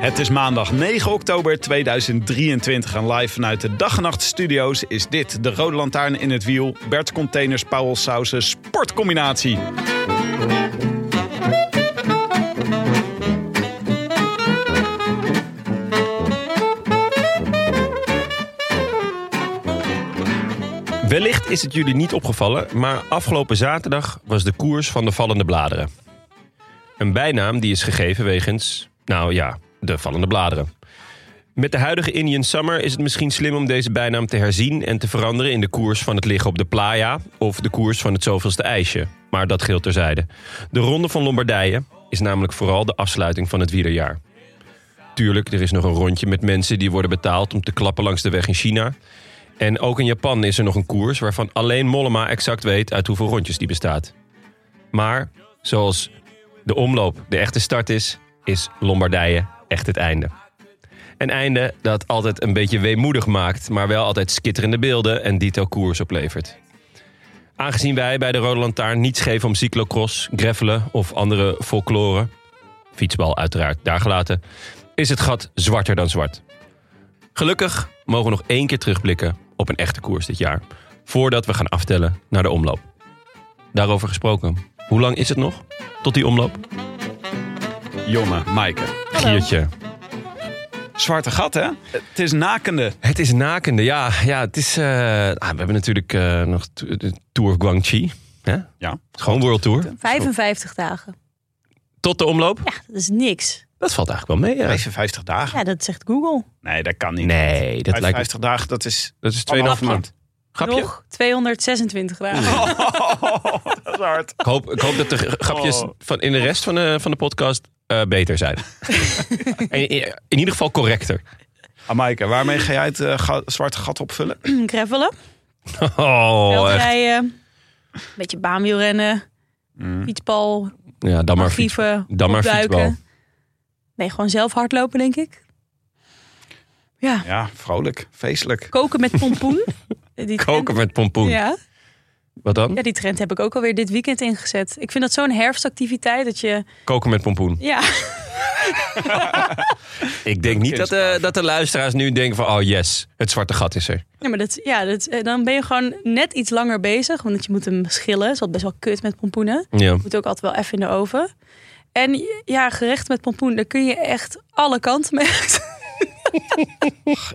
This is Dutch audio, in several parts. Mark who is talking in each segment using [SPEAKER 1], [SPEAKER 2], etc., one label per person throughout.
[SPEAKER 1] Het is maandag 9 oktober 2023 en live vanuit de Dag en Nacht Studio's is dit de Rode Lantaarn in het Wiel, Bert Containers, Powell Sausen Sportcombinatie.
[SPEAKER 2] Wellicht is het jullie niet opgevallen, maar afgelopen zaterdag was de koers van de vallende bladeren. Een bijnaam die is gegeven wegens, nou ja, de vallende bladeren. Met de huidige Indian Summer is het misschien slim om deze bijnaam te herzien en te veranderen in de koers van het liggen op de playa of de koers van het zoveelste ijsje. Maar dat geldt terzijde. De Ronde van Lombardije is namelijk vooral de afsluiting van het wielerjaar. Tuurlijk, er is nog een rondje met mensen die worden betaald om te klappen langs de weg in China. En ook in Japan is er nog een koers waarvan alleen Mollema exact weet uit hoeveel rondjes die bestaat. Maar zoals de omloop de echte start is, is Lombardije echt het einde. Een einde dat altijd een beetje weemoedig maakt, maar wel altijd skitterende beelden en detail koers oplevert. Aangezien wij bij de Rode Lantaarn niets geven om cyclocross, greffelen of andere folklore, fietsbal uiteraard daar gelaten, is het gat zwarter dan zwart. Gelukkig mogen we nog één keer terugblikken op een echte koers dit jaar, voordat we gaan aftellen naar de omloop. Daarover gesproken, hoe lang is het nog tot die omloop?
[SPEAKER 1] Jonge, Maaike.
[SPEAKER 2] Giertje.
[SPEAKER 1] Zwarte gat, hè? Het is nakende.
[SPEAKER 2] Het is nakende, ja. ja het is, eh, ah, we hebben natuurlijk eh, nog to- de Tour of Guangxi. Hè?
[SPEAKER 1] Ja.
[SPEAKER 2] Gewoon World Tour.
[SPEAKER 3] 55 dagen.
[SPEAKER 2] Tot de omloop?
[SPEAKER 3] Ja, dat is niks.
[SPEAKER 2] Dat valt eigenlijk wel mee. Ja.
[SPEAKER 1] 55 dagen?
[SPEAKER 3] Ja, dat zegt Google.
[SPEAKER 1] Nee, dat kan niet.
[SPEAKER 2] Nee, dat lijkt
[SPEAKER 1] 55
[SPEAKER 2] me...
[SPEAKER 1] dagen, dat is...
[SPEAKER 2] Dat is 2,5 maand. Grapje?
[SPEAKER 3] Nog 226 dagen.
[SPEAKER 1] Oh, dat is hard.
[SPEAKER 2] Ik hoop, ik hoop dat de g- grapjes
[SPEAKER 1] Oh.
[SPEAKER 2] van, in de rest van de, van de podcast eh, beter zijn. in, in, in ieder geval correcter.
[SPEAKER 1] Ah, Maaike, waarmee ga jij het eh, ga- zwarte gat opvullen?
[SPEAKER 3] mm, Gravelen,
[SPEAKER 2] Oh, echt.
[SPEAKER 3] veldrijden, eh, een beetje baanwielrennen, fietsbal,
[SPEAKER 2] Ja, Mm. dan maar, fiets,
[SPEAKER 3] archieven,
[SPEAKER 2] dan maar
[SPEAKER 3] opduiken.
[SPEAKER 2] fietsbal.
[SPEAKER 3] Nee, gewoon zelf hardlopen, denk ik. Ja,
[SPEAKER 1] Ja, vrolijk, feestelijk.
[SPEAKER 3] koken met pompoen. Die trend-
[SPEAKER 2] Koken met pompoen.
[SPEAKER 3] Ja.
[SPEAKER 2] Wat
[SPEAKER 3] ja,
[SPEAKER 2] dan?
[SPEAKER 3] die trend heb ik ook alweer dit weekend ingezet. Ik vind dat zo'n herfstactiviteit dat je...
[SPEAKER 2] Koken met pompoen.
[SPEAKER 3] Ja,
[SPEAKER 2] Ik denk niet dat, eh, dat de luisteraars nu denken van... oh yes, het zwarte gat is er.
[SPEAKER 3] Ja, maar dat, ja dat, eh, dan ben je gewoon net iets langer bezig. Want je moet hem schillen. Dat is wat best wel kut met pompoenen.
[SPEAKER 2] Ja.
[SPEAKER 3] Moet ook altijd wel even in de oven. En ja, gerecht met pompoen, daar kun je echt alle kanten mee. uit.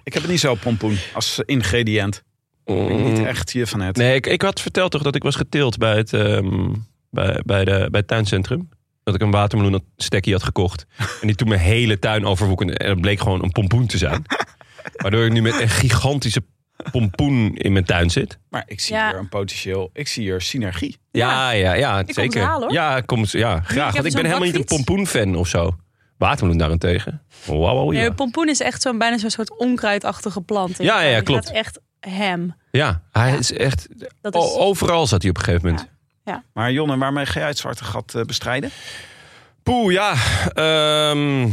[SPEAKER 1] Ik heb het niet zo pompoen als ingrediënt. Ik ben
[SPEAKER 2] Mm.
[SPEAKER 1] niet echt hier van het.
[SPEAKER 2] Nee, ik, ik had verteld toch dat ik was getild bij het, ehm, bij, bij, de, bij het tuincentrum. Dat ik een watermeloenstekkie had gekocht. En die toen mijn hele tuin overwoekende. En dat bleek gewoon een pompoen te zijn. Waardoor ik nu met een gigantische pompoen in mijn tuin zit.
[SPEAKER 1] Maar ik zie
[SPEAKER 3] Ja.
[SPEAKER 1] hier een potentieel, ik zie hier synergie.
[SPEAKER 2] Ja, ja, ja,
[SPEAKER 3] het
[SPEAKER 2] zeker.
[SPEAKER 3] halen, hoor.
[SPEAKER 2] Ja, kom, eens- ja, graag.
[SPEAKER 3] heb
[SPEAKER 2] Want ik
[SPEAKER 3] zo'n
[SPEAKER 2] ben helemaal niet een
[SPEAKER 3] bakfiets.
[SPEAKER 2] pompoenfan of zo. Watermeloen daarentegen. Oh, Wauw, wauw, ja.
[SPEAKER 3] Nee, pompoen is echt zo'n bijna zo'n soort onkruidachtige plant.
[SPEAKER 2] Ja, ja, ja,
[SPEAKER 3] Die
[SPEAKER 2] klopt. Oh,
[SPEAKER 3] gaat echt hem.
[SPEAKER 2] Ja, hij is echt...
[SPEAKER 3] Dat is,
[SPEAKER 2] o- Overal zat hij op een gegeven moment.
[SPEAKER 1] Maar Jonne, waarmee ga jij het zwarte gat eh, bestrijden?
[SPEAKER 2] Poeh, ja. Ehm,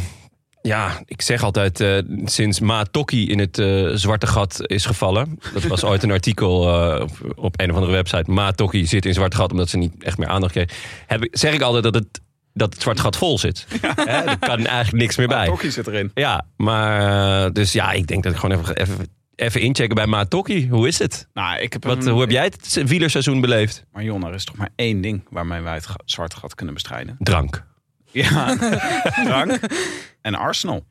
[SPEAKER 2] ja, ik zeg altijd eh, sinds Ma Tokki in het eh, zwarte gat is gevallen. Dat was ooit een artikel eh, op, op een of andere website. Ma Tokki zit in zwart gat omdat ze niet echt meer aandacht kreeg. Heb, ik- zeg ik altijd dat het, dat het zwart gat vol zit. Hè, er kan eigenlijk niks meer bij.
[SPEAKER 1] Tokkie zit erin.
[SPEAKER 2] Ja, maar eh, dus ja, ik denk dat ik gewoon even, even, even inchecken bij Ma Tokki. Hoe is het?
[SPEAKER 1] Nou, ik heb
[SPEAKER 2] Wat,
[SPEAKER 1] een-
[SPEAKER 2] hoe heb jij het se- wielerseizoen beleefd?
[SPEAKER 1] Maar Jonne, er is toch maar één ding waarmee wij het ga- zwarte gat kunnen bestrijden.
[SPEAKER 2] Drank.
[SPEAKER 1] Ja, Frank. En Arsenal. Mm,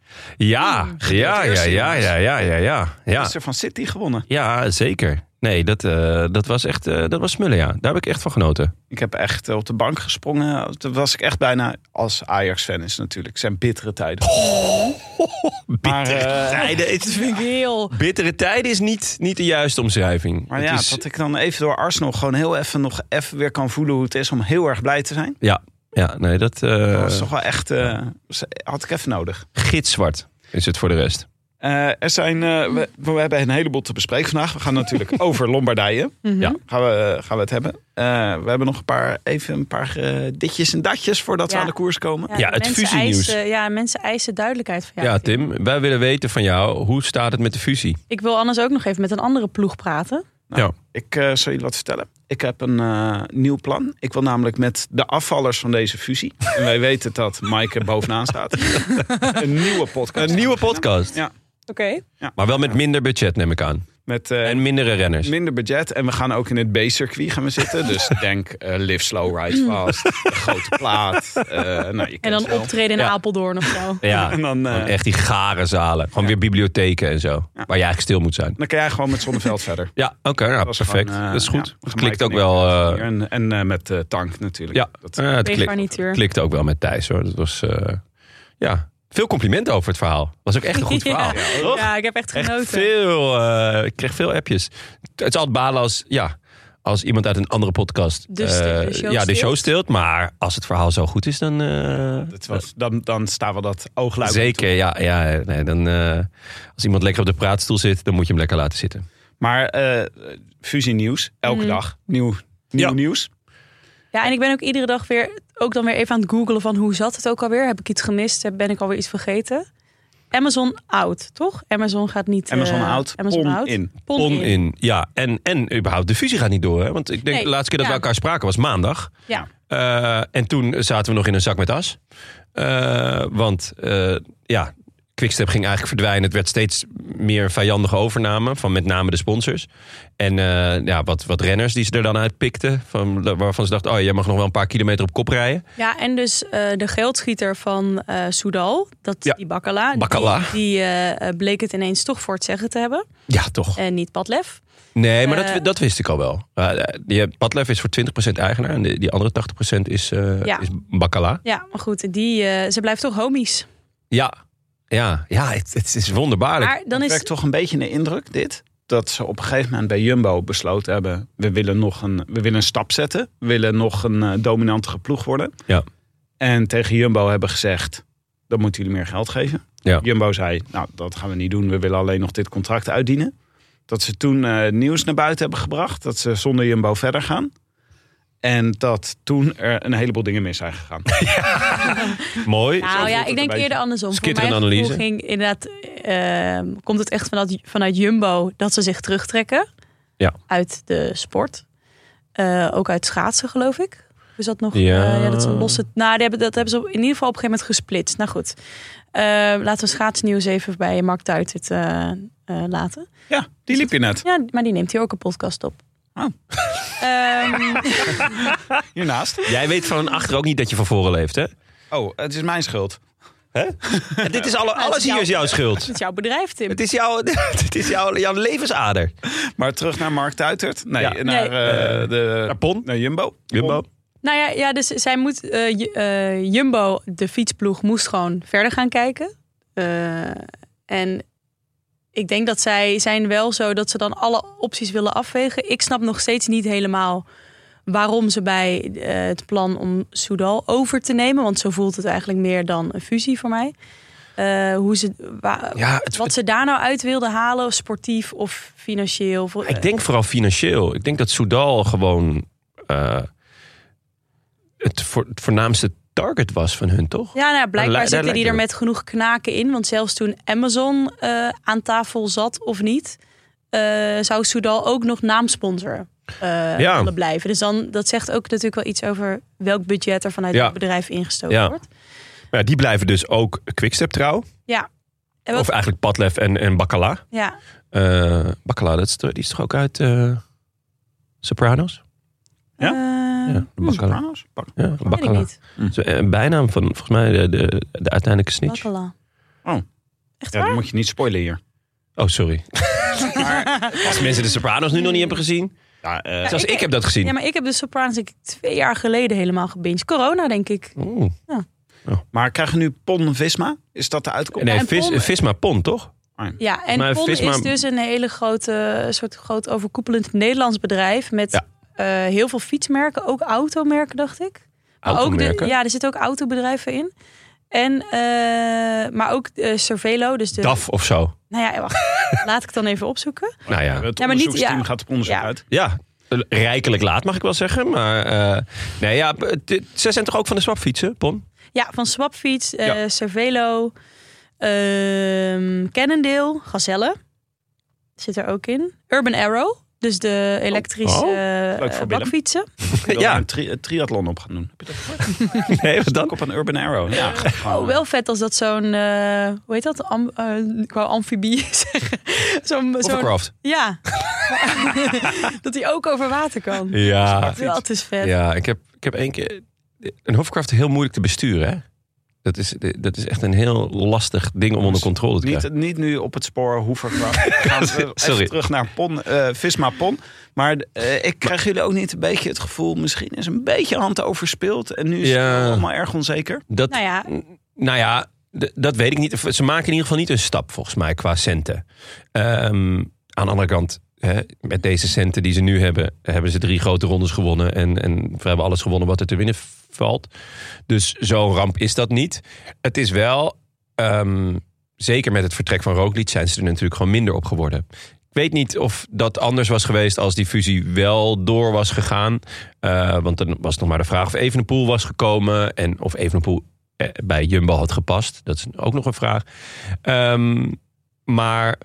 [SPEAKER 2] Ja, ja, ja, ja, ja, ja, ja, ja. ja.
[SPEAKER 1] Is er van City gewonnen.
[SPEAKER 2] Ja, zeker. Nee, dat, eh, dat was echt eh, dat was smullen, ja. Daar heb ik echt van genoten.
[SPEAKER 1] Ik heb echt eh, op de bank gesprongen. Toen was ik echt bijna als Ajax-fan is natuurlijk. zijn bittere tijden. Maar, eh,
[SPEAKER 2] tijden. Het is-
[SPEAKER 3] Heel.
[SPEAKER 2] Bittere tijden is niet, niet de juiste omschrijving.
[SPEAKER 1] maar
[SPEAKER 2] Het
[SPEAKER 1] ja,
[SPEAKER 2] is-
[SPEAKER 1] dat ik dan even door Arsenal gewoon heel even nog even weer kan voelen hoe het is om heel erg blij te zijn.
[SPEAKER 2] ja, ja, nee, dat... eh,
[SPEAKER 1] Dat was toch wel echt, eh, had ik even nodig.
[SPEAKER 2] gitzwart is het voor de rest.
[SPEAKER 1] Eh, er zijn, eh, we, we hebben een heleboel te bespreken vandaag. We gaan natuurlijk over Lombardije.
[SPEAKER 2] Ja.
[SPEAKER 1] Gaan we, gaan we het hebben. Eh, we hebben nog een paar, even een paar eh, ditjes en datjes voordat we
[SPEAKER 3] Ja.
[SPEAKER 1] aan de koers komen.
[SPEAKER 2] Ja, het
[SPEAKER 3] mensen
[SPEAKER 2] fusienieuws.
[SPEAKER 3] eisen- Ja, mensen eisen duidelijkheid van
[SPEAKER 2] Ja,
[SPEAKER 3] jou.
[SPEAKER 2] Tim, wij willen weten van jou, hoe staat het met de fusie?
[SPEAKER 3] Ik wil anders ook nog even met een andere ploeg praten.
[SPEAKER 1] Ik eh, zal jullie wat vertellen. Ik heb een eh, nieuw plan. Ik wil namelijk met de afvallers van deze fusie. En wij weten dat Maaike bovenaan staat. een nieuwe podcast.
[SPEAKER 2] Een nieuwe podcast.
[SPEAKER 1] Ja.
[SPEAKER 3] Oké.
[SPEAKER 2] Maar wel met minder budget, neem ik aan.
[SPEAKER 1] Met eh,
[SPEAKER 2] En mindere renners.
[SPEAKER 1] minder budget. En we gaan ook in het B-circuit gaan we zitten. Dus denk eh, live slow, ride fast. De grote plaat. Eh, nou, je
[SPEAKER 3] En
[SPEAKER 1] kent het
[SPEAKER 3] dan
[SPEAKER 1] wel.
[SPEAKER 3] optreden in
[SPEAKER 2] Ja.
[SPEAKER 3] Apeldoorn of zo.
[SPEAKER 2] Ja,
[SPEAKER 1] En dan, eh,
[SPEAKER 2] gewoon echt die gare zalen. Gewoon weer bibliotheken en zo. Waar je eigenlijk stil moet zijn.
[SPEAKER 1] Dan kan jij gewoon met Zonneveld verder.
[SPEAKER 2] Ja, oké, nou,
[SPEAKER 1] was
[SPEAKER 2] perfect.
[SPEAKER 1] gewoon, eh,
[SPEAKER 2] dat is goed.
[SPEAKER 1] ja,
[SPEAKER 2] het
[SPEAKER 1] gelijk
[SPEAKER 2] klikt ook
[SPEAKER 1] niks.
[SPEAKER 2] wel... eh,
[SPEAKER 1] En, en eh, met eh, Tank natuurlijk.
[SPEAKER 2] ja,
[SPEAKER 1] Dat,
[SPEAKER 2] eh, het
[SPEAKER 3] Tegen
[SPEAKER 2] klikt,
[SPEAKER 3] garnituur.
[SPEAKER 2] klikt ook wel met Thijs, hoor. Dat was... eh, ja, veel complimenten over het verhaal. Was ook echt een goed verhaal.
[SPEAKER 3] Ja,
[SPEAKER 2] Toch?
[SPEAKER 3] Ja, ik heb echt genoten.
[SPEAKER 2] Echt veel, eh, ik kreeg veel appjes. Het is altijd balen als, ja, als iemand uit een andere podcast
[SPEAKER 3] De
[SPEAKER 2] eh,
[SPEAKER 3] stil- de show
[SPEAKER 2] ja, de show
[SPEAKER 3] stilt.
[SPEAKER 2] stilt. Maar als het verhaal zo goed is, dan... eh,
[SPEAKER 1] dat was, dan, dan staan we dat oogluik
[SPEAKER 2] Zeker, ja. ja nee, dan, eh, als iemand lekker op de praatstoel zit, dan moet je hem lekker laten zitten.
[SPEAKER 1] Maar eh fusie nieuws, elke dag. Nieuw, nieuw
[SPEAKER 2] Ja.
[SPEAKER 1] nieuws.
[SPEAKER 3] Ja, en ik ben ook iedere dag weer, ook dan weer even aan het googelen van hoe zat het ook alweer? Heb ik iets gemist? Heb- Ben ik alweer iets vergeten? Amazon out, toch? Amazon gaat niet. eh,
[SPEAKER 1] Amazon out,
[SPEAKER 3] Amazon
[SPEAKER 1] pon
[SPEAKER 3] out.
[SPEAKER 1] in.
[SPEAKER 3] Pon
[SPEAKER 2] On
[SPEAKER 3] in.
[SPEAKER 2] in. Ja, en, en überhaupt, de fusie gaat niet door. Hè? Want ik denk
[SPEAKER 3] Nee,
[SPEAKER 2] de laatste keer dat
[SPEAKER 3] ja.
[SPEAKER 2] we elkaar spraken was maandag.
[SPEAKER 3] Ja.
[SPEAKER 2] Eh, en toen zaten we nog in een zak met as. Eh, want eh, ja, Quickstep ging eigenlijk verdwijnen. Het werd steeds meer een vijandige overname van met name de sponsors. En eh, ja, wat, wat renners die ze er dan uitpikten. Van, waarvan ze dachten, oh, jij mag nog wel een paar kilometer op kop rijden.
[SPEAKER 3] ja, en dus eh, de geldschieter van eh Soudal, dat
[SPEAKER 2] Ja.
[SPEAKER 3] die Bakkala,
[SPEAKER 2] Bakkala.
[SPEAKER 3] die, die eh, eh, bleek het ineens toch voor het zeggen te hebben.
[SPEAKER 2] Ja, toch.
[SPEAKER 3] En niet Padlef.
[SPEAKER 2] Nee, maar dat,
[SPEAKER 3] Eh,
[SPEAKER 2] dat wist ik al wel. Eh, die Padlef is voor 20% eigenaar en die, die andere 80% is, eh
[SPEAKER 3] Ja.
[SPEAKER 2] is Bacala.
[SPEAKER 3] Ja, maar goed, die, eh, ze blijft toch homies.
[SPEAKER 2] Ja, ja, ja het, het is wonderbaarlijk.
[SPEAKER 3] Maar dan
[SPEAKER 1] Dan
[SPEAKER 3] is
[SPEAKER 1] werkt toch een beetje de indruk, dit. Dat ze op een gegeven moment bij Jumbo besloten hebben... we willen nog een, we willen een stap zetten. We willen nog een eh, dominantere ploeg worden.
[SPEAKER 2] Ja.
[SPEAKER 1] En tegen Jumbo hebben gezegd... dan moeten jullie meer geld geven.
[SPEAKER 2] Ja.
[SPEAKER 1] Jumbo zei, nou, dat gaan we niet doen. We willen alleen nog dit contract uitdienen. Dat ze toen eh, nieuws naar buiten hebben gebracht. Dat ze zonder Jumbo verder gaan. En dat toen er een heleboel dingen mis zijn gegaan.
[SPEAKER 2] Mooi.
[SPEAKER 3] Nou
[SPEAKER 1] voelt
[SPEAKER 3] ja,
[SPEAKER 1] het
[SPEAKER 3] ik
[SPEAKER 1] een
[SPEAKER 3] denk
[SPEAKER 1] beetje.
[SPEAKER 3] eerder andersom. Voor
[SPEAKER 2] Schitterende
[SPEAKER 3] mijn gevoel
[SPEAKER 2] analyse.
[SPEAKER 3] ging inderdaad, ehm, komt het echt vanuit, vanuit Jumbo dat ze zich terugtrekken
[SPEAKER 2] Ja.
[SPEAKER 3] uit de sport. Eh, ook uit schaatsen, geloof ik. Of Is dat nog? eh,
[SPEAKER 2] Ja.
[SPEAKER 3] Ja, dat ze lossen. Nou, die hebben, dat hebben ze op- in ieder geval op een gegeven moment gesplitst. Nou goed, Eh, laten we schaatsnieuws even bij Mark Duitert eh, eh, laten.
[SPEAKER 1] Ja, die liep je net.
[SPEAKER 3] Ja, maar die neemt hier ook een podcast op.
[SPEAKER 1] Oh.
[SPEAKER 3] Ehm,
[SPEAKER 1] Hiernaast.
[SPEAKER 2] Jij weet van achter ook niet dat je van voren leeft, hè?
[SPEAKER 1] Oh, het is mijn schuld.
[SPEAKER 2] En dit is alle,
[SPEAKER 3] het is
[SPEAKER 2] alles hier
[SPEAKER 3] jouw-
[SPEAKER 2] is jouw schuld.
[SPEAKER 3] het is jouw bedrijf, Tim.
[SPEAKER 2] Het is, jouw, het is jouw, jouw levensader.
[SPEAKER 1] Maar terug naar Mark Duitert. Nee,
[SPEAKER 2] Ja.
[SPEAKER 1] naar,
[SPEAKER 2] Nee.
[SPEAKER 1] eh, de,
[SPEAKER 2] Naar Pon.
[SPEAKER 1] naar Jumbo.
[SPEAKER 2] Jumbo.
[SPEAKER 3] Nou ja, ja dus zij moet, eh, Ju- eh, Jumbo, de fietsploeg, moest gewoon verder gaan kijken. Eh, en ik denk dat zij zijn wel zo dat ze dan alle opties willen afwegen. Ik snap nog steeds niet helemaal waarom ze bij eh, het plan om Soudal over te nemen. Want zo voelt het eigenlijk meer dan een fusie voor mij. Eh, hoe ze, wa-
[SPEAKER 2] Ja, het-
[SPEAKER 3] wat ze daar nou uit wilden halen, of sportief of financieel. Of,
[SPEAKER 2] Ik denk vooral financieel. Ik denk dat Soudal gewoon eh, het, voor, het voornaamste target was van hun, toch?
[SPEAKER 3] Ja, nou, ja,
[SPEAKER 2] Daar li-
[SPEAKER 3] blijkbaar
[SPEAKER 2] daar
[SPEAKER 3] zitten
[SPEAKER 2] lijkt
[SPEAKER 3] die
[SPEAKER 2] het
[SPEAKER 3] er
[SPEAKER 2] op.
[SPEAKER 3] met genoeg knaken in. Want zelfs toen Amazon eh, aan tafel zat of niet, eh, zou Soudal ook nog naamsponsor eh,
[SPEAKER 2] Ja.
[SPEAKER 3] willen blijven. Dus dan, dat zegt ook natuurlijk wel iets over welk budget er vanuit
[SPEAKER 2] Ja.
[SPEAKER 3] het bedrijf ingestoken
[SPEAKER 2] Ja.
[SPEAKER 3] wordt.
[SPEAKER 2] Maar ja, die blijven dus ook Quickstep trouw.
[SPEAKER 3] Ja. En wat-
[SPEAKER 2] Of eigenlijk Padlef en, en Bacala.
[SPEAKER 3] ja.
[SPEAKER 2] Eh Bacala, dat is, toch- die is toch ook uit eh, Sopranos?
[SPEAKER 1] Ja?
[SPEAKER 3] Eh,
[SPEAKER 2] Ja, de bakkala.
[SPEAKER 1] Sopranos? Bak-
[SPEAKER 2] Ja,
[SPEAKER 3] Weet ik
[SPEAKER 2] bakkala.
[SPEAKER 3] niet.
[SPEAKER 2] Zo, eh, Een bijnaam van, volgens mij, de, de, de uiteindelijke snitch.
[SPEAKER 3] Bakkala.
[SPEAKER 1] Oh.
[SPEAKER 3] Echt
[SPEAKER 1] Ja, dat
[SPEAKER 3] waar?
[SPEAKER 1] moet je niet spoilen hier.
[SPEAKER 2] Oh, sorry. Als mensen de Sopranos nu nog niet hebben gezien.
[SPEAKER 1] Ja, eh,
[SPEAKER 2] Zelfs
[SPEAKER 3] ik-
[SPEAKER 2] ik, heb dat gezien.
[SPEAKER 3] Ja, maar ik heb de Sopranos denk ik, twee jaar geleden helemaal gebinged. Corona, denk ik.
[SPEAKER 2] Oeh.
[SPEAKER 1] maar krijgen we nu Pon Visma? Is dat de uitkomst?
[SPEAKER 2] Nee,
[SPEAKER 3] en
[SPEAKER 2] vis,
[SPEAKER 3] Pon-
[SPEAKER 2] Visma Pon, toch?
[SPEAKER 3] Ja, en
[SPEAKER 2] Maar
[SPEAKER 3] PON
[SPEAKER 2] Visma-
[SPEAKER 3] is dus een hele grote, soort groot overkoepelend Nederlands bedrijf. Met
[SPEAKER 2] Ja.
[SPEAKER 3] eh, heel veel fietsmerken, ook automerken, dacht ik. Maar ook de-
[SPEAKER 2] Automerken.
[SPEAKER 3] ja, er zitten ook autobedrijven in. En, eh, maar ook eh, Cervelo, dus de...
[SPEAKER 2] DAF of zo.
[SPEAKER 3] Nou ja, wacht. laat ik het dan even opzoeken.
[SPEAKER 2] Nou ja.
[SPEAKER 1] Het
[SPEAKER 3] Ja, maar niet-
[SPEAKER 1] onderzoeksteam
[SPEAKER 3] ja.
[SPEAKER 1] gaat op onderzoek
[SPEAKER 3] Ja.
[SPEAKER 1] uit.
[SPEAKER 2] Ja, rijkelijk laat mag ik wel zeggen. Maar eh, nee, ja, het- ze zijn toch ook van de swapfietsen, Pon?
[SPEAKER 3] Ja, van Swapfiets, eh
[SPEAKER 2] Ja.
[SPEAKER 3] Cervelo, ehm Cannondale, Gazelle zit er ook in. Urban Arrow, dus de elektrische
[SPEAKER 2] Oh,
[SPEAKER 3] eh,
[SPEAKER 1] voor Willem.
[SPEAKER 3] bakfietsen.
[SPEAKER 1] Ik wil
[SPEAKER 2] Ja.
[SPEAKER 1] er een tri- een triathlon op gaan doen. Heb je dat gehoord?
[SPEAKER 2] Nee, wat
[SPEAKER 1] Ook
[SPEAKER 2] dan?
[SPEAKER 1] op een Urban Arrow. Ja,
[SPEAKER 3] Oh, wel vet als dat zo'n, eh, hoe heet dat? Am, eh, ik wou amfibie zeggen. Zo'n, zo'n,
[SPEAKER 2] Hovercraft.
[SPEAKER 3] ja. dat hij ook over water kan.
[SPEAKER 2] Ja.
[SPEAKER 3] Dat is vet.
[SPEAKER 2] ja, ik heb, ik heb één keer... Een hovercraft is heel moeilijk te besturen, hè? Dat is, dat is echt een heel lastig ding om onder controle te krijgen.
[SPEAKER 1] eh, Niet, niet nu op het spoor Hoeverkracht. We gaan even
[SPEAKER 2] Sorry.
[SPEAKER 1] terug naar Pon, eh, Visma Pon. Maar eh, ik krijg jullie ook niet een beetje het gevoel... misschien is een beetje hand overspeeld. En nu is
[SPEAKER 2] Ja.
[SPEAKER 1] het allemaal erg onzeker.
[SPEAKER 2] Dat,
[SPEAKER 3] Nou ja,
[SPEAKER 2] Nou ja, d- dat weet ik niet. Ze maken in ieder geval niet een stap, volgens mij, qua centen. Ehm, aan de andere kant, hè, met deze centen die ze nu hebben, hebben ze drie grote rondes gewonnen. En, en we hebben alles gewonnen wat er te winnen valt. Dus zo'n ramp is dat niet. Het is wel, ehm, zeker met het vertrek van Roglic, zijn ze er natuurlijk gewoon minder op geworden. Ik weet niet of dat anders was geweest als die fusie wel door was gegaan. Eh, want dan was nog maar de vraag of Evenepoel was gekomen. En of Evenepoel eh, bij Jumbo had gepast. Dat is ook nog een vraag. Ehm, maar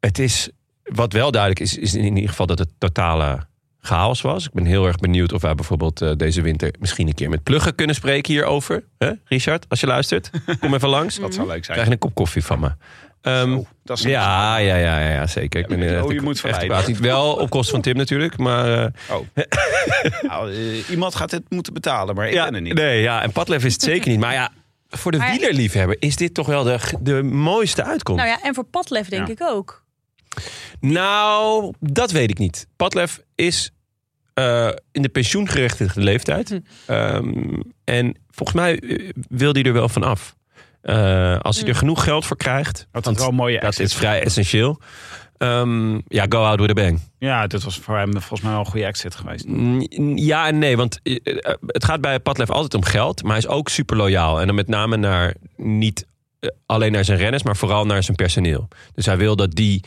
[SPEAKER 2] het is, wat wel duidelijk is, is in ieder geval dat het totale chaos was. Ik ben heel erg benieuwd of wij bijvoorbeeld eh, deze winter misschien een keer met Pluggen kunnen spreken hierover. Hè, Richard, als je luistert, kom even langs.
[SPEAKER 1] Dat zou leuk zijn.
[SPEAKER 2] Krijg je een kop koffie van me. Ehm,
[SPEAKER 1] Zo, Oh, dat is
[SPEAKER 2] ja, ja, ja, ja, ja, zeker. Ik ben
[SPEAKER 1] maar
[SPEAKER 2] eh,
[SPEAKER 1] oh,
[SPEAKER 2] echt-
[SPEAKER 1] je moet
[SPEAKER 2] echt
[SPEAKER 1] verleiden.
[SPEAKER 2] kwaad. Niet wel op kosten van Tim natuurlijk, maar... eh,
[SPEAKER 1] Oh. Nou, eh, iemand gaat dit moeten betalen, maar ik
[SPEAKER 2] ja,
[SPEAKER 1] ben er niet.
[SPEAKER 2] Nee, ja, en Padlef is het zeker niet. Maar ja, voor de
[SPEAKER 3] Maar-
[SPEAKER 2] wielerliefhebber is dit toch wel de, de mooiste uitkomst.
[SPEAKER 3] nou
[SPEAKER 2] Nou,
[SPEAKER 3] ja, en voor padlef denk
[SPEAKER 1] Ja.
[SPEAKER 3] ik ook.
[SPEAKER 2] Nou, dat weet ik niet. Padlef is eh, in de pensioengerechtigde leeftijd.
[SPEAKER 1] Mhm.
[SPEAKER 3] Hm.
[SPEAKER 2] Ehm, en volgens mij eh, wil hij er wel van af. Eh, als hij er
[SPEAKER 1] Mhm.
[SPEAKER 2] genoeg geld voor krijgt,
[SPEAKER 1] Dat is
[SPEAKER 2] want
[SPEAKER 1] wel een mooie
[SPEAKER 2] dat
[SPEAKER 1] exit.
[SPEAKER 2] is vrij essentieel. Ehm, ja, go out with a bang.
[SPEAKER 1] Ja, dit was voor hem volgens mij wel een goede exit geweest.
[SPEAKER 2] Mm, Ja en nee, want eh, eh, het gaat bij Padlef altijd om geld. Maar hij is ook super loyaal. En dan met name naar, niet eh, alleen naar zijn renners, maar vooral naar zijn personeel. Dus hij wil dat die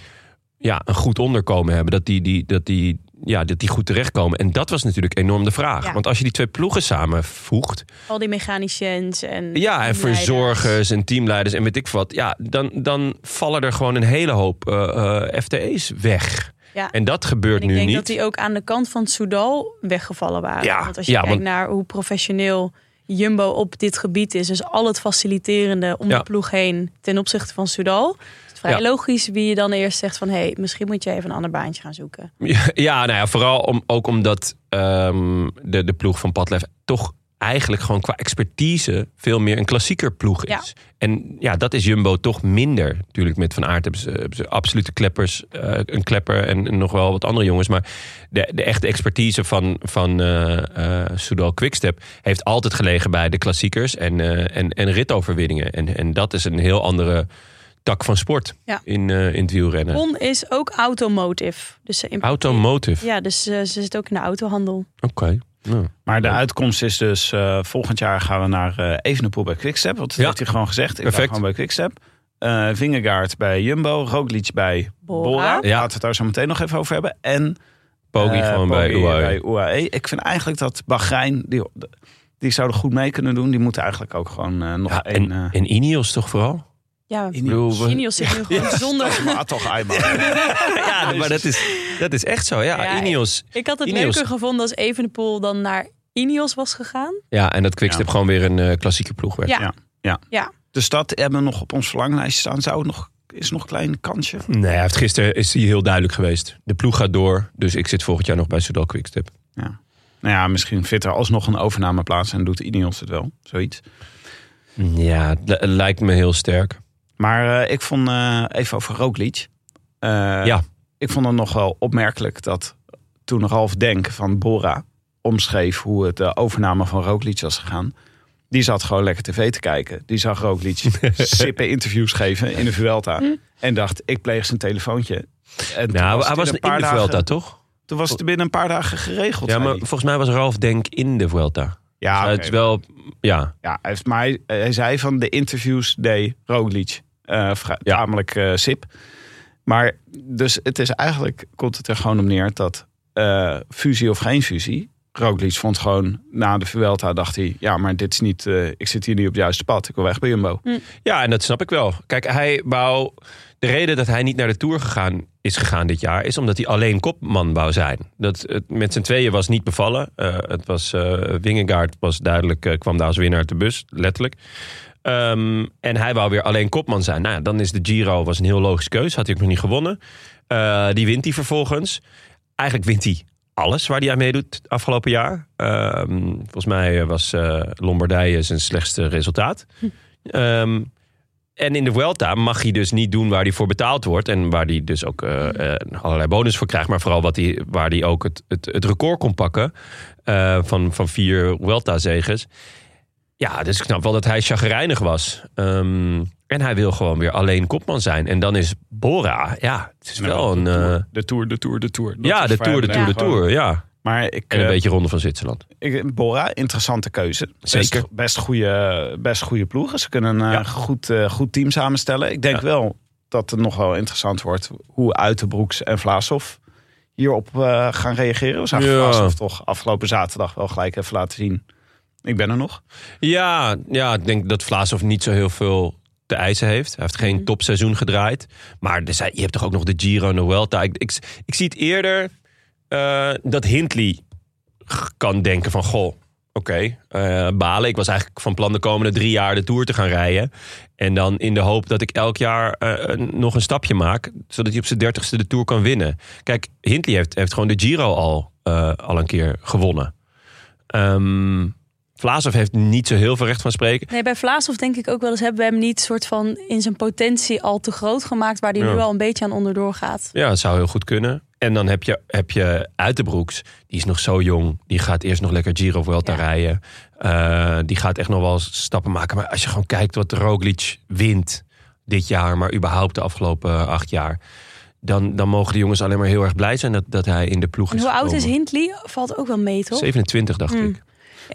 [SPEAKER 2] ja, een goed onderkomen hebben. Dat die, die, dat die, ja, dat die goed terechtkomen. En dat was natuurlijk enorm de vraag.
[SPEAKER 3] Ja.
[SPEAKER 2] Want als je die twee ploegen samenvoegt.
[SPEAKER 3] Al die mechaniciëns en...
[SPEAKER 2] Ja, en
[SPEAKER 3] teamleiders.
[SPEAKER 2] verzorgers en teamleiders en weet ik wat. Ja, dan, dan vallen er gewoon een hele hoop eh, eh, FTE's weg.
[SPEAKER 3] Ja.
[SPEAKER 2] En dat gebeurt
[SPEAKER 3] En ik
[SPEAKER 2] nu
[SPEAKER 3] denk
[SPEAKER 2] niet.
[SPEAKER 3] dat die ook aan de kant van Soudal weggevallen waren.
[SPEAKER 2] Ja,
[SPEAKER 3] Want als je
[SPEAKER 2] ja,
[SPEAKER 3] kijkt
[SPEAKER 2] want-
[SPEAKER 3] naar hoe professioneel Jumbo op dit gebied is, dus al het faciliterende om
[SPEAKER 2] Ja.
[SPEAKER 3] de ploeg heen ten opzichte van Soudal, is het vrij
[SPEAKER 2] Ja.
[SPEAKER 3] logisch wie je dan eerst zegt van, hé, hey, misschien moet je even een ander baantje gaan zoeken.
[SPEAKER 2] Ja, ja, nou ja, vooral om, ook omdat ehm, de, de ploeg van Padlef toch eigenlijk gewoon qua expertise veel meer een klassieker ploeg is. En ja, dat is Jumbo toch minder. Natuurlijk met Van Aert hebben ze, hebben ze absolute kleppers, eh, een klepper en, en nog wel wat andere jongens. Maar de, de echte expertise van, van eh, eh, Soudal Quickstep heeft altijd gelegen bij de klassiekers en, eh, en, en ritoverwinningen. En, en dat is een heel andere tak van sport
[SPEAKER 3] Ja.
[SPEAKER 2] in, eh, in het wielrennen.
[SPEAKER 3] Bon is ook automotive. Dus ze imp-
[SPEAKER 2] Automotive.
[SPEAKER 3] ja, dus eh, ze zit ook in de autohandel.
[SPEAKER 2] Oké. Nou.
[SPEAKER 1] Maar de uitkomst is dus eh, volgend jaar gaan we naar eh Evenepoel bij Quickstep. Want dat
[SPEAKER 2] Ja.
[SPEAKER 1] heeft hij gewoon gezegd. Ik ga
[SPEAKER 2] Perfect.
[SPEAKER 1] gewoon bij Quickstep. Eh Vingegaard bij Jumbo. Roglic bij
[SPEAKER 3] Bora.
[SPEAKER 1] Bora.
[SPEAKER 3] Ja.
[SPEAKER 1] Laten we het daar zo meteen nog even over hebben. En
[SPEAKER 2] Poggi
[SPEAKER 1] eh,
[SPEAKER 2] gewoon bij E.
[SPEAKER 1] Poggi
[SPEAKER 2] UAE.
[SPEAKER 1] UAE. E. Ik vind eigenlijk dat Bahrein, die, die zouden goed mee kunnen doen. Die moeten eigenlijk ook gewoon eh, nog
[SPEAKER 2] Ja,
[SPEAKER 1] één...
[SPEAKER 2] Ah, en, en Ineos toch vooral?
[SPEAKER 3] Ja,
[SPEAKER 1] in
[SPEAKER 2] bedoel, we-
[SPEAKER 3] Ineos zit nu gewoon zonder...
[SPEAKER 1] maar toch eenmaal.
[SPEAKER 2] Ja,
[SPEAKER 1] dus.
[SPEAKER 2] maar dat is, dat is echt zo. Ja,
[SPEAKER 3] Ja,
[SPEAKER 2] Ineos.
[SPEAKER 3] Ik had het
[SPEAKER 2] Ineos.
[SPEAKER 3] leuker gevonden als Evenepoel dan naar Ineos was gegaan.
[SPEAKER 2] Ja, en dat Quickstep
[SPEAKER 1] Ja.
[SPEAKER 2] gewoon weer een eh, klassieke ploeg werd.
[SPEAKER 3] Ja.
[SPEAKER 1] Dus dat hebben we nog op ons verlanglijstje staan. Zou nog, is nog een klein kansje.
[SPEAKER 2] Nee, hij heeft gisteren is hij heel duidelijk geweest. De ploeg gaat door, dus ik zit volgend jaar nog bij Soudal Quickstep.
[SPEAKER 1] Nou ja, misschien vindt er alsnog een overname plaats en doet Ineos het wel. Zoiets.
[SPEAKER 2] Ja, het li- lijkt me heel sterk.
[SPEAKER 1] Maar eh, ik vond, eh, even over Roglic. Eh,
[SPEAKER 2] Ja.
[SPEAKER 1] Ik vond het nog wel opmerkelijk dat toen Ralf Denk van Bora omschreef hoe het de overname van Roglic was gegaan. Die zat gewoon lekker tv te kijken. Die zag Roglic sippen interviews geven in de Vuelta. En dacht, ik pleeg zijn telefoontje. En toen
[SPEAKER 2] Hm? Nou,
[SPEAKER 1] het
[SPEAKER 2] hij was
[SPEAKER 1] een
[SPEAKER 2] in
[SPEAKER 1] paar
[SPEAKER 2] de Vuelta,
[SPEAKER 1] dagen-
[SPEAKER 2] toch?
[SPEAKER 1] Toen was het binnen een paar dagen geregeld.
[SPEAKER 2] Ja,
[SPEAKER 1] zei
[SPEAKER 2] maar
[SPEAKER 1] hij.
[SPEAKER 2] volgens mij was Ralf Denk in de Vuelta.
[SPEAKER 1] ja,
[SPEAKER 2] Maar het
[SPEAKER 1] oké.
[SPEAKER 2] is wel, ja,
[SPEAKER 1] Ja, hij heeft, maar hij, hij zei van de interviews deed Roglic eh vrij-
[SPEAKER 2] Ja.
[SPEAKER 1] tamelijk eh, sip. Maar dus het is eigenlijk, komt het er gewoon om neer dat eh, fusie of geen fusie... Roglic vond gewoon na de Vuelta, dacht hij... ja, maar dit is niet, eh, ik zit hier niet op het juiste pad. Ik wil weg bij Jumbo.
[SPEAKER 2] Ja, en dat snap ik wel. Kijk, hij wou. De reden dat hij niet naar de Tour gegaan, is gegaan dit jaar... is omdat hij alleen kopman wou zijn. Dat, het met z'n tweeën was niet bevallen. Eh, het was, eh Wingegaard was duidelijk, eh, kwam daar als winnaar uit de bus, letterlijk. Ehm, en hij wou weer alleen kopman zijn. Nou, ja, dan is de Giro was een heel logische keus. Had hij ook nog niet gewonnen. Eh, die wint hij vervolgens. Eigenlijk wint hij alles waar hij aan meedoet het afgelopen jaar. Ehm, volgens mij eh, was eh, Lombardije zijn slechtste resultaat. Ehm, en in de Vuelta mag hij dus niet doen waar hij voor betaald wordt. En waar hij dus ook eh, eh, allerlei bonus voor krijgt. Maar vooral wat hij, waar hij ook het, het, het record kon pakken. eh, van, van vier Vuelta-zegers. Ja, dus ik snap wel dat hij chagrijnig was. Ehm, en hij wil gewoon weer alleen kopman zijn. En dan is Bora, ja, het is wel een... eh,
[SPEAKER 1] De Tour, de Tour, de Tour. Dat
[SPEAKER 2] ja,
[SPEAKER 1] is
[SPEAKER 2] de
[SPEAKER 1] voor
[SPEAKER 2] Tour, de
[SPEAKER 1] hem
[SPEAKER 2] Tour, de
[SPEAKER 1] echt gewoon-
[SPEAKER 2] Tour, ja.
[SPEAKER 1] Maar ik,
[SPEAKER 2] En een
[SPEAKER 1] eh,
[SPEAKER 2] beetje Ronde van Zwitserland.
[SPEAKER 1] ik- Bora, interessante keuze.
[SPEAKER 2] Zeker.
[SPEAKER 1] Best, best, goede, best goede ploegen. Ze kunnen een eh,
[SPEAKER 2] Ja.
[SPEAKER 1] goed, eh, goed team samenstellen. Ik denk
[SPEAKER 2] Ja.
[SPEAKER 1] wel dat het nog wel interessant wordt hoe Uitenbroeks en Vlaashoff hierop eh, gaan reageren. We zagen
[SPEAKER 2] Ja.
[SPEAKER 1] Vlaashoff toch afgelopen zaterdag wel gelijk even laten zien. Ik ben er nog.
[SPEAKER 2] Ja, ja, ik denk dat Vlaashoff niet zo heel veel te eisen heeft. Hij heeft geen topseizoen gedraaid. Maar er zijn, je hebt toch ook nog de Giro en de Vuelta. Ik, ik, ik zie het eerder eh, dat Hindley g- kan denken van... Goh, oké, eh, balen. Ik was eigenlijk van plan de komende drie jaar de Tour te gaan rijden. En dan in de hoop dat ik elk jaar eh, een- nog een stapje maak... zodat hij op zijn dertigste de Tour kan winnen. Kijk, Hindley heeft, heeft gewoon de Giro al, eh, al een keer gewonnen. Ehm Vlaashoff heeft niet zo heel veel recht van spreken.
[SPEAKER 3] Nee, bij Vlaashoff denk ik ook wel eens hebben we hem niet soort van in zijn potentie al te groot gemaakt, waar hij
[SPEAKER 2] Ja.
[SPEAKER 3] nu wel een beetje aan onderdoor gaat.
[SPEAKER 2] Ja, dat zou heel goed kunnen. En dan heb je, heb je Uiterbroeks. Die is nog zo jong. Die gaat eerst nog lekker Giro of Vuelta
[SPEAKER 3] Ja.
[SPEAKER 2] rijden. Eh, die gaat echt nog wel stappen maken. Maar als je gewoon kijkt wat Roglic wint dit jaar... maar überhaupt de afgelopen eh, acht jaar... dan, dan mogen de jongens alleen maar heel erg blij zijn... dat, dat hij in de ploeg
[SPEAKER 3] En
[SPEAKER 2] is
[SPEAKER 3] hoe oud is
[SPEAKER 2] gekomen.
[SPEAKER 3] Hindley? Valt ook wel mee, toch?
[SPEAKER 2] 27, dacht
[SPEAKER 3] Mm.
[SPEAKER 2] ik.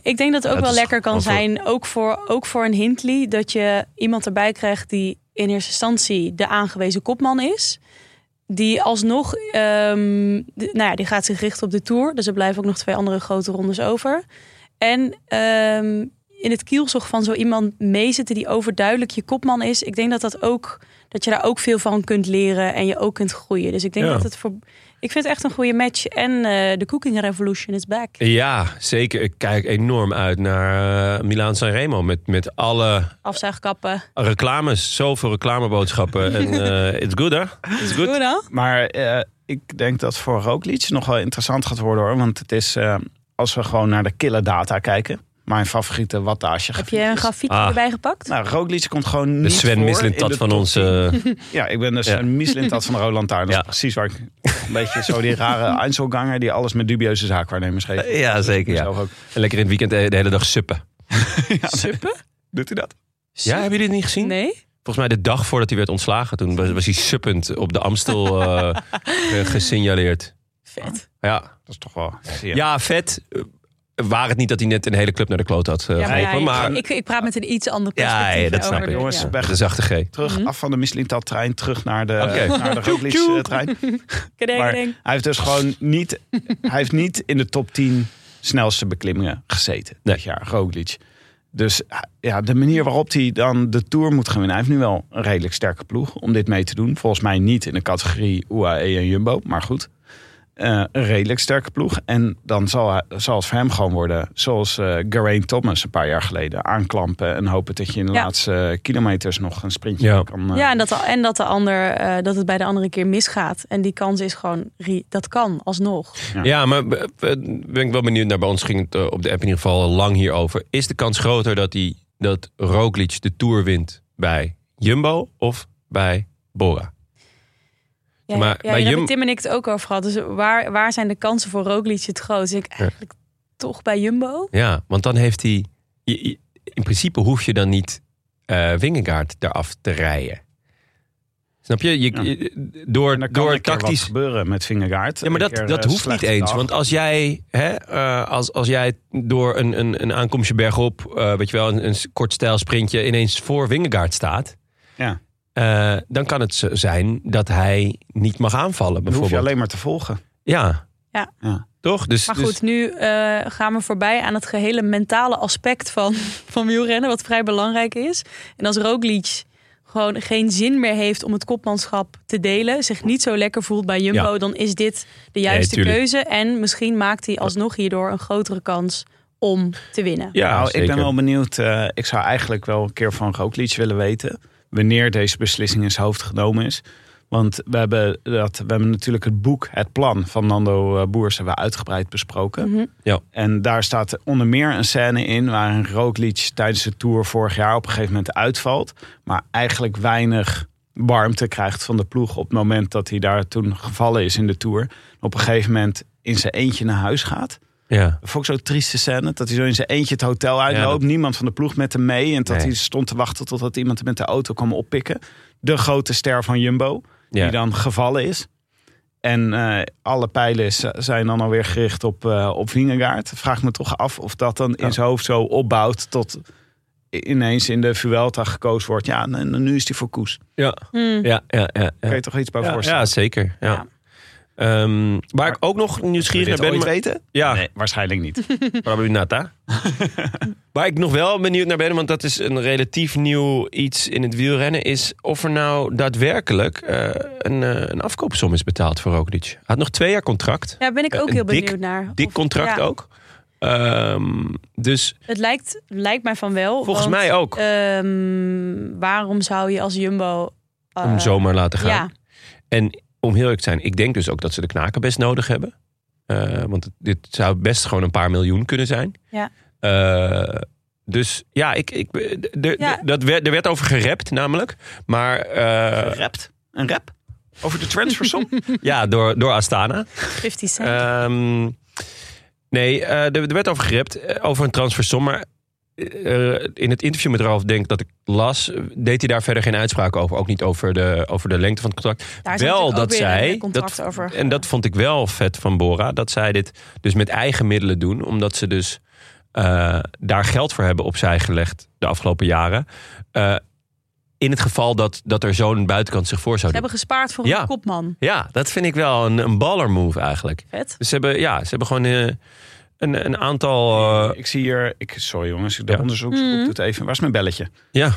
[SPEAKER 3] Ik denk dat het ook
[SPEAKER 2] Ja, het
[SPEAKER 3] wel
[SPEAKER 2] is
[SPEAKER 3] lekker kan
[SPEAKER 2] gewoon voor-
[SPEAKER 3] zijn, ook voor, ook voor een Hindley, dat je iemand erbij krijgt die in eerste instantie de aangewezen kopman is. Die alsnog, ehm, de- nou ja, die gaat zich richten op de Tour. Dus er blijven ook nog twee andere grote rondes over. En ehm, in het kielzog van zo iemand meezitten die overduidelijk je kopman is. Ik denk dat, dat, ook, dat je daar ook veel van kunt leren en je ook kunt groeien. Dus ik denk
[SPEAKER 2] Ja.
[SPEAKER 3] dat het voor... Ik vind het echt een goede match. En eh, de cooking revolution is back.
[SPEAKER 2] Ja, zeker. Ik kijk enorm uit naar eh Milaan Sanremo... met, met alle
[SPEAKER 3] Afzuigkappen.
[SPEAKER 2] reclames. Zoveel reclameboodschappen. en eh it's good, hè? It's good.
[SPEAKER 3] Goed, hè?
[SPEAKER 1] Maar eh, ik denk dat voor Roglic nog wel interessant gaat worden. hoor. Want het is, eh, als we gewoon naar de killer data kijken... mijn favoriete wattage
[SPEAKER 3] Heb je een
[SPEAKER 1] grafiek
[SPEAKER 3] grafiekje
[SPEAKER 2] Ah.
[SPEAKER 3] erbij gepakt?
[SPEAKER 1] is. Nou, Roglic komt gewoon niet
[SPEAKER 2] De
[SPEAKER 1] voor
[SPEAKER 2] Dus Sven
[SPEAKER 1] in de
[SPEAKER 2] Mislintat van
[SPEAKER 1] top
[SPEAKER 2] ons.
[SPEAKER 1] 10.
[SPEAKER 2] eh,
[SPEAKER 1] Ja, ik ben dus
[SPEAKER 2] Ja.
[SPEAKER 1] een mislint dat van de Roland Taarn. Dat
[SPEAKER 2] Ja.
[SPEAKER 1] is precies waar ik een beetje zo die rare Einzelganger die alles met dubieuze zaakwaarnemers geeft.
[SPEAKER 2] ja, zeker. Ja.
[SPEAKER 1] Zelf ook.
[SPEAKER 2] En lekker in het weekend eh, de de hele dag suppen.
[SPEAKER 3] Suppen?
[SPEAKER 1] Doet hij dat?
[SPEAKER 2] Ja, hebben jullie het niet gezien?
[SPEAKER 3] Nee.
[SPEAKER 2] Volgens mij de dag voordat hij werd ontslagen, toen was, was hij suppend op de Amstel eh, eh, gesignaleerd.
[SPEAKER 3] Vet.
[SPEAKER 2] Ja.
[SPEAKER 1] Dat is toch wel.
[SPEAKER 2] Ja.
[SPEAKER 1] Ja.
[SPEAKER 2] vet. Eh, Waar het niet dat hij net een hele club naar de kloot had eh
[SPEAKER 3] Ja, maar,
[SPEAKER 2] geholpen,
[SPEAKER 3] ja,
[SPEAKER 2] maar,
[SPEAKER 3] ik, ik praat met een iets ander
[SPEAKER 2] Ja,
[SPEAKER 3] perspectief.
[SPEAKER 2] ja, dat
[SPEAKER 3] over
[SPEAKER 2] snap
[SPEAKER 3] de-
[SPEAKER 2] ik.
[SPEAKER 1] Jongens,
[SPEAKER 3] ja.
[SPEAKER 1] weg.
[SPEAKER 2] de zachte G.
[SPEAKER 1] Terug af van de mislintat trein, terug naar de,
[SPEAKER 2] Oké.
[SPEAKER 1] naar de Roglic eh, trein.
[SPEAKER 3] Kedeng,
[SPEAKER 1] Maar hij
[SPEAKER 3] kedeng.
[SPEAKER 1] heeft dus gewoon niet, hij heeft niet in de top 10 snelste beklimmingen gezeten dit jaar, Roglic. Dus ja, de manier waarop hij dan de Tour moet gaan winnen. Hij heeft nu wel een redelijk sterke ploeg om dit mee te doen. Volgens mij niet in de categorie UAE en Jumbo, E maar goed. Eh, eh, een redelijk sterke ploeg. En dan zal, hij- zal het voor hem gewoon worden zoals eh Geraint Thomas een paar jaar geleden. Aanklampen en hopen dat je in de
[SPEAKER 3] Ja.
[SPEAKER 1] laatste kilometers nog een sprintje
[SPEAKER 2] Ja.
[SPEAKER 1] kan... eh,
[SPEAKER 3] Ja, en dat, de, en dat, de ander, eh, dat het bij de andere keer misgaat. En die kans is gewoon, re- dat kan alsnog.
[SPEAKER 1] Ja.
[SPEAKER 2] Ja, maar b- b- ben ik wel benieuwd naar. Bij ons ging het eh, op de app in ieder geval lang hierover. Is de kans groter dat, die, dat Roglic de Tour wint bij Jumbo of bij Bora?
[SPEAKER 3] Ja,
[SPEAKER 2] Maar
[SPEAKER 3] ja,
[SPEAKER 2] bij
[SPEAKER 3] daar hebben
[SPEAKER 2] Jum-
[SPEAKER 3] Tim en ik het ook over gehad. Dus waar, waar zijn de kansen voor Roglic het grootst? Dus Ik eigenlijk toch bij Jumbo.
[SPEAKER 2] Ja, want dan heeft hij... je- je- In principe hoef je dan niet eh Wingegaard eraf te rijden. Snap je? je,
[SPEAKER 1] Ja.
[SPEAKER 2] je-
[SPEAKER 1] En
[SPEAKER 2] door
[SPEAKER 1] dan kan
[SPEAKER 2] door
[SPEAKER 1] een keer wat
[SPEAKER 2] tactisch...
[SPEAKER 1] gebeuren met Vingegaard.
[SPEAKER 2] Ja, maar
[SPEAKER 1] Een
[SPEAKER 2] dat,
[SPEAKER 1] keer,
[SPEAKER 2] dat
[SPEAKER 1] eh,
[SPEAKER 2] hoeft niet
[SPEAKER 1] slechte
[SPEAKER 2] eens.
[SPEAKER 1] dag.
[SPEAKER 2] Want als jij, hè, eh, als, als jij door een, een, een aankomstje bergop, eh, weet je wel, een, een kort stijl sprintje ineens voor Wingegaard staat.
[SPEAKER 1] Ja.
[SPEAKER 2] eh, dan kan het zo zijn dat hij niet mag aanvallen,
[SPEAKER 1] Dan hoef
[SPEAKER 2] bijvoorbeeld.
[SPEAKER 1] je alleen maar te volgen.
[SPEAKER 2] Ja.
[SPEAKER 3] Ja.
[SPEAKER 1] Ja.
[SPEAKER 2] Toch? Dus,
[SPEAKER 3] Maar
[SPEAKER 2] dus-
[SPEAKER 3] goed, nu eh, gaan we voorbij aan het gehele mentale aspect van, van wielrennen. Wat vrij belangrijk is. En als Roglic gewoon geen zin meer heeft om het kopmanschap te delen. Zich niet zo lekker voelt bij Jumbo. Dan is dit de juiste
[SPEAKER 2] tuurlijk.
[SPEAKER 3] keuze. En misschien maakt hij alsnog hierdoor een grotere kans om te winnen.
[SPEAKER 2] ja,
[SPEAKER 1] nou, ik
[SPEAKER 2] zeker.
[SPEAKER 1] ben wel benieuwd. eh, ik zou eigenlijk wel een keer van Roglic willen weten. Wanneer deze beslissing in zijn hoofd genomen is. Want we hebben, dat, we hebben natuurlijk het boek Het Plan van Nando eh, Boers hebben we uitgebreid besproken.
[SPEAKER 3] Mhm.
[SPEAKER 2] Ja.
[SPEAKER 1] En daar staat onder meer een scène in waarin Roglic tijdens de Tour vorig jaar op een gegeven moment uitvalt. Maar eigenlijk weinig warmte krijgt van de ploeg op het moment dat hij daar toen gevallen is in de Tour. Op een gegeven moment in zijn eentje naar huis gaat.
[SPEAKER 2] Ja.
[SPEAKER 1] Dat vond ik zo'n trieste scène. Dat hij zo in zijn eentje het hotel uitloopt.
[SPEAKER 2] Ja, dat-
[SPEAKER 1] Niemand van de ploeg met hem mee. En dat
[SPEAKER 2] Nee.
[SPEAKER 1] hij stond te wachten totdat iemand hem met de auto kwam oppikken. De grote ster van Jumbo.
[SPEAKER 2] Ja.
[SPEAKER 1] Die dan gevallen is. En eh, alle pijlen z- zijn dan alweer gericht op, eh op Vingegaard. Vraag me toch af of dat dan in zijn hoofd zo opbouwt... tot ineens in de Vuelta gekozen wordt. Ja, en nu is hij voor Koes.
[SPEAKER 2] Ja.
[SPEAKER 3] Hmm.
[SPEAKER 2] Ja, ja, ja, ja.
[SPEAKER 1] Kan je toch iets bij
[SPEAKER 2] Ja,
[SPEAKER 1] voorstellen?
[SPEAKER 2] ja, zeker. Ja.
[SPEAKER 3] Ja.
[SPEAKER 2] Ehm, waar ik ook nog
[SPEAKER 1] Wil je
[SPEAKER 2] nieuwsgierig
[SPEAKER 1] dit
[SPEAKER 2] naar ben...
[SPEAKER 1] ooit
[SPEAKER 2] maar-
[SPEAKER 1] weten?
[SPEAKER 2] Ja,
[SPEAKER 1] Nee, waarschijnlijk niet.
[SPEAKER 2] Probably not, hè? Waar ik nog wel benieuwd naar ben, want dat is een relatief nieuw iets in het wielrennen, is of er nou daadwerkelijk eh, een, eh, een afkoopsom is betaald voor Roglic. Hij had nog twee jaar contract.
[SPEAKER 3] Daar ben ik ook
[SPEAKER 2] Een
[SPEAKER 3] heel
[SPEAKER 2] dik-
[SPEAKER 3] benieuwd naar.
[SPEAKER 2] Dik
[SPEAKER 3] Of-
[SPEAKER 2] contract
[SPEAKER 3] ja,
[SPEAKER 2] ook. Ehm, dus
[SPEAKER 3] Het lijkt, lijkt mij van wel.
[SPEAKER 2] volgens
[SPEAKER 3] want,
[SPEAKER 2] mij ook
[SPEAKER 3] ehm, waarom zou je als Jumbo... eh,
[SPEAKER 2] om zomaar laten gaan.
[SPEAKER 3] Ja,
[SPEAKER 2] En om heel eerlijk te zijn, ik denk dus ook dat ze de knaken best nodig hebben. Eh, want het- dit zou best gewoon een paar miljoen kunnen zijn.
[SPEAKER 3] Ja.
[SPEAKER 2] Eh, dus ja, ik, ik, de, de-
[SPEAKER 3] Ja.
[SPEAKER 2] Dat werd, er werd over gerept namelijk. Maar eh,
[SPEAKER 1] Rapt. Een rap? Over de transfersom?
[SPEAKER 2] ja, door, door Astana.
[SPEAKER 3] 50 cent.
[SPEAKER 2] Ehm, nee, eh, er, er werd over gerept eh, over een transfersom. Maar eh, in het interview met Ralf Denk dat ik las, eh, deed hij daar verder geen uitspraak over. Ook niet over de, over de lengte van het contract.
[SPEAKER 3] Daar zijn
[SPEAKER 2] wel
[SPEAKER 3] natuurlijk
[SPEAKER 2] dat
[SPEAKER 3] ook weer een
[SPEAKER 2] zij.
[SPEAKER 3] contract
[SPEAKER 2] Dat,
[SPEAKER 3] over.
[SPEAKER 2] En dat vond ik wel vet van Bora. Dat zij dit dus met eigen middelen doen. Omdat ze dus eh, daar geld voor hebben opzij gelegd de afgelopen jaren. Eh, in het geval dat, dat er zo'n buitenkant zich voor zou
[SPEAKER 3] Ze
[SPEAKER 2] doen.
[SPEAKER 3] hebben gespaard voor
[SPEAKER 2] Ja.
[SPEAKER 3] een kopman.
[SPEAKER 2] Ja, dat vind ik wel een, een baller move eigenlijk.
[SPEAKER 3] Vet.
[SPEAKER 2] Dus ze hebben, ja, ze hebben gewoon eh, een, een aantal. eh,
[SPEAKER 1] Ik zie hier, ik, sorry jongens, de
[SPEAKER 2] Ja.
[SPEAKER 1] onderzoeksgroep
[SPEAKER 3] Mhm.
[SPEAKER 1] doet even. Waar is mijn belletje?
[SPEAKER 2] ja.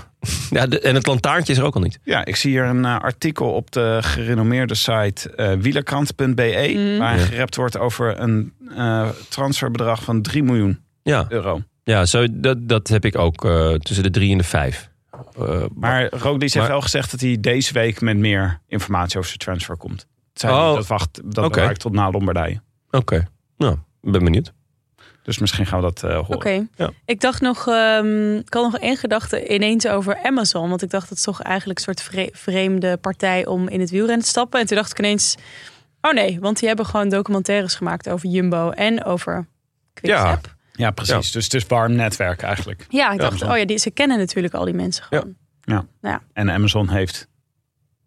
[SPEAKER 2] ja de- en het lantaarntje is er ook al niet.
[SPEAKER 1] Ja, ik zie hier een eh, artikel op de gerenommeerde site eh wielerkrant.be.
[SPEAKER 3] Mhm.
[SPEAKER 1] Waarin
[SPEAKER 2] Ja.
[SPEAKER 1] E, gerept wordt over een eh, transferbedrag van 3 miljoen
[SPEAKER 2] Ja,
[SPEAKER 1] euro.
[SPEAKER 2] ja zo, dat, dat heb ik ook eh, tussen de drie en de vijf. Eh,
[SPEAKER 1] Maar Roglic heeft
[SPEAKER 2] Maar-
[SPEAKER 1] wel gezegd dat hij deze week met meer informatie over zijn transfer komt. Het Zijn,
[SPEAKER 2] Oh.
[SPEAKER 1] Dat wacht, dat
[SPEAKER 2] Oké.
[SPEAKER 1] bewaar ik tot na Lombardije.
[SPEAKER 2] Oké, nou, ik ben benieuwd.
[SPEAKER 1] Dus misschien gaan we dat eh, horen.
[SPEAKER 3] Oké.
[SPEAKER 2] Ja.
[SPEAKER 3] Ik dacht nog, ehm, ik had nog één gedachte ineens over Amazon. Want ik dacht, dat is toch eigenlijk een soort vre- vreemde partij om in het wielrennen te stappen. En toen dacht ik ineens, oh nee, want die hebben gewoon documentaires gemaakt over Jumbo en over Quickstep. Ja,
[SPEAKER 1] Ja, precies. Dus het is warm netwerk eigenlijk.
[SPEAKER 3] ik dacht,
[SPEAKER 1] Amazon.
[SPEAKER 3] oh ja, die, ze kennen natuurlijk al die mensen
[SPEAKER 2] Ja.
[SPEAKER 3] gewoon.
[SPEAKER 1] En Amazon heeft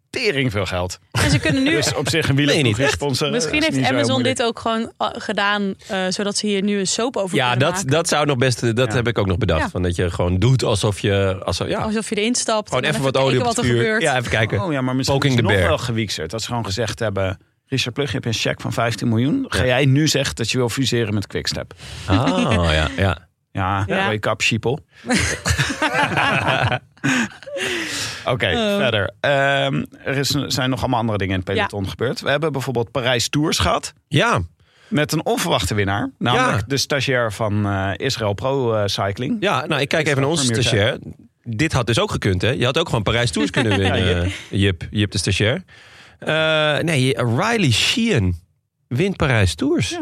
[SPEAKER 1] tering veel geld.
[SPEAKER 3] En ze kunnen nu
[SPEAKER 1] Dus op zich een
[SPEAKER 2] Nee,
[SPEAKER 1] wielerploeg
[SPEAKER 2] niet
[SPEAKER 1] is
[SPEAKER 2] echt.
[SPEAKER 1] sponsoren.
[SPEAKER 3] Misschien
[SPEAKER 1] is
[SPEAKER 3] heeft
[SPEAKER 1] niet zo
[SPEAKER 3] Amazon
[SPEAKER 1] moeilijk.
[SPEAKER 3] dit ook gewoon ah, gedaan, eh, zodat ze hier nu een soap over
[SPEAKER 2] Ja,
[SPEAKER 3] kunnen
[SPEAKER 2] dat,
[SPEAKER 3] maken.
[SPEAKER 2] dat zou nog best. Dat
[SPEAKER 1] Ja.
[SPEAKER 2] heb ik ook nog bedacht.
[SPEAKER 3] Ja.
[SPEAKER 2] Van dat je gewoon doet alsof je. Alsof, ja,
[SPEAKER 3] Alsof je erin stapt.
[SPEAKER 2] gewoon
[SPEAKER 3] en
[SPEAKER 2] even wat olie
[SPEAKER 3] kijken
[SPEAKER 2] op het
[SPEAKER 3] wat er
[SPEAKER 2] vuur.
[SPEAKER 3] gebeurt.
[SPEAKER 2] Ja, even kijken.
[SPEAKER 1] Oh ja, maar misschien
[SPEAKER 2] Poking
[SPEAKER 1] is het
[SPEAKER 2] the
[SPEAKER 1] nog
[SPEAKER 2] bear.
[SPEAKER 1] wel gewieksterd. Dat ze gewoon gezegd hebben... Richard Plug, je hebt een cheque van 15 miljoen. Ga jij nu zeggen dat je wil fuseren met Quickstep?
[SPEAKER 2] Ah, ja, ja.
[SPEAKER 1] Ja,
[SPEAKER 3] Ja.
[SPEAKER 1] wake up, sheeple. Oké, verder. Ehm, er is, zijn nog allemaal andere dingen in het peloton gebeurd. We hebben bijvoorbeeld Parijs Tours gehad.
[SPEAKER 2] Ja,
[SPEAKER 1] Met een onverwachte winnaar. Namelijk
[SPEAKER 2] Ja.
[SPEAKER 1] de stagiair van eh, Israël Pro eh, Cycling.
[SPEAKER 2] ja nou, ik kijk
[SPEAKER 1] Is
[SPEAKER 2] even naar
[SPEAKER 1] dat
[SPEAKER 2] onze
[SPEAKER 1] Premier
[SPEAKER 2] stagiair. Dit had dus ook gekund, hè? Je had ook gewoon Parijs Tours kunnen winnen,
[SPEAKER 1] Ja,
[SPEAKER 2] eh, Jip. Jip de stagiair. Eh, nee, Riley Sheehan wint Parijs Tours.
[SPEAKER 1] Ja.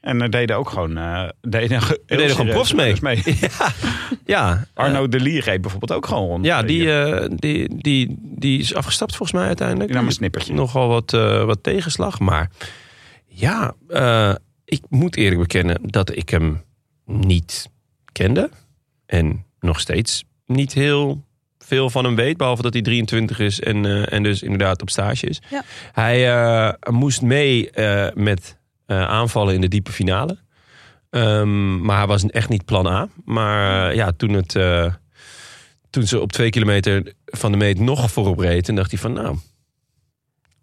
[SPEAKER 1] En er deden ook gewoon... eh deden, ge- heel
[SPEAKER 2] deden gewoon
[SPEAKER 1] serieus
[SPEAKER 2] profs mee. Ja, eh,
[SPEAKER 1] Arno de Lier reed bijvoorbeeld ook gewoon rond.
[SPEAKER 2] Ja,
[SPEAKER 1] Eh,
[SPEAKER 2] die,
[SPEAKER 1] hier.
[SPEAKER 2] eh, die, die, die is afgestapt volgens mij uiteindelijk.
[SPEAKER 1] Die nam een snippertje.
[SPEAKER 2] Nogal wat, eh, wat tegenslag. Maar ja, eh, ik moet eerlijk bekennen dat ik hem niet kende. En nog steeds niet heel veel van hem weet. Behalve dat hij 23 is en, eh, en dus inderdaad op stage is.
[SPEAKER 3] Ja.
[SPEAKER 2] Hij eh, moest mee eh, met eh, aanvallen in de diepe finale. Ehm, maar hij was echt niet plan A. Maar eh, ja, toen het... eh, toen ze op twee kilometer van de meet nog voorop reed. En dacht hij van, nou,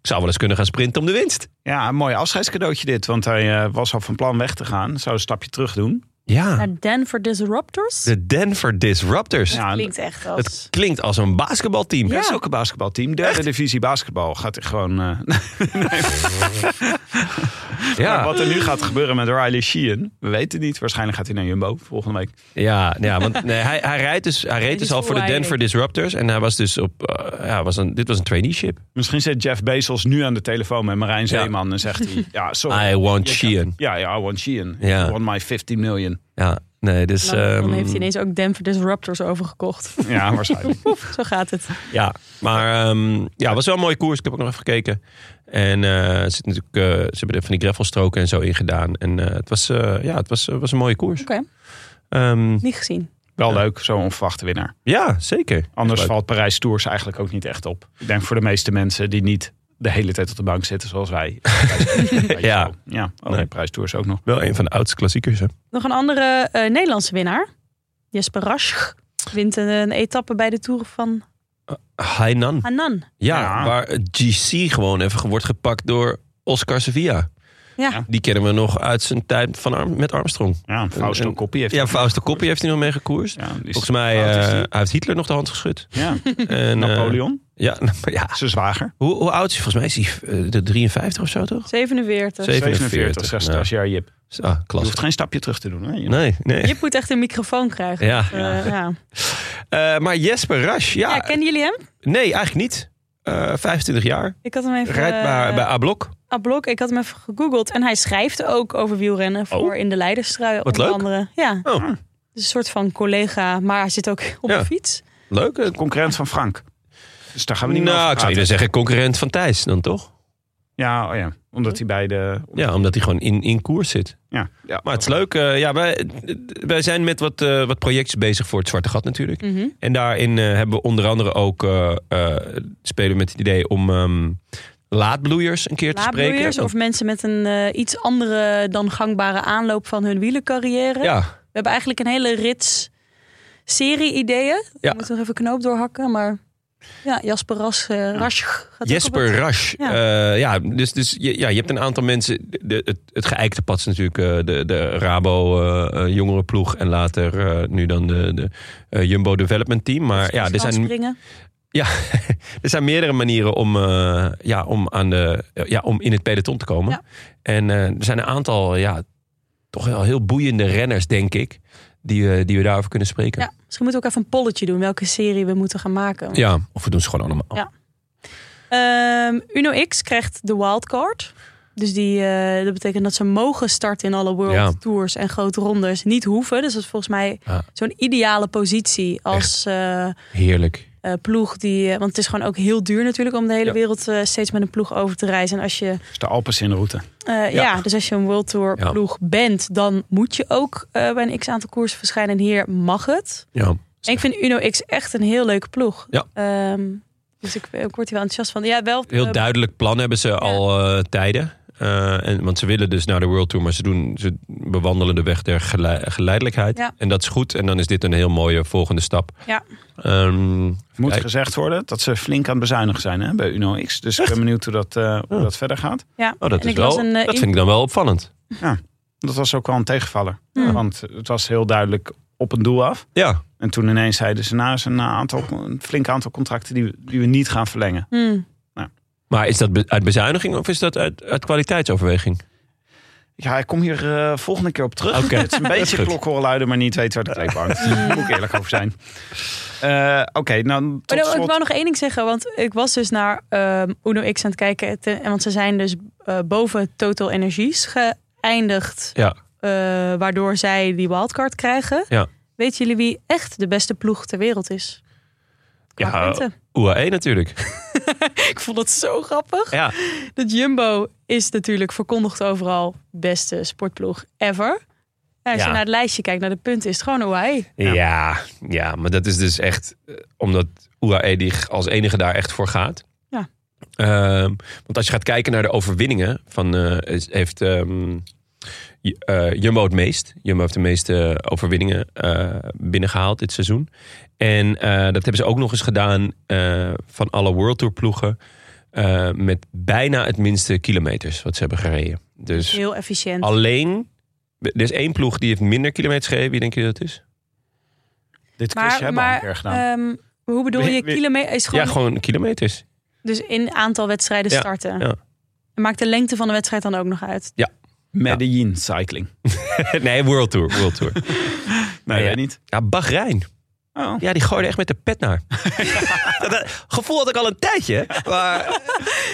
[SPEAKER 2] ik zou wel eens kunnen gaan sprinten om de winst.
[SPEAKER 1] Ja, een mooi afscheidscadeautje dit. Want hij eh, was al van plan weg te gaan. Zou een stapje terug doen.
[SPEAKER 2] Ja,
[SPEAKER 3] Naar Denver Disruptors.
[SPEAKER 2] de Denver Disruptors.
[SPEAKER 1] Ja, en-
[SPEAKER 3] Klinkt echt als...
[SPEAKER 2] Het klinkt als een basketbalteam.
[SPEAKER 1] Ja, dat is ook een basketbalteam. Derde divisie basketbal gaat er gewoon... eh,
[SPEAKER 2] Ja,
[SPEAKER 1] Maar wat er nu gaat gebeuren met Riley Sheehan, we weten het niet. Waarschijnlijk gaat hij naar Jumbo volgende week.
[SPEAKER 2] ja, ja want nee, hij, hij, rijdt dus, hij reed
[SPEAKER 3] is
[SPEAKER 2] dus al voor de
[SPEAKER 3] voorwaardelijk.
[SPEAKER 2] Denver Disruptors. En hij was dus op, eh, ja, was een, dit was een traineeship.
[SPEAKER 1] Misschien zit Jeff Bezos nu aan de telefoon met Marijn Zeeman en zegt hij... Ja, sorry.
[SPEAKER 2] I want Sheehan.
[SPEAKER 1] Oh. Ja, ja, I want Sheehan.
[SPEAKER 2] Ja.
[SPEAKER 1] I want my 15 million.
[SPEAKER 2] Ja, nee, dus...
[SPEAKER 3] dan, Nou, dan
[SPEAKER 2] ehm,
[SPEAKER 3] heeft hij ineens ook Denver Disruptors overgekocht.
[SPEAKER 1] Ja, waarschijnlijk.
[SPEAKER 3] Oef, zo gaat het.
[SPEAKER 2] Ja, maar ehm ja, was wel een mooie koers. Ik heb ook nog even gekeken. En eh, er zit natuurlijk, eh, ze hebben er van die gravelstroken en zo in gedaan. En eh, het, was, eh, ja, het was, eh, was een mooie koers.
[SPEAKER 3] Oké,
[SPEAKER 2] Ehm,
[SPEAKER 3] niet gezien.
[SPEAKER 1] Wel leuk, zo'n onverwachte winnaar.
[SPEAKER 2] ja, zeker.
[SPEAKER 1] Anders
[SPEAKER 2] Leuk.
[SPEAKER 1] valt Parijs Tours eigenlijk ook niet echt op. Ik denk voor de meeste mensen die niet de hele tijd op de bank zitten zoals wij.
[SPEAKER 2] Ja.
[SPEAKER 1] Ja, oh,
[SPEAKER 2] Nee.
[SPEAKER 1] nee, Parijs Tours ook nog.
[SPEAKER 2] Wel een van de oudste klassiekers. Hè?
[SPEAKER 3] Nog een andere eh, Nederlandse winnaar. Jesper Rasch wint een, een etappe bij de Tour van
[SPEAKER 2] Hainan.
[SPEAKER 3] Hanan.
[SPEAKER 2] Ja,
[SPEAKER 1] Ja.
[SPEAKER 2] waar GC gewoon even wordt gepakt door Oscar Sevilla.
[SPEAKER 3] Ja.
[SPEAKER 1] Ja.
[SPEAKER 2] Die kennen we nog uit zijn tijd van Arm- met Armstrong.
[SPEAKER 1] Ja, Fausto
[SPEAKER 2] En-
[SPEAKER 1] Coppi heeft...
[SPEAKER 2] Ja, Fausto Coppi heeft hij nog mee gekoerst.
[SPEAKER 1] Ja, die is-
[SPEAKER 2] Volgens mij
[SPEAKER 1] hoe oud is
[SPEAKER 2] eh,
[SPEAKER 1] die?
[SPEAKER 2] hij heeft Hitler nog de hand geschud.
[SPEAKER 1] Ja,
[SPEAKER 2] En, eh,
[SPEAKER 1] Napoleon,
[SPEAKER 2] ja, nou, ja.
[SPEAKER 1] zijn zwager.
[SPEAKER 2] Hoe, hoe oud is hij? Volgens mij is hij eh, de 53 of zo, toch?
[SPEAKER 3] 47.
[SPEAKER 2] Zeven-
[SPEAKER 1] 47, zegt
[SPEAKER 2] Ja.
[SPEAKER 1] stagiair Jip.
[SPEAKER 2] Ah,
[SPEAKER 1] Je
[SPEAKER 2] klas.
[SPEAKER 1] hoeft geen stapje terug te doen. Hè? Je-
[SPEAKER 2] Nee, nee.
[SPEAKER 3] Jip moet echt een microfoon krijgen.
[SPEAKER 2] Ja.
[SPEAKER 3] Eh, ja.
[SPEAKER 2] Eh, maar Jesper Rasch, ja.
[SPEAKER 3] Ja, kennen jullie hem?
[SPEAKER 2] nee, eigenlijk niet. Eh, 25 jaar.
[SPEAKER 3] Ik had hem even...
[SPEAKER 2] Rijdt bij,
[SPEAKER 3] eh,
[SPEAKER 2] bij A-Blok.
[SPEAKER 3] Ablok, ik had hem even gegoogeld. En hij schrijft ook over wielrennen voor in de Leiderstrui. onder
[SPEAKER 2] Oh. leuk.
[SPEAKER 3] andere. Ja,
[SPEAKER 2] Oh,
[SPEAKER 3] dus een soort van collega, maar hij zit ook op
[SPEAKER 2] Ja.
[SPEAKER 3] een fiets.
[SPEAKER 2] leuk. Eh,
[SPEAKER 1] Concurrent van Frank. Dus daar gaan we niet meer
[SPEAKER 2] Nou,
[SPEAKER 1] over
[SPEAKER 2] ik
[SPEAKER 1] praten.
[SPEAKER 2] zou eerder zeggen concurrent van Thijs dan toch?
[SPEAKER 1] Ja, oh ja, omdat hij bij de...
[SPEAKER 2] Ja, omdat hij gewoon in, in koers zit.
[SPEAKER 1] Ja, ja.
[SPEAKER 2] Maar het is leuk. eh, ja, wij, wij zijn met wat, eh, wat projectjes bezig voor het Zwarte Gat natuurlijk.
[SPEAKER 3] Mhm.
[SPEAKER 2] En daarin eh, hebben we onder andere ook eh, eh, spelen we met het idee om ehm, laadbloeiers een keer te
[SPEAKER 3] Laadbloeiers
[SPEAKER 2] spreken.
[SPEAKER 3] of mensen met een eh, iets andere dan gangbare aanloop van hun wielencarrière.
[SPEAKER 2] ja,
[SPEAKER 3] We hebben eigenlijk een hele rits serie ideeën.
[SPEAKER 2] Ja.
[SPEAKER 3] We moeten nog even knoop doorhakken, maar ja, Jasper Ras, eh, Rasch gaat ook op
[SPEAKER 2] Jesper
[SPEAKER 3] het-
[SPEAKER 2] Rasch.
[SPEAKER 3] Ja.
[SPEAKER 2] Ja. ja, dus, dus je, ja, je hebt een aantal mensen. De, het, het geëikte pad is natuurlijk eh, de, de Rabo eh, eh, jongerenploeg. En later eh, nu dan de, de eh, Jumbo Development Team. Maar ja, er zijn,
[SPEAKER 3] springen.
[SPEAKER 2] ja, er zijn meerdere manieren om, eh, ja, om, aan de, eh, ja, om in het peloton te komen.
[SPEAKER 3] Ja.
[SPEAKER 2] En eh, er zijn een aantal ja, toch wel heel boeiende renners, denk ik. Die, we- die we daarover kunnen spreken.
[SPEAKER 3] Ja, misschien moeten we ook even een polletje doen welke serie we moeten gaan maken.
[SPEAKER 2] Ja, of we doen ze gewoon allemaal.
[SPEAKER 3] Ja. Ehm, Uno X krijgt de wildcard. Dus die, eh, dat betekent dat ze mogen starten in alle world
[SPEAKER 2] Ja.
[SPEAKER 3] tours en grote rondes. Niet hoeven. Dus dat is volgens mij
[SPEAKER 2] Ja.
[SPEAKER 3] zo'n ideale positie als eh, eh,
[SPEAKER 2] Heerlijk.
[SPEAKER 3] ploeg die... eh, want het is gewoon ook heel duur natuurlijk om de hele
[SPEAKER 2] Ja.
[SPEAKER 3] wereld eh, steeds met een ploeg over te reizen. En als je,
[SPEAKER 1] Dat is de Alpes in de route.
[SPEAKER 3] eh, ja. dus als je een world tour
[SPEAKER 2] Ja.
[SPEAKER 3] ploeg bent, dan moet je ook eh, bij een x aantal koersen verschijnen. En hier mag het.
[SPEAKER 2] Ja.
[SPEAKER 3] En ik vind Uno X echt een heel leuke ploeg.
[SPEAKER 2] Ja.
[SPEAKER 3] Ehm, dus ik, ik word hier wel enthousiast van. Ja, wel
[SPEAKER 2] heel
[SPEAKER 3] eh,
[SPEAKER 2] duidelijk plan hebben ze al eh, tijden. Eh, en, want ze willen dus naar de World Tour, maar ze, doen, ze bewandelen de weg der gelei- geleidelijkheid.
[SPEAKER 3] Ja.
[SPEAKER 2] En dat is goed. En dan is dit een heel mooie volgende stap.
[SPEAKER 3] Ja.
[SPEAKER 2] Ehm,
[SPEAKER 1] Moet
[SPEAKER 2] Kijk.
[SPEAKER 1] gezegd worden dat ze flink aan het bezuinigen zijn hè, bij Uno X. Dus ik ben benieuwd hoe dat, eh, hoe
[SPEAKER 2] Ja.
[SPEAKER 1] dat verder gaat.
[SPEAKER 3] Ja,
[SPEAKER 2] oh, dat
[SPEAKER 3] en
[SPEAKER 2] is
[SPEAKER 3] ik las
[SPEAKER 2] wel,
[SPEAKER 3] een, eh,
[SPEAKER 2] dat vind ik dan wel opvallend.
[SPEAKER 1] Dat was ook wel een tegenvaller.
[SPEAKER 3] Hmm.
[SPEAKER 1] Want het was heel duidelijk op een doel af.
[SPEAKER 2] Ja,
[SPEAKER 1] En toen ineens zeiden ze, nou is een, aantal, een flink aantal contracten die, we- die we niet gaan verlengen.
[SPEAKER 3] Hmm.
[SPEAKER 2] maar is dat be- uit bezuiniging of is dat uit, uit kwaliteitsoverweging?
[SPEAKER 1] Ja, ik kom hier eh, volgende keer op terug.
[SPEAKER 2] Oké.
[SPEAKER 1] Het is een
[SPEAKER 2] Dat is
[SPEAKER 1] beetje
[SPEAKER 2] goed.
[SPEAKER 1] klokhoorluiden, luiden, maar niet weten waar de tape hangt. Daar moet ik eerlijk over zijn. Eh, Oké, nou
[SPEAKER 3] Maar
[SPEAKER 1] tot
[SPEAKER 3] dan- ik
[SPEAKER 1] slot.
[SPEAKER 3] wou nog één ding zeggen, want ik was dus naar ehm Uno X aan het kijken. Ten- en want ze zijn dus eh, boven Total Energies geëindigd.
[SPEAKER 2] Ja.
[SPEAKER 3] eh, waardoor zij die wildcard krijgen.
[SPEAKER 2] Ja.
[SPEAKER 3] Weet jullie wie echt de beste ploeg ter wereld is? Qua
[SPEAKER 2] Ja,
[SPEAKER 3] punten.
[SPEAKER 2] UAE E natuurlijk.
[SPEAKER 3] Ik vond het zo grappig.
[SPEAKER 2] Ja.
[SPEAKER 3] Dat Jumbo is natuurlijk verkondigd overal beste sportploeg ever. En als
[SPEAKER 2] Ja.
[SPEAKER 3] je naar het lijstje kijkt, naar de punten, is het gewoon OI.
[SPEAKER 2] Ja. Ja, maar dat is dus echt eh, omdat UAE die als enige daar echt voor gaat.
[SPEAKER 3] Ja.
[SPEAKER 2] Ehm, want als je gaat kijken naar de overwinningen, van, eh, is- heeft ehm, J- eh, Jumbo het meest. Jumbo heeft de meeste overwinningen eh, binnengehaald dit seizoen. En eh, dat hebben ze ook nog eens gedaan eh, van alle World Tour ploegen. eh, met bijna het minste kilometers wat ze hebben gereden. Dus
[SPEAKER 3] Heel efficiënt.
[SPEAKER 2] alleen, er is één ploeg die heeft minder kilometers gereden. Wie denk je dat het is?
[SPEAKER 1] Dit quizje
[SPEAKER 3] maar
[SPEAKER 1] hebben we al een
[SPEAKER 3] maar
[SPEAKER 1] keer gedaan.
[SPEAKER 3] ehm, hoe bedoel je?
[SPEAKER 2] Wie- wie-
[SPEAKER 3] Kilometer is gewoon,
[SPEAKER 2] Ja, gewoon kilometers.
[SPEAKER 3] dus in aantal wedstrijden
[SPEAKER 2] Ja,
[SPEAKER 3] starten.
[SPEAKER 2] ja.
[SPEAKER 3] En maakt de lengte van de wedstrijd dan ook nog uit?
[SPEAKER 1] Medellin Cycling.
[SPEAKER 2] nee, World Tour. World Tour.
[SPEAKER 1] Nee,
[SPEAKER 2] Ja.
[SPEAKER 1] weet niet.
[SPEAKER 2] ja, Bahrein.
[SPEAKER 1] Oh.
[SPEAKER 2] Ja, die gooide echt met de pet naar. Dat- dat gevoel had ik al een tijdje.
[SPEAKER 1] eh,
[SPEAKER 2] Maar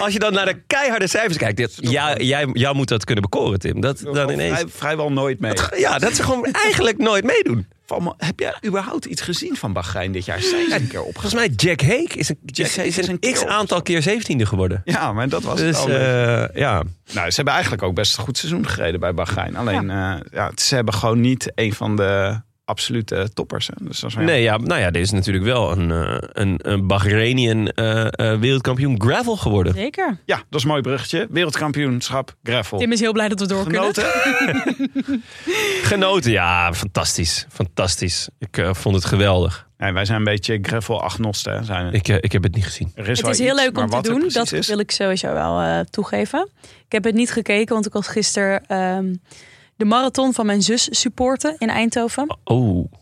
[SPEAKER 2] als je dan naar de keiharde cijfers kijkt. Dit, ja, jij, jou moet dat kunnen bekoren, Tim. Dat, dan ineens.
[SPEAKER 1] Vrij- vrijwel nooit mee.
[SPEAKER 2] Ja, dat ze gewoon eigenlijk nooit meedoen.
[SPEAKER 1] Van, maar heb jij überhaupt iets gezien van Bahrein dit jaar? Zij is een keer opgegaan.
[SPEAKER 2] Volgens mij Jack Hake is een,
[SPEAKER 1] Jack Hake
[SPEAKER 2] is
[SPEAKER 1] is
[SPEAKER 2] een
[SPEAKER 1] een
[SPEAKER 2] x
[SPEAKER 1] keer
[SPEAKER 2] aantal keer zeventiende geworden.
[SPEAKER 1] Ja, maar dat was het
[SPEAKER 2] Dus
[SPEAKER 1] al.
[SPEAKER 2] eh, ja,
[SPEAKER 1] Nou, ze hebben eigenlijk ook best een goed seizoen gereden bij Bahrein. Alleen, ja. ja, ze hebben gewoon niet een van de absolute toppers. Hè. Dus dat is wel-
[SPEAKER 2] Nee, ja, nou ja, dit is natuurlijk wel een, eh, een, een Bahreinian eh, eh, wereldkampioen gravel geworden.
[SPEAKER 3] Zeker.
[SPEAKER 1] Ja, dat is een mooi bruggetje. Wereldkampioenschap gravel.
[SPEAKER 3] Tim is heel blij dat we door kunnen.
[SPEAKER 1] Genoten?
[SPEAKER 2] Genoten, ja, fantastisch. Fantastisch. Ik eh, vond het geweldig.
[SPEAKER 1] Nee, wij zijn een beetje gravel agnosten. hè, Zijn. we.
[SPEAKER 2] Ik, eh, ik heb het niet gezien.
[SPEAKER 1] Er
[SPEAKER 3] Het
[SPEAKER 1] wel
[SPEAKER 3] is heel
[SPEAKER 1] iets,
[SPEAKER 3] leuk
[SPEAKER 1] maar
[SPEAKER 3] om te
[SPEAKER 1] wat er
[SPEAKER 3] doen.
[SPEAKER 1] precies
[SPEAKER 3] Dat
[SPEAKER 1] is-
[SPEAKER 3] wil ik sowieso wel eh, toegeven. Ik heb het niet gekeken, want ik was gisteren ehm, de marathon van mijn zus supporten in Eindhoven.
[SPEAKER 2] Oh.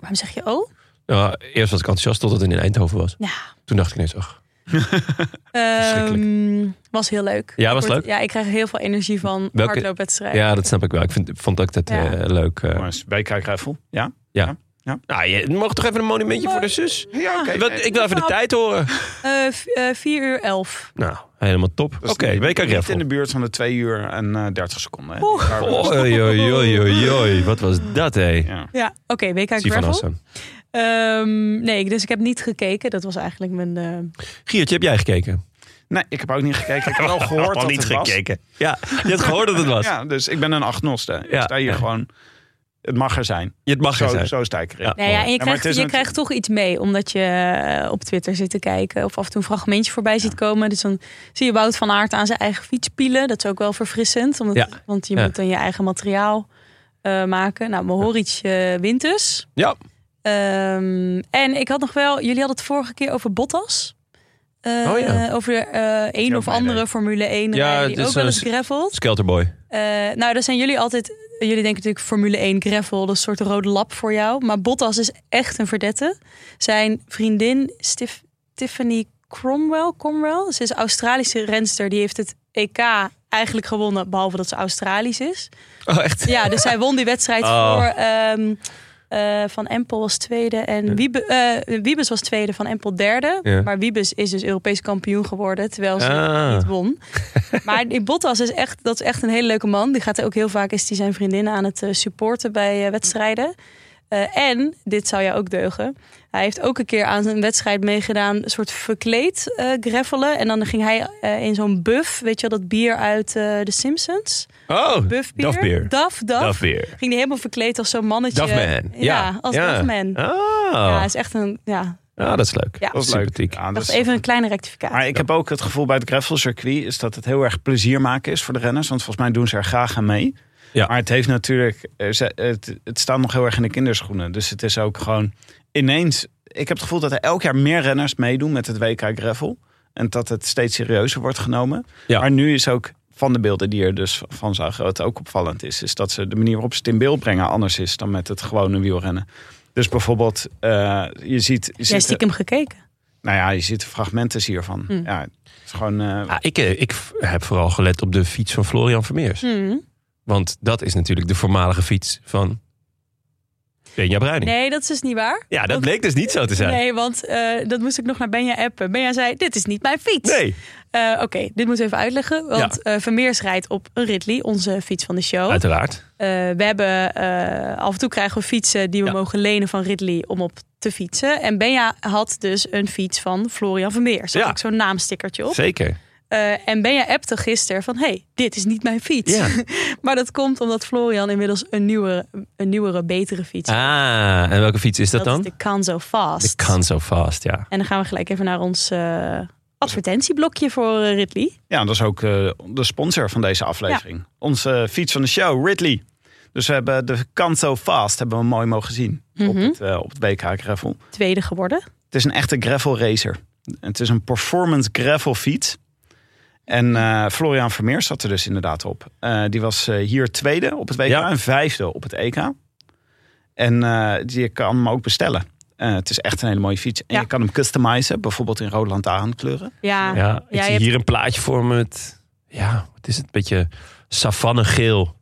[SPEAKER 3] Waarom zeg je oh?
[SPEAKER 2] Nou, eerst was ik enthousiast totdat het in Eindhoven was.
[SPEAKER 3] Ja.
[SPEAKER 2] Toen dacht ik ineens, ach. Verschrikkelijk.
[SPEAKER 3] Ehm, was heel leuk.
[SPEAKER 2] Ja, was
[SPEAKER 3] Ik word-
[SPEAKER 2] leuk?
[SPEAKER 3] Ja, ik krijg heel veel energie van
[SPEAKER 2] Welke-
[SPEAKER 3] hardloopwedstrijden.
[SPEAKER 2] Ja, dat snap ik wel. Ik vind, vond ook dat
[SPEAKER 3] Ja.
[SPEAKER 2] eh, leuk. eh.
[SPEAKER 1] Jongens, WK gravel. Ja?
[SPEAKER 2] Nou, je mag toch even een monumentje voor de zus?
[SPEAKER 1] Ja, oké.
[SPEAKER 2] Wat- ik wil even de tijd horen.
[SPEAKER 3] Eh, v- eh, 4 uur 11.
[SPEAKER 2] Nou, helemaal top. Oké, WK
[SPEAKER 1] Niet in de
[SPEAKER 2] Gravel.
[SPEAKER 1] buurt van de 2 uur en eh, 30 seconden. hè.
[SPEAKER 3] Oeh.
[SPEAKER 1] Daar-
[SPEAKER 2] Oei, oei, oei, oei, oei. Wat was dat, hé?
[SPEAKER 1] Ja.
[SPEAKER 3] Ja, oké, WK
[SPEAKER 2] Zie van
[SPEAKER 3] Gravel.
[SPEAKER 2] Assen.
[SPEAKER 3] Ehm, nee, dus ik heb niet gekeken. Dat was eigenlijk mijn... eh,
[SPEAKER 2] Giertje, heb jij gekeken?
[SPEAKER 1] Nee, ik heb ook niet gekeken. Ik heb wel gehoord dat
[SPEAKER 2] niet
[SPEAKER 1] het was.
[SPEAKER 2] gekeken. Ja, je hebt gehoord dat het was.
[SPEAKER 1] Ja, dus ik ben een agnoste.
[SPEAKER 2] Ja.
[SPEAKER 1] Ik sta hier
[SPEAKER 2] Ja.
[SPEAKER 1] gewoon... Het mag er zijn.
[SPEAKER 2] Je het mag er
[SPEAKER 1] zo,
[SPEAKER 2] zijn.
[SPEAKER 1] zo sta ik erin.
[SPEAKER 2] Ja.
[SPEAKER 3] Nou ja, en je,
[SPEAKER 1] Ja, maar
[SPEAKER 3] krijgt,
[SPEAKER 1] het is
[SPEAKER 3] je
[SPEAKER 1] natu-
[SPEAKER 3] krijgt toch iets mee, omdat je eh, op Twitter zit te kijken of af en toe een fragmentje voorbij ziet komen. Dus dan zie je Wout van Aert aan zijn eigen fiets pielen. Dat is ook wel verfrissend, omdat,
[SPEAKER 2] Ja.
[SPEAKER 3] want je
[SPEAKER 2] Ja.
[SPEAKER 3] moet dan je eigen materiaal eh, maken. Nou, Mohoric eh wint dus.
[SPEAKER 2] Ja.
[SPEAKER 3] Ehm, en ik had nog wel, jullie hadden het vorige keer over Bottas. Eh,
[SPEAKER 2] Oh ja.
[SPEAKER 3] Over de eh, een
[SPEAKER 1] ook
[SPEAKER 3] of
[SPEAKER 1] bij
[SPEAKER 3] andere
[SPEAKER 1] reed.
[SPEAKER 3] Formule 1
[SPEAKER 2] Ja,
[SPEAKER 3] rijder
[SPEAKER 2] dit
[SPEAKER 3] die ook
[SPEAKER 2] is
[SPEAKER 3] wel
[SPEAKER 2] een
[SPEAKER 3] eens
[SPEAKER 2] s-
[SPEAKER 3] gravelt.
[SPEAKER 2] Skelterboy.
[SPEAKER 3] Eh, nou, dan zijn jullie altijd. Jullie denken natuurlijk Formule 1 gravel, dat is een soort rode lap voor jou. Maar Bottas is echt een verdette. Zijn vriendin Stif- Tiffany Cromwell, Cromwell, ze is Australische renster, die heeft het EK eigenlijk gewonnen, behalve dat ze Australisch is.
[SPEAKER 2] Oh, echt?
[SPEAKER 3] Ja, dus zij won die wedstrijd
[SPEAKER 2] Oh.
[SPEAKER 3] voor ehm, eh, Van Empel was tweede en Wiebe, eh, Wiebes was tweede, Van Empel derde.
[SPEAKER 2] Ja.
[SPEAKER 3] Maar Wiebes is dus Europees kampioen geworden, terwijl ze
[SPEAKER 2] Ah.
[SPEAKER 3] niet won. Maar die Bottas is echt, dat is echt een hele leuke man. Die gaat ook heel vaak is die zijn vriendinnen aan het eh, supporten bij eh, wedstrijden. Eh, en, dit zou jou ook deugen. Hij heeft ook een keer aan een wedstrijd meegedaan, een soort verkleed eh greffelen. En dan ging hij eh, in zo'n buff, weet je wel, dat bier uit eh The Simpsons.
[SPEAKER 2] Oh,
[SPEAKER 3] Buffbier.
[SPEAKER 2] Dafbeer.
[SPEAKER 3] Daf, daf.
[SPEAKER 2] Dafbeer.
[SPEAKER 3] Ging hij helemaal verkleed als zo'n mannetje.
[SPEAKER 2] Dafman.
[SPEAKER 3] Ja,
[SPEAKER 2] Ja,
[SPEAKER 3] als
[SPEAKER 2] ja.
[SPEAKER 3] Dafman.
[SPEAKER 2] Ah,
[SPEAKER 3] Ja, hij is echt een, ja.
[SPEAKER 2] ah, dat is leuk.
[SPEAKER 3] Ja.
[SPEAKER 1] Dat is leuk.
[SPEAKER 2] Sympathiek.
[SPEAKER 1] Ja, dat
[SPEAKER 3] Wacht,
[SPEAKER 1] is-
[SPEAKER 3] even een kleine rectificatie.
[SPEAKER 1] Maar ik heb ook het gevoel bij het gravelcircuit... is dat het heel erg plezier maken is voor de renners. Want volgens mij doen ze er graag aan mee.
[SPEAKER 2] Ja.
[SPEAKER 1] Maar het heeft natuurlijk... er ze- Het, het staat nog heel erg in de kinderschoenen. Dus het is ook gewoon ineens... Ik heb het gevoel dat er elk jaar meer renners meedoen met het WK gravel. En dat het steeds serieuzer wordt genomen.
[SPEAKER 2] Ja.
[SPEAKER 1] Maar nu is ook van de beelden die er dus van zagen, wat ook opvallend is, is dat ze de manier waarop ze het in beeld brengen anders is dan met het gewone wielrennen. Dus bijvoorbeeld, eh, je ziet. Je
[SPEAKER 3] Jij
[SPEAKER 1] ziet
[SPEAKER 3] stiekem gekeken.
[SPEAKER 1] nou ja, je ziet fragmenten hiervan.
[SPEAKER 3] Hm.
[SPEAKER 1] Ja, het is gewoon. eh,
[SPEAKER 2] Ah, ik, eh, ik f- heb vooral gelet op de fiets van Florian Vermeers.
[SPEAKER 3] Hm.
[SPEAKER 2] Want dat is natuurlijk de voormalige fiets van Benja Bruining.
[SPEAKER 3] Nee, dat is dus niet waar.
[SPEAKER 2] Ja, dat
[SPEAKER 3] Ook-
[SPEAKER 2] bleek dus niet zo te zijn.
[SPEAKER 3] Nee, want eh, dat moest ik nog naar Benja appen. Benja zei, dit is niet mijn fiets.
[SPEAKER 2] Nee.
[SPEAKER 3] Eh, Oké, dit moet ik even uitleggen. Want eh, Vermeers rijdt op een Ridley, onze fiets van de show.
[SPEAKER 2] uiteraard.
[SPEAKER 3] Eh, we hebben eh, af en toe krijgen we fietsen die we
[SPEAKER 2] Ja.
[SPEAKER 3] mogen lenen van Ridley om op te fietsen. En Benja had dus een fiets van Florian Vermeers. Daar
[SPEAKER 2] Ja.
[SPEAKER 3] had ik zo'n naamstickertje op.
[SPEAKER 2] Zeker.
[SPEAKER 3] Eh, en Benja appte gisteren van, hey, dit is niet mijn fiets.
[SPEAKER 2] Ja.
[SPEAKER 3] maar dat komt omdat Florian inmiddels een nieuwere, een nieuwere betere fiets heeft.
[SPEAKER 2] Ah, en welke fiets is dat, dan?
[SPEAKER 3] is de Canzo Fast.
[SPEAKER 2] De Canso Fast, ja.
[SPEAKER 3] En dan gaan we gelijk even naar ons eh, advertentieblokje voor eh, Ridley.
[SPEAKER 1] Ja, dat is ook eh, de sponsor van deze aflevering. Onze eh, fiets van de show, Ridley. Dus we hebben de Kanto Fast hebben we mooi mogen zien op,
[SPEAKER 3] Mhm.
[SPEAKER 1] het, eh, op het WK Gravel.
[SPEAKER 3] Tweede geworden.
[SPEAKER 1] Het is een echte gravel racer. Het is een performance gravel fiets. En eh, Florian Vermeer zat er dus inderdaad op. Eh, die was eh, hier tweede op het WK
[SPEAKER 2] Ja.
[SPEAKER 1] en vijfde op het EK. En eh, die- je kan hem ook bestellen. Eh, het is echt een hele mooie fiets. En
[SPEAKER 3] Ja.
[SPEAKER 1] je kan hem customizen, bijvoorbeeld in rood lantaarnkleuren.
[SPEAKER 3] Ah, Ja,
[SPEAKER 2] Ja, ik
[SPEAKER 3] Ja,
[SPEAKER 2] zie
[SPEAKER 3] je hebt-
[SPEAKER 2] hier een plaatje voor met... Ja, wat is het? Een beetje savannegeel.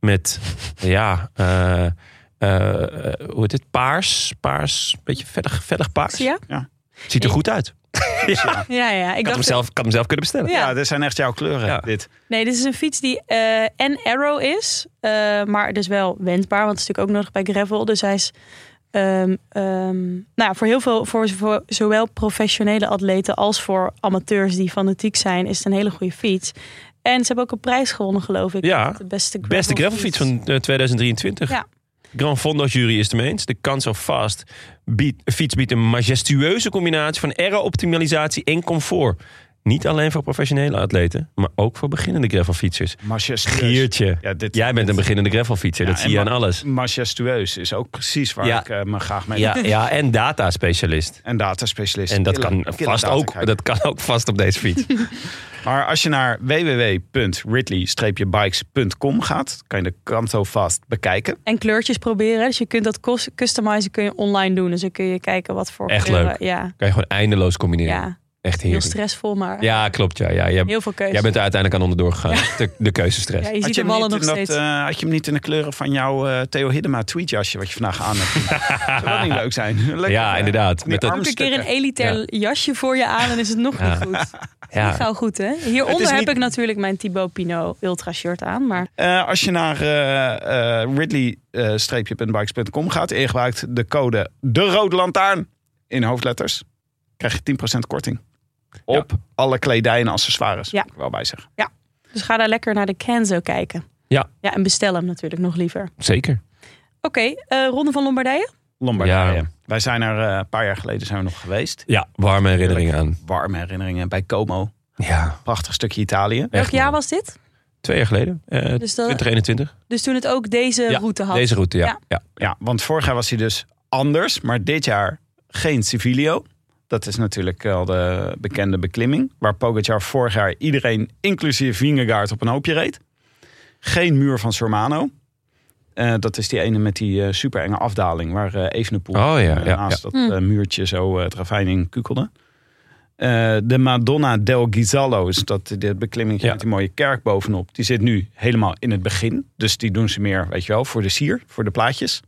[SPEAKER 2] Met, ja... eh, eh, eh, hoe heet dit? Paars. Paars. Beetje vellig, vellig paars.
[SPEAKER 3] zie je?
[SPEAKER 2] Ziet er goed uit. ja.
[SPEAKER 3] Ja, ja. Ik
[SPEAKER 2] Ik had hem
[SPEAKER 3] dacht,
[SPEAKER 2] zelf, ik had hem zelf kunnen bestellen.
[SPEAKER 3] Ja.
[SPEAKER 1] Ja, dit zijn echt jouw kleuren,
[SPEAKER 2] Ja.
[SPEAKER 1] dit.
[SPEAKER 3] nee, dit is een fiets die eh, en aero is, eh, maar dus wel wendbaar, want het is natuurlijk ook nodig bij gravel. Dus hij is ehm, ehm, nou ja, voor heel veel, voor, voor zowel professionele atleten als voor amateurs die fanatiek zijn, is het een hele goede fiets. En ze hebben ook een prijs gewonnen, geloof ik.
[SPEAKER 2] Ja.
[SPEAKER 3] de beste gravelfiets.
[SPEAKER 2] Beste gravelfiets van eh, 2023.
[SPEAKER 3] Ja.
[SPEAKER 2] Grand Fondo jury is het ermee eens. De Kans of Fast biedt, fiets biedt een majestueuze combinatie van aero-optimalisatie en comfort. Niet alleen voor professionele atleten, maar ook voor beginnende gravelfietsers.
[SPEAKER 1] Majestueus.
[SPEAKER 2] Giertje,
[SPEAKER 1] Ja, dit-
[SPEAKER 2] jij bent een beginnende gravelfietser.
[SPEAKER 1] Ja,
[SPEAKER 2] dat zie
[SPEAKER 1] en
[SPEAKER 2] je aan
[SPEAKER 1] ma-
[SPEAKER 2] alles.
[SPEAKER 1] Majestueus is ook precies waar
[SPEAKER 2] Ja.
[SPEAKER 1] ik eh, me graag mee
[SPEAKER 2] Ja, ja, en data-specialist.
[SPEAKER 1] En dataspecialist.
[SPEAKER 2] En dat
[SPEAKER 1] Killer-
[SPEAKER 2] kan,
[SPEAKER 1] killer
[SPEAKER 2] vast
[SPEAKER 1] data
[SPEAKER 2] ook,
[SPEAKER 1] kijken.
[SPEAKER 2] dat kan ook vast op deze fiets.
[SPEAKER 1] Maar als je naar www.ridley-bikes.com gaat, kan je de Kanto vast bekijken.
[SPEAKER 3] En kleurtjes proberen. Dus je kunt dat cus- customizen kun je online doen. Dus dan kun je kijken wat voor
[SPEAKER 2] Echt
[SPEAKER 3] kleuren-
[SPEAKER 2] leuk.
[SPEAKER 3] Ja,
[SPEAKER 2] Kan je gewoon eindeloos combineren.
[SPEAKER 3] ja.
[SPEAKER 2] Echt
[SPEAKER 3] heel
[SPEAKER 2] heerlijk.
[SPEAKER 3] stressvol, maar
[SPEAKER 2] Ja, klopt. Ja, ja. Jij,
[SPEAKER 3] heel veel keuze.
[SPEAKER 2] jij bent er uiteindelijk aan onderdoor gegaan. De, de keuzestress.
[SPEAKER 3] ja, je ziet
[SPEAKER 1] je
[SPEAKER 3] de
[SPEAKER 1] hem
[SPEAKER 3] wallen
[SPEAKER 1] niet
[SPEAKER 3] nog
[SPEAKER 1] in dat,
[SPEAKER 3] steeds.
[SPEAKER 1] eh, had je hem niet in de kleuren van jouw eh, Theo Hiddema tweetjasje wat je vandaag aan hebt? Zou dat niet leuk zijn? Lekker,
[SPEAKER 2] Ja,
[SPEAKER 1] eh,
[SPEAKER 2] inderdaad.
[SPEAKER 1] die
[SPEAKER 2] Met dat-
[SPEAKER 3] Doe ik een keer
[SPEAKER 1] armstukken.
[SPEAKER 3] een elitair jasje voor je aan en is het nog
[SPEAKER 2] Ja.
[SPEAKER 3] niet goed.
[SPEAKER 2] Ja.
[SPEAKER 3] Niet gauw goed, hè? Hieronder
[SPEAKER 2] Het is
[SPEAKER 3] heb
[SPEAKER 2] niet-
[SPEAKER 3] ik natuurlijk mijn Thibaut Pinot ultra shirt aan, maar
[SPEAKER 1] Eh, als je naar eh, eh, ridley-bikes.com gaat en je gebruikt de code de rode lantaarn in hoofdletters, krijg je 10% korting op alle kledij en accessoires.
[SPEAKER 3] Ja.
[SPEAKER 1] moet ik er wel bij zeggen.
[SPEAKER 3] dus ga daar lekker naar de Kenzo kijken.
[SPEAKER 2] Ja.
[SPEAKER 3] Ja, en bestel hem natuurlijk nog liever. Oké,
[SPEAKER 2] Zeker.
[SPEAKER 3] eh, ronde van Lombardije.
[SPEAKER 1] Lombardije.
[SPEAKER 2] Ja.
[SPEAKER 1] Wij zijn er eh, een paar jaar geleden zijn we nog geweest.
[SPEAKER 2] Ja, warme herinneringen aan.
[SPEAKER 1] Warme herinneringen bij Como.
[SPEAKER 2] Ja.
[SPEAKER 1] Prachtig stukje Italië.
[SPEAKER 3] Welk
[SPEAKER 2] Echt,
[SPEAKER 3] jaar
[SPEAKER 2] man.
[SPEAKER 3] was dit?
[SPEAKER 2] Twee jaar geleden. Eh
[SPEAKER 3] Dus, dat-
[SPEAKER 2] 2021.
[SPEAKER 3] dus toen het ook deze
[SPEAKER 2] Ja,
[SPEAKER 3] route had.
[SPEAKER 2] Deze route, ja.
[SPEAKER 3] Ja.
[SPEAKER 2] ja.
[SPEAKER 1] Ja, want vorig jaar was hij dus anders. Maar dit jaar geen Civilio. Dat is natuurlijk wel de bekende beklimming. Waar Pogacar vorig jaar iedereen, inclusief Vingegaard, op een hoopje reed. Geen muur van Sormano. Eh, dat is die ene met die eh super enge afdaling. Waar eh Evenepoel
[SPEAKER 2] Oh ja,
[SPEAKER 1] eh,
[SPEAKER 2] ja,
[SPEAKER 1] naast dat
[SPEAKER 3] Hm.
[SPEAKER 1] eh, muurtje zo eh, het ravijn in kukelde. Eh, de Madonna del Ghisallo, is dat dit beklimming
[SPEAKER 2] Ja.
[SPEAKER 1] met die mooie kerk bovenop. Die zit nu helemaal in het begin. Dus die doen ze meer, weet je wel, voor de sier, voor de plaatjes.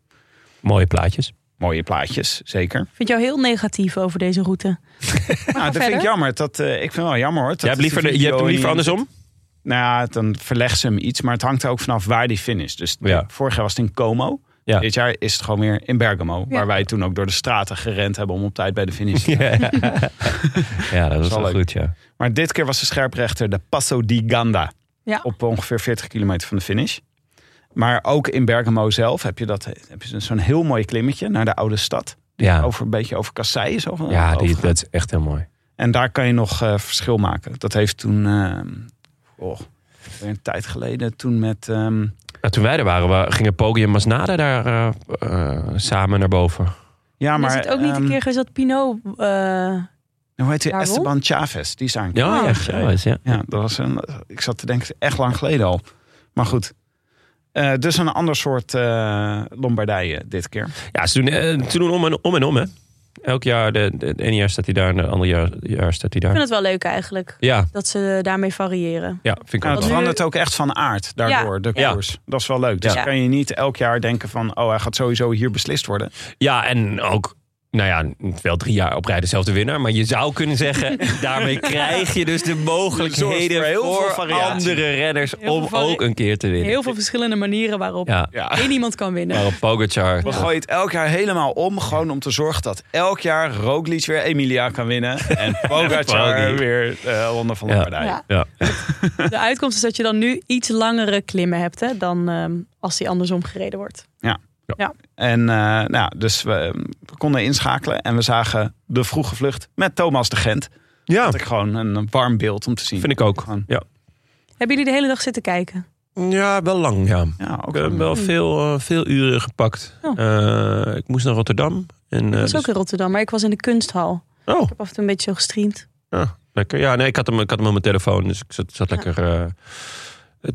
[SPEAKER 2] Mooie plaatjes.
[SPEAKER 1] Mooie plaatjes, zeker.
[SPEAKER 3] Ik vind jou heel negatief over deze route.
[SPEAKER 1] Nou, dat vind
[SPEAKER 3] verder.
[SPEAKER 1] ik jammer. Dat, eh, ik vind het wel jammer hoor. Dat
[SPEAKER 2] Jij hebt
[SPEAKER 1] is die
[SPEAKER 2] liever, de- je hebt hem
[SPEAKER 1] video
[SPEAKER 2] liever
[SPEAKER 1] niet- eh,
[SPEAKER 2] andersom?
[SPEAKER 1] Nou ja, dan verlegt ze hem iets. Maar het hangt er ook vanaf waar die finish. Dus
[SPEAKER 2] Ja.
[SPEAKER 1] vorig jaar was het in Como.
[SPEAKER 2] Ja.
[SPEAKER 1] Dit jaar is het gewoon weer in Bergamo. Waar wij toen ook door de straten gerend hebben om op tijd bij de finish. te
[SPEAKER 2] Ja, ja dat was
[SPEAKER 1] wel
[SPEAKER 2] wel
[SPEAKER 1] leuk.
[SPEAKER 2] goed, ja.
[SPEAKER 1] Maar dit keer was de scherprechter de Passo di Ganda.
[SPEAKER 3] Ja.
[SPEAKER 1] Op ongeveer 40 kilometer van de finish. Maar ook in Bergamo zelf heb je, dat- heb je zo'n heel mooi klimmetje naar de oude stad.
[SPEAKER 2] Ja,
[SPEAKER 1] Over een beetje over kasseien. Zo van-
[SPEAKER 2] ja die,
[SPEAKER 1] overgaan.
[SPEAKER 2] dat is echt heel mooi.
[SPEAKER 1] En daar kan je nog eh, verschil maken. Dat heeft toen, eh, oh, weer een tijd geleden, toen met. ehm,
[SPEAKER 2] Nou, toen wij er waren, we gingen Poggi en Masnada daar eh, eh, samen naar boven.
[SPEAKER 1] ja,
[SPEAKER 3] Maar,
[SPEAKER 1] maar.
[SPEAKER 3] is het ook niet
[SPEAKER 1] ehm,
[SPEAKER 3] een keer geweest dat Pinot eh,
[SPEAKER 1] hoe heet hij?
[SPEAKER 3] Waarom?
[SPEAKER 1] Esteban Chavez. Die is aangekomen.
[SPEAKER 2] Ja, ja,
[SPEAKER 3] Ah.
[SPEAKER 2] Chavez, ja.
[SPEAKER 1] Ja, dat was een. Ik zat te denken, echt lang geleden al. Maar goed. Eh, dus een ander soort eh Lombardije dit keer.
[SPEAKER 2] Ja, ze doen, eh, ze doen om, en, om en om, hè. Elk jaar, de, de, het ene jaar staat hij daar en het andere jaar, jaar staat hij
[SPEAKER 3] Ik
[SPEAKER 2] daar.
[SPEAKER 3] vind het wel leuk eigenlijk.
[SPEAKER 2] Ja,
[SPEAKER 3] Dat ze daarmee variëren.
[SPEAKER 2] ja, vind ik
[SPEAKER 1] Nou, het
[SPEAKER 2] ook
[SPEAKER 3] nu-
[SPEAKER 2] wel.
[SPEAKER 1] verandert ook echt van aard daardoor, de
[SPEAKER 2] Ja.
[SPEAKER 1] koers. Dat is wel leuk. Dus
[SPEAKER 3] Ja.
[SPEAKER 1] kan je niet elk jaar denken van... oh, hij gaat sowieso hier beslist worden.
[SPEAKER 2] Ja, en ook, nou ja, wel drie jaar op rij dezelfde winnaar. Maar je zou kunnen zeggen, daarmee krijg je dus de mogelijkheden
[SPEAKER 1] voor heel veel
[SPEAKER 2] voor,
[SPEAKER 1] variatie.
[SPEAKER 2] andere renners
[SPEAKER 3] Heel
[SPEAKER 2] om
[SPEAKER 3] veel varie-
[SPEAKER 2] ook een keer te winnen.
[SPEAKER 3] Heel veel verschillende manieren waarop
[SPEAKER 2] Ja,
[SPEAKER 1] Ja.
[SPEAKER 3] één iemand kan winnen.
[SPEAKER 2] waarop Pogacar...
[SPEAKER 1] We gooien het elk jaar helemaal om. Gewoon om te zorgen dat elk jaar Roglic weer Emilia kan winnen. En Pogacar
[SPEAKER 2] Poggi.
[SPEAKER 1] weer eh Ronde van
[SPEAKER 2] Ja.
[SPEAKER 1] Lombardije.
[SPEAKER 3] Ja.
[SPEAKER 2] Ja.
[SPEAKER 3] De uitkomst is dat je dan nu iets langere klimmen hebt hè, dan ehm, als die andersom gereden wordt.
[SPEAKER 1] En eh, nou, dus we, eh, we konden inschakelen. En we zagen de vroege vlucht met Thomas de Gent.
[SPEAKER 2] ja,
[SPEAKER 1] Had ik gewoon een warm beeld om te zien.
[SPEAKER 2] vind ik ook.
[SPEAKER 1] Gewoon.
[SPEAKER 2] Ja,
[SPEAKER 3] Hebben jullie de hele dag zitten kijken?
[SPEAKER 2] ja wel lang, ja.
[SPEAKER 1] Ja, ook
[SPEAKER 2] Ik heb
[SPEAKER 1] een-
[SPEAKER 2] eh, wel veel, eh, veel uren gepakt.
[SPEAKER 3] Mm. Oh.
[SPEAKER 2] Eh, ik moest naar Rotterdam. En, eh,
[SPEAKER 3] Ik was
[SPEAKER 2] dus-
[SPEAKER 3] ook in Rotterdam, maar ik was in de kunsthal. Ik
[SPEAKER 2] Oh,
[SPEAKER 3] heb af en toe een beetje zo gestreamd.
[SPEAKER 2] ja, lekker. Ja, nee, ik had, hem, ik had hem op mijn telefoon. Dus ik zat, zat lekker eh,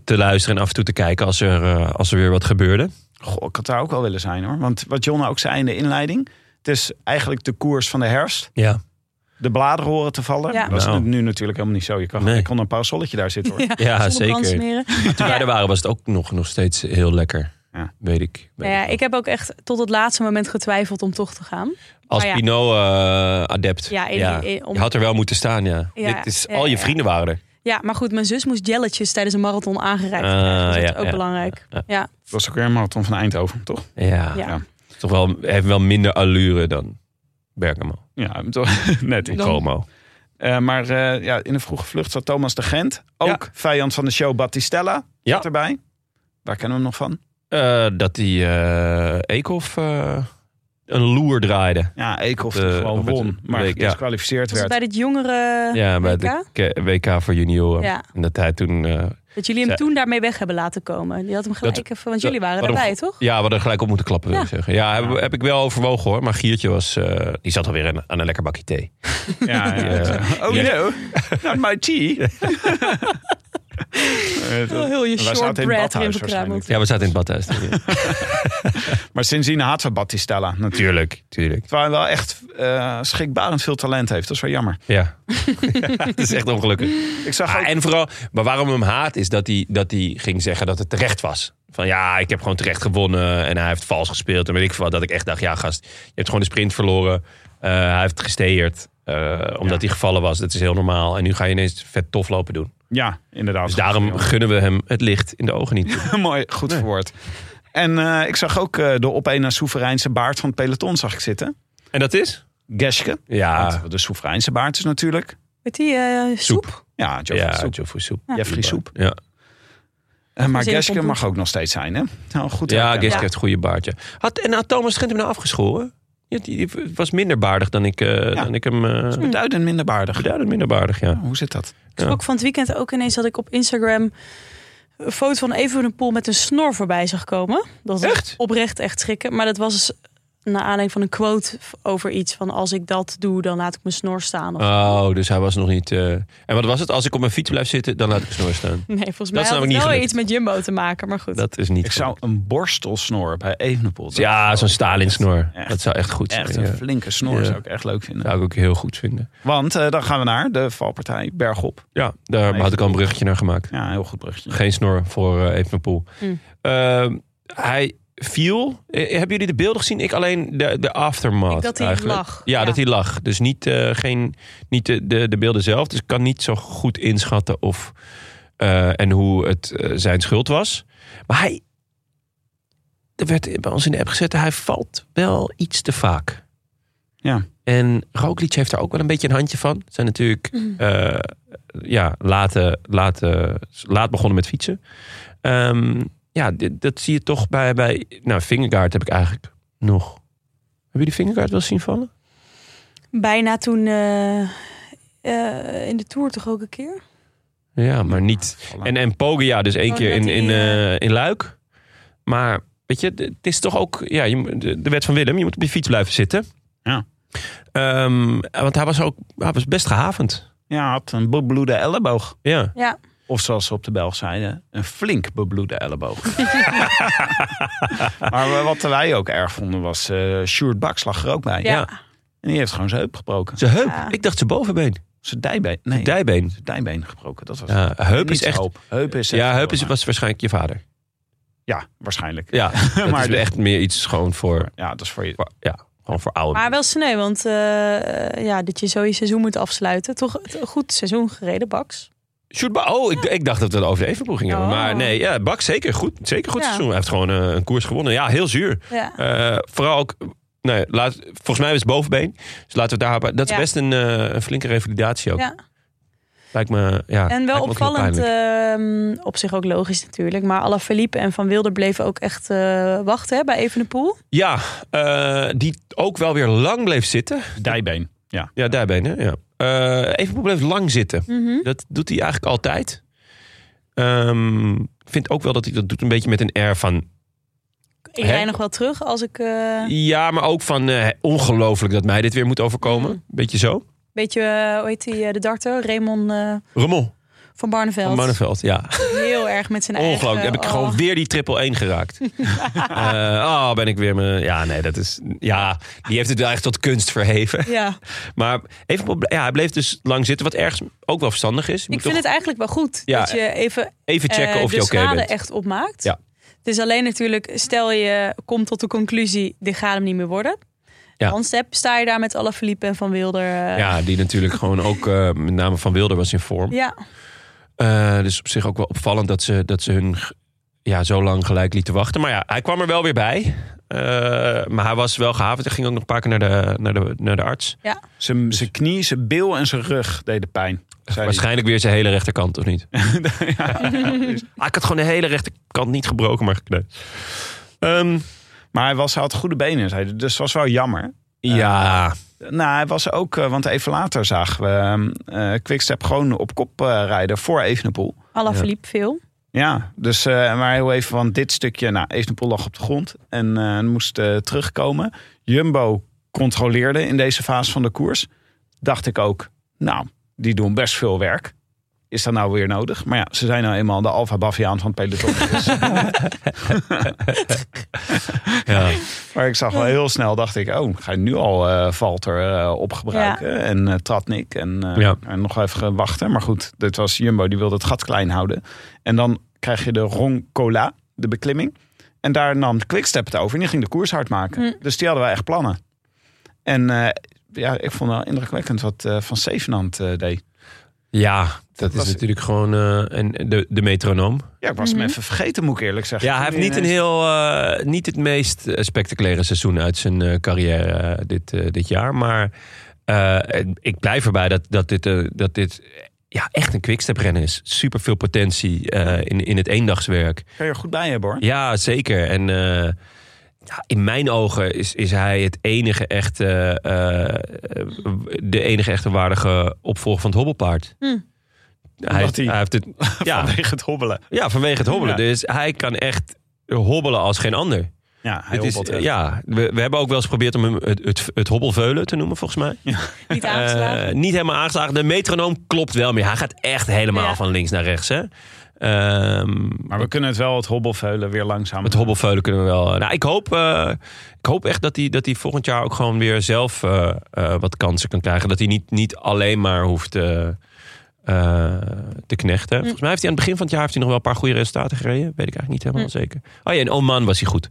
[SPEAKER 2] te luisteren en af en toe te kijken als er, eh, als er weer wat gebeurde.
[SPEAKER 1] Goh, ik had daar ook wel willen zijn hoor. Want wat John ook zei in de inleiding. Het is eigenlijk de koers van de herfst.
[SPEAKER 2] Ja.
[SPEAKER 1] De bladeren horen te vallen.
[SPEAKER 3] Ja.
[SPEAKER 1] Dat was
[SPEAKER 2] Nou.
[SPEAKER 1] nu natuurlijk helemaal niet zo. Je, kan,
[SPEAKER 2] Nee.
[SPEAKER 1] je kon een parasolletje daar zitten hoor.
[SPEAKER 2] Ja, Ah, zeker.
[SPEAKER 3] Smeren.
[SPEAKER 2] Toen wij er waren was het ook nog, nog steeds heel lekker.
[SPEAKER 1] Ja.
[SPEAKER 2] Weet ik.
[SPEAKER 3] Nou ja, ik heb ook echt tot het laatste moment getwijfeld om toch te gaan.
[SPEAKER 2] Als
[SPEAKER 3] maar nou
[SPEAKER 2] Pinot
[SPEAKER 3] ja.
[SPEAKER 2] eh, adept.
[SPEAKER 3] Ja, in- in- om-
[SPEAKER 2] Je had er wel moeten staan, ja.
[SPEAKER 3] Ja,
[SPEAKER 2] Dit is,
[SPEAKER 3] ja,
[SPEAKER 2] al je
[SPEAKER 3] ja.
[SPEAKER 2] vrienden waren er.
[SPEAKER 3] Ja, maar goed, mijn zus moest jelletjes tijdens een marathon aangereikt
[SPEAKER 2] Ah,
[SPEAKER 3] krijgen. Dus dat
[SPEAKER 2] ja,
[SPEAKER 3] is ook
[SPEAKER 2] ja.
[SPEAKER 3] belangrijk. Ja, ja.
[SPEAKER 1] Het was ook weer een marathon van Eindhoven, toch?
[SPEAKER 2] Ah, Ja.
[SPEAKER 3] Ja.
[SPEAKER 2] Toch wel, heeft wel minder allure dan Bergamo.
[SPEAKER 1] Ja, toch? net.
[SPEAKER 2] In
[SPEAKER 1] in
[SPEAKER 2] Como.
[SPEAKER 1] Eh, maar eh, ja, in de vroege vlucht zat Thomas de Gent. Ook vijand van de show Battistella
[SPEAKER 2] Ja.
[SPEAKER 1] zat erbij. Waar kennen we hem nog van?
[SPEAKER 2] Eh, dat die eh Eekhoff eh, een loer draaide.
[SPEAKER 1] Ja, Eekhoff
[SPEAKER 2] De-
[SPEAKER 1] die gewoon
[SPEAKER 2] Robert
[SPEAKER 1] won. Maar
[SPEAKER 2] Week, ja.
[SPEAKER 1] gedisqualificeerd
[SPEAKER 3] Was het
[SPEAKER 1] werd.
[SPEAKER 3] bij dit jongere
[SPEAKER 2] Ja, bij de
[SPEAKER 3] Eh, WK?
[SPEAKER 2] K- WK voor junioren.
[SPEAKER 3] Ja.
[SPEAKER 2] En dat hij toen... eh,
[SPEAKER 3] Dat jullie hem
[SPEAKER 2] Zij-
[SPEAKER 3] toen daarmee weg hebben laten komen. Die had hem gelijk
[SPEAKER 2] Dat-
[SPEAKER 3] even, want jullie waren
[SPEAKER 2] waarom-
[SPEAKER 3] erbij, toch?
[SPEAKER 2] ja, we hadden gelijk op moeten klappen, wil
[SPEAKER 3] Ja.
[SPEAKER 2] ik zeggen. Ja, heb,
[SPEAKER 1] Ja.
[SPEAKER 2] heb ik wel overwogen hoor. Maar Giertje was... eh, die zat alweer aan, aan een lekker bakje thee.
[SPEAKER 1] Ja, ja, ja.
[SPEAKER 2] Ja.
[SPEAKER 1] Oh no, not my tea.
[SPEAKER 3] Oh, heel je
[SPEAKER 1] Wij zaten in het
[SPEAKER 3] shortbread erin
[SPEAKER 1] badhuis
[SPEAKER 3] verkrameld.
[SPEAKER 1] waarschijnlijk.
[SPEAKER 2] Ja, we zaten in het badhuis. toen, ja.
[SPEAKER 1] Maar sindsdien haten we Battistella natuurlijk.
[SPEAKER 2] tuurlijk, tuurlijk.
[SPEAKER 1] Terwijl hij wel echt eh, schrikbarend veel talent heeft. Dat is wel jammer.
[SPEAKER 2] Ja. Het is echt ongelukkig.
[SPEAKER 1] Ik zag ook...
[SPEAKER 2] Ah, en vooral, maar waarom hem haat is dat hij, dat hij ging zeggen dat het terecht was. Van ja, ik heb gewoon terecht gewonnen en hij heeft vals gespeeld. En weet ik veel wat, dat ik echt dacht, ja gast, je hebt gewoon de sprint verloren. Eh, hij heeft gesteerd, eh, omdat hij gevallen was. Dat is heel normaal. En nu ga je ineens vet tof lopen doen.
[SPEAKER 1] Ja, inderdaad.
[SPEAKER 2] Dus daarom gunnen we hem het licht in de ogen niet. toe.
[SPEAKER 1] Mooi, goed verwoord. En eh, ik zag ook eh, de op één na soevereinse baard van het peloton zag ik zitten.
[SPEAKER 2] En dat is?
[SPEAKER 1] Geske.
[SPEAKER 2] Ja,
[SPEAKER 1] Want de soevereinse baard is natuurlijk.
[SPEAKER 3] Met die eh, soep.
[SPEAKER 2] soep.
[SPEAKER 1] Ja, Geoffrey
[SPEAKER 2] Ja,
[SPEAKER 1] Soep.
[SPEAKER 2] Joffrey Soep.
[SPEAKER 1] Jeffrey Soep.
[SPEAKER 2] Ja,
[SPEAKER 1] Eh, maar
[SPEAKER 3] Zin in
[SPEAKER 1] Geske
[SPEAKER 3] pompoen.
[SPEAKER 1] mag ook nog steeds zijn, hè? Nou, goed.
[SPEAKER 2] ja
[SPEAKER 1] herkend.
[SPEAKER 2] Geske
[SPEAKER 3] Ja.
[SPEAKER 2] heeft een goede baardje. Had, en had Thomas Gent hem nou afgeschoren? Ja, die, die was minder baardig dan ik, eh, dan ik hem... eh,
[SPEAKER 1] Beduidend minder baardig.
[SPEAKER 2] Beduidend minder baardig, ja.
[SPEAKER 1] Oh, Hoe zit dat?
[SPEAKER 2] Ja.
[SPEAKER 3] Ook van het weekend ook ineens dat ik op Instagram een foto van Evenepoel met een snor voorbij zag komen. Dat was
[SPEAKER 2] Echt?
[SPEAKER 3] Oprecht echt schrikken. Maar dat was dus naar aanleiding van een quote over iets van als ik dat doe, dan laat ik mijn snor staan. Of...
[SPEAKER 2] Oh, dus hij was nog niet... eh, En wat was het? Als ik op mijn fiets blijf zitten, dan laat ik snor staan.
[SPEAKER 3] nee, volgens
[SPEAKER 2] is
[SPEAKER 3] mij
[SPEAKER 2] namelijk
[SPEAKER 3] had het
[SPEAKER 2] niet
[SPEAKER 3] wel
[SPEAKER 2] gelukt.
[SPEAKER 3] iets met Jumbo te maken, maar goed.
[SPEAKER 2] Dat is niet...
[SPEAKER 1] Ik zou
[SPEAKER 2] gelukt.
[SPEAKER 1] een borstelsnor bij Evenepoel. dat
[SPEAKER 2] Ja,
[SPEAKER 1] zou
[SPEAKER 2] zo'n
[SPEAKER 1] ik
[SPEAKER 2] Stalin-snor.
[SPEAKER 1] echt-
[SPEAKER 2] Dat zou echt goed zijn.
[SPEAKER 1] Echt
[SPEAKER 2] ja.
[SPEAKER 1] een flinke snor
[SPEAKER 2] Ja.
[SPEAKER 1] zou ik echt leuk vinden.
[SPEAKER 2] zou ik ook heel goed vinden.
[SPEAKER 1] Want eh, dan gaan we naar de valpartij Bergop.
[SPEAKER 2] Ja, daar
[SPEAKER 1] Nee.
[SPEAKER 2] had ik al een bruggetje naar gemaakt.
[SPEAKER 1] Ja, heel goed bruggetje.
[SPEAKER 2] Geen snor voor eh Evenepoel.
[SPEAKER 3] Mm.
[SPEAKER 2] Ehm, hij viel. Eh, hebben jullie de beelden gezien? Ik alleen de, de aftermath.
[SPEAKER 3] Ik dat hij
[SPEAKER 2] eigenlijk.
[SPEAKER 3] lag.
[SPEAKER 2] Ja,
[SPEAKER 3] Ja.
[SPEAKER 2] dat hij lag. Dus niet, eh, geen, niet de, de, de beelden zelf. Dus ik kan niet zo goed inschatten of eh, en hoe het eh, zijn schuld was. Maar hij. Er werd bij ons in de app gezet. Hij valt wel iets te vaak.
[SPEAKER 1] Ja.
[SPEAKER 2] En Roglic heeft daar ook wel een beetje een handje van. Zijn natuurlijk
[SPEAKER 3] Mm.
[SPEAKER 2] eh, ja, late, late, laat begonnen met fietsen. Ehm, ja, dit- dat zie je toch bij... bij nou, Fingergaard heb ik eigenlijk nog... Hebben jullie Fingergaard wel zien vallen?
[SPEAKER 3] Bijna toen eh, eh, in de Tour toch ook een keer?
[SPEAKER 2] Ja, maar niet...
[SPEAKER 1] Voilà.
[SPEAKER 2] En, en Poggia dus één
[SPEAKER 3] Oh,
[SPEAKER 2] keer
[SPEAKER 3] net
[SPEAKER 2] in, in,
[SPEAKER 3] die,
[SPEAKER 2] eh, in Luik. Maar weet je, d- het is toch ook... Ja, je, moet- de, de wet van Willem, je moet op je fiets blijven zitten.
[SPEAKER 1] Ja.
[SPEAKER 2] Ehm, want hij was ook hij was best gehavend.
[SPEAKER 1] Ja, had een bebloede elleboog.
[SPEAKER 2] Ja.
[SPEAKER 3] Ja,
[SPEAKER 1] Of zoals ze op de Belg zeiden, een flink bebloede elleboog. maar wat wij ook erg vonden was, eh Sjoerd Baks lag er ook bij.
[SPEAKER 3] ja.
[SPEAKER 2] Ja.
[SPEAKER 1] En die heeft gewoon zijn heup gebroken.
[SPEAKER 2] Zijn heup.
[SPEAKER 3] Ja.
[SPEAKER 2] Ik dacht zijn bovenbeen.
[SPEAKER 1] Zijn dijbeen. Nee,
[SPEAKER 2] Dijbeen.
[SPEAKER 1] zijn dijbeen gebroken. Dat was
[SPEAKER 2] Ja, heup is
[SPEAKER 1] Niet
[SPEAKER 2] echt...
[SPEAKER 1] Heup, heup is echt eh,
[SPEAKER 2] Ja, heup is,
[SPEAKER 1] heel
[SPEAKER 2] was waarschijnlijk je vader.
[SPEAKER 1] naar. Ja, waarschijnlijk.
[SPEAKER 2] Ja, dat
[SPEAKER 1] Maar dus-
[SPEAKER 2] is
[SPEAKER 1] de-
[SPEAKER 2] echt meer iets gewoon voor...
[SPEAKER 1] Ja, dat is voor je.
[SPEAKER 2] voor- Ja, gewoon voor oude
[SPEAKER 3] Maar wel sneu, want eh, ja, dat je zo je seizoen moet afsluiten. Toch het- goed seizoen gereden, Baks.
[SPEAKER 2] Sjoerd Ba- Oh, ik, ik dacht dat we het over de evenboeg gingen hebben.
[SPEAKER 3] Oh.
[SPEAKER 2] Maar nee, ja, Bak zeker goed. Zeker goed
[SPEAKER 3] Ja.
[SPEAKER 2] seizoen. Hij heeft gewoon eh, een koers gewonnen. Ja, heel zuur.
[SPEAKER 3] Ja.
[SPEAKER 2] Eh, vooral ook... Nee, laat, volgens mij was het bovenbeen. Dus laten we het daar... Dat is
[SPEAKER 3] Ja.
[SPEAKER 2] best een, eh, een flinke revalidatie ook.
[SPEAKER 3] Ja.
[SPEAKER 2] Lijkt me... Ja, lijkt
[SPEAKER 3] En wel
[SPEAKER 2] me ook heel
[SPEAKER 3] opvallend,
[SPEAKER 2] pijnlijk.
[SPEAKER 3] ehm, op zich ook logisch natuurlijk. Maar Alaphilippe en Van Wilder bleven ook echt eh, wachten hè, bij Evenepoel.
[SPEAKER 2] ja, eh, die ook wel weer lang bleef zitten.
[SPEAKER 1] Dijbeen. Ja.
[SPEAKER 2] Ja, daarbij, hè? Ja. Eh Evenpoel bleef lang zitten. Dat doet hij eigenlijk altijd. Ehm, ik vind ook wel dat hij dat doet een beetje met een air van...
[SPEAKER 3] Ik
[SPEAKER 2] Hè?
[SPEAKER 3] rij nog wel terug als ik eh, een
[SPEAKER 2] Ja, maar ook van eh, ongelooflijk dat mij dit weer moet overkomen. Beetje zo.
[SPEAKER 3] beetje, eh, hoe heet die, eh, de darter, Raymond eh,
[SPEAKER 2] Rommel
[SPEAKER 3] van Barneveld.
[SPEAKER 2] van Manneveld, ja.
[SPEAKER 3] Heel erg met zijn eigen...
[SPEAKER 2] Ongelooflijk. Heb ik
[SPEAKER 3] oh.
[SPEAKER 2] gewoon weer die triple 1 geraakt. Eh, oh, ben ik weer me... Ja, nee, dat is... Ja, die heeft het wel echt tot kunst verheven.
[SPEAKER 3] Ja,
[SPEAKER 2] Maar even... Ja, hij bleef dus lang zitten, wat ergens ook wel verstandig is. Je
[SPEAKER 3] ik
[SPEAKER 2] moet
[SPEAKER 3] vind
[SPEAKER 2] toch
[SPEAKER 3] het eigenlijk wel goed
[SPEAKER 2] Ja,
[SPEAKER 3] dat je even
[SPEAKER 2] even checken
[SPEAKER 3] eh,
[SPEAKER 2] of
[SPEAKER 3] de
[SPEAKER 2] je oké
[SPEAKER 3] schade
[SPEAKER 2] bent.
[SPEAKER 3] echt opmaakt.
[SPEAKER 2] Ja.
[SPEAKER 3] Het is alleen natuurlijk, stel je komt tot de conclusie, dit gaat hem niet meer worden.
[SPEAKER 2] Ja.
[SPEAKER 3] Dan step, sta je daar met Alaphilippe en Van Wilder. eh,
[SPEAKER 2] Ja, die natuurlijk gewoon ook... eh, met name Van Wilder was in vorm.
[SPEAKER 3] ja.
[SPEAKER 2] Eh, dus op zich ook wel opvallend dat ze, dat ze hun ja, zo lang gelijk lieten wachten. Maar ja, hij kwam er wel weer bij. Eh, maar hij was wel gehavend. Hij ging ook nog een paar keer naar de, naar de, naar de arts.
[SPEAKER 1] Zijn zijn knie, zijn bil en zijn rug deden pijn. zei hij.
[SPEAKER 2] Waarschijnlijk weer zijn hele rechterkant, of niet?
[SPEAKER 1] Ja.
[SPEAKER 2] Ah, ik had gewoon de hele rechterkant niet gebroken, maar gekneusd. Ehm,
[SPEAKER 1] Maar hij, was, hij had goede benen, zei hij. Dus het was wel jammer.
[SPEAKER 2] ja,
[SPEAKER 1] Nou, hij was ook, eh, want even later zagen we ehm, eh Quickstep gewoon op kop eh, rijden voor Evenepoel.
[SPEAKER 3] Alaphilippe veel.
[SPEAKER 1] Ja, dus eh, maar heel even, want dit stukje, nou, Evenepoel lag op de grond en eh, moest eh, terugkomen. Jumbo controleerde in deze fase van de koers. Dacht ik ook, nou, die doen best veel werk. Is dat nou weer nodig? Maar ja, ze zijn nou eenmaal de Alfa Baviaan van het peloton. Dus,
[SPEAKER 2] ja.
[SPEAKER 1] maar ik zag wel heel snel, dacht ik, oh, ga je nu al eh Valter eh, opgebruiken? En eh Tratnik en, eh,
[SPEAKER 2] Ja.
[SPEAKER 1] en nog even wachten. Maar goed, dit was Jumbo, die wilde het gat klein houden. En dan krijg je de Roncola, de beklimming. En daar nam Quickstep het over en die ging de koers hard maken.
[SPEAKER 3] Mm.
[SPEAKER 1] Dus die hadden wij echt plannen. En eh, ja, ik vond wel indrukwekkend wat eh, Van Zevenand eh, deed.
[SPEAKER 2] ja, dat, is
[SPEAKER 1] was-
[SPEAKER 2] natuurlijk gewoon eh, en de, de metronoom.
[SPEAKER 1] Ja, ik was hem even vergeten, moet ik eerlijk zeggen.
[SPEAKER 2] Ja, hij heeft niet, een heel, eh, niet het meest eh, spectaculaire seizoen uit zijn eh, carrière eh, dit, eh, dit jaar. Maar eh, ik blijf erbij dat, dat dit, eh, dat dit eh, ja, echt een quickstep-renner is. Super veel potentie eh, in, in het eendagswerk.
[SPEAKER 1] Kan je er goed bij hebben, hoor.
[SPEAKER 2] Ja, zeker. En eh, ja, in mijn ogen is, is hij het enige echte, eh, eh, de enige echte waardige opvolger van het hobbelpaard.
[SPEAKER 3] Hm.
[SPEAKER 2] Hij,
[SPEAKER 1] Omdat hij-
[SPEAKER 2] hij heeft het, ja,
[SPEAKER 1] Vanwege het hobbelen.
[SPEAKER 2] ja, vanwege het hobbelen.
[SPEAKER 1] Ja.
[SPEAKER 2] Dus hij kan echt hobbelen als geen ander.
[SPEAKER 1] Ja, hij
[SPEAKER 2] Het is,
[SPEAKER 1] hobbelt, eh.
[SPEAKER 2] ja, we, we hebben ook wel eens geprobeerd om hem het, het, het hobbelveulen te noemen, volgens mij.
[SPEAKER 3] Niet aangeslagen.
[SPEAKER 2] Eh, niet helemaal aangeslagen. De metronoom klopt wel meer. Hij gaat echt helemaal
[SPEAKER 3] Ja.
[SPEAKER 2] van links naar rechts. Hè? Ehm,
[SPEAKER 1] Maar we kunnen het wel, het hobbelveulen, weer langzaam.
[SPEAKER 2] het hobbelveulen kunnen we wel. Nou, ik, hoop, eh, ik hoop echt dat hij, dat hij volgend jaar ook gewoon weer zelf eh, eh, wat kansen kan krijgen. Dat hij niet, niet alleen maar hoeft eh, eh, te knechten.
[SPEAKER 1] Mm.
[SPEAKER 2] Volgens mij heeft hij aan het begin van het jaar heeft hij nog wel een paar goede resultaten gereden. Weet ik eigenlijk niet
[SPEAKER 1] Mm.
[SPEAKER 2] helemaal zeker. Oh ja, in Oman was hij goed.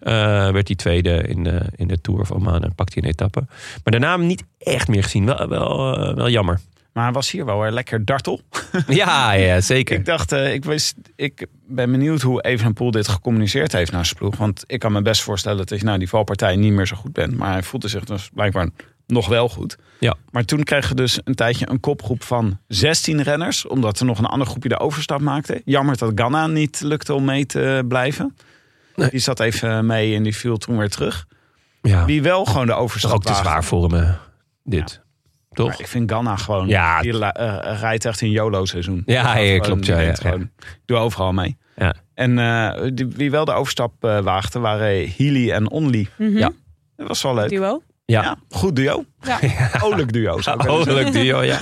[SPEAKER 2] Eh, werd hij tweede in de, in de Tour van Oman en pakte hij een etappe. Maar daarna hem niet echt meer gezien. Wel, wel, eh, wel jammer.
[SPEAKER 1] Maar hij was hier wel weer lekker dartel.
[SPEAKER 2] ja, ja, zeker.
[SPEAKER 1] Ik dacht, eh, ik, wist, ik ben benieuwd hoe Evenepoel dit gecommuniceerd heeft naar zijn ploeg. Want ik kan me best voorstellen dat je nou die valpartij niet meer zo goed bent. Maar hij voelde zich dus blijkbaar nog wel goed.
[SPEAKER 2] Ja.
[SPEAKER 1] Maar toen kregen we dus een tijdje een kopgroep van 16 renners. Omdat er nog een ander groepje de overstap maakte. Jammer dat Ganna niet lukte om mee te blijven.
[SPEAKER 2] Nee.
[SPEAKER 1] Die zat even mee en die viel toen weer terug.
[SPEAKER 2] Ja,
[SPEAKER 1] Wie wel gewoon de
[SPEAKER 2] is
[SPEAKER 1] overstap
[SPEAKER 2] ook te
[SPEAKER 1] waagde.
[SPEAKER 2] zwaar voor hem, eh, dit. Toch?
[SPEAKER 1] Maar ik vind Ganna gewoon...
[SPEAKER 2] Ja.
[SPEAKER 1] Die la- eh, rijdt echt in YOLO-seizoen.
[SPEAKER 2] Ah, Ja,
[SPEAKER 1] Die gaat
[SPEAKER 2] ja,
[SPEAKER 1] gewoon-
[SPEAKER 2] klopt,
[SPEAKER 1] die
[SPEAKER 2] ja,
[SPEAKER 1] denkt
[SPEAKER 2] ja, ja.
[SPEAKER 1] gewoon, ik doe overal mee.
[SPEAKER 2] Ja.
[SPEAKER 1] En eh, die- wie wel de overstap eh waagde, waren Healy en Only.
[SPEAKER 3] Mhm.
[SPEAKER 2] ja.
[SPEAKER 1] Dat was wel leuk.
[SPEAKER 3] Duo.
[SPEAKER 2] Ja.
[SPEAKER 1] Ja, goed duo.
[SPEAKER 3] Ja.
[SPEAKER 1] Olijk duo. Zou ik
[SPEAKER 2] Oh,
[SPEAKER 1] willen
[SPEAKER 2] leuk duo, ja.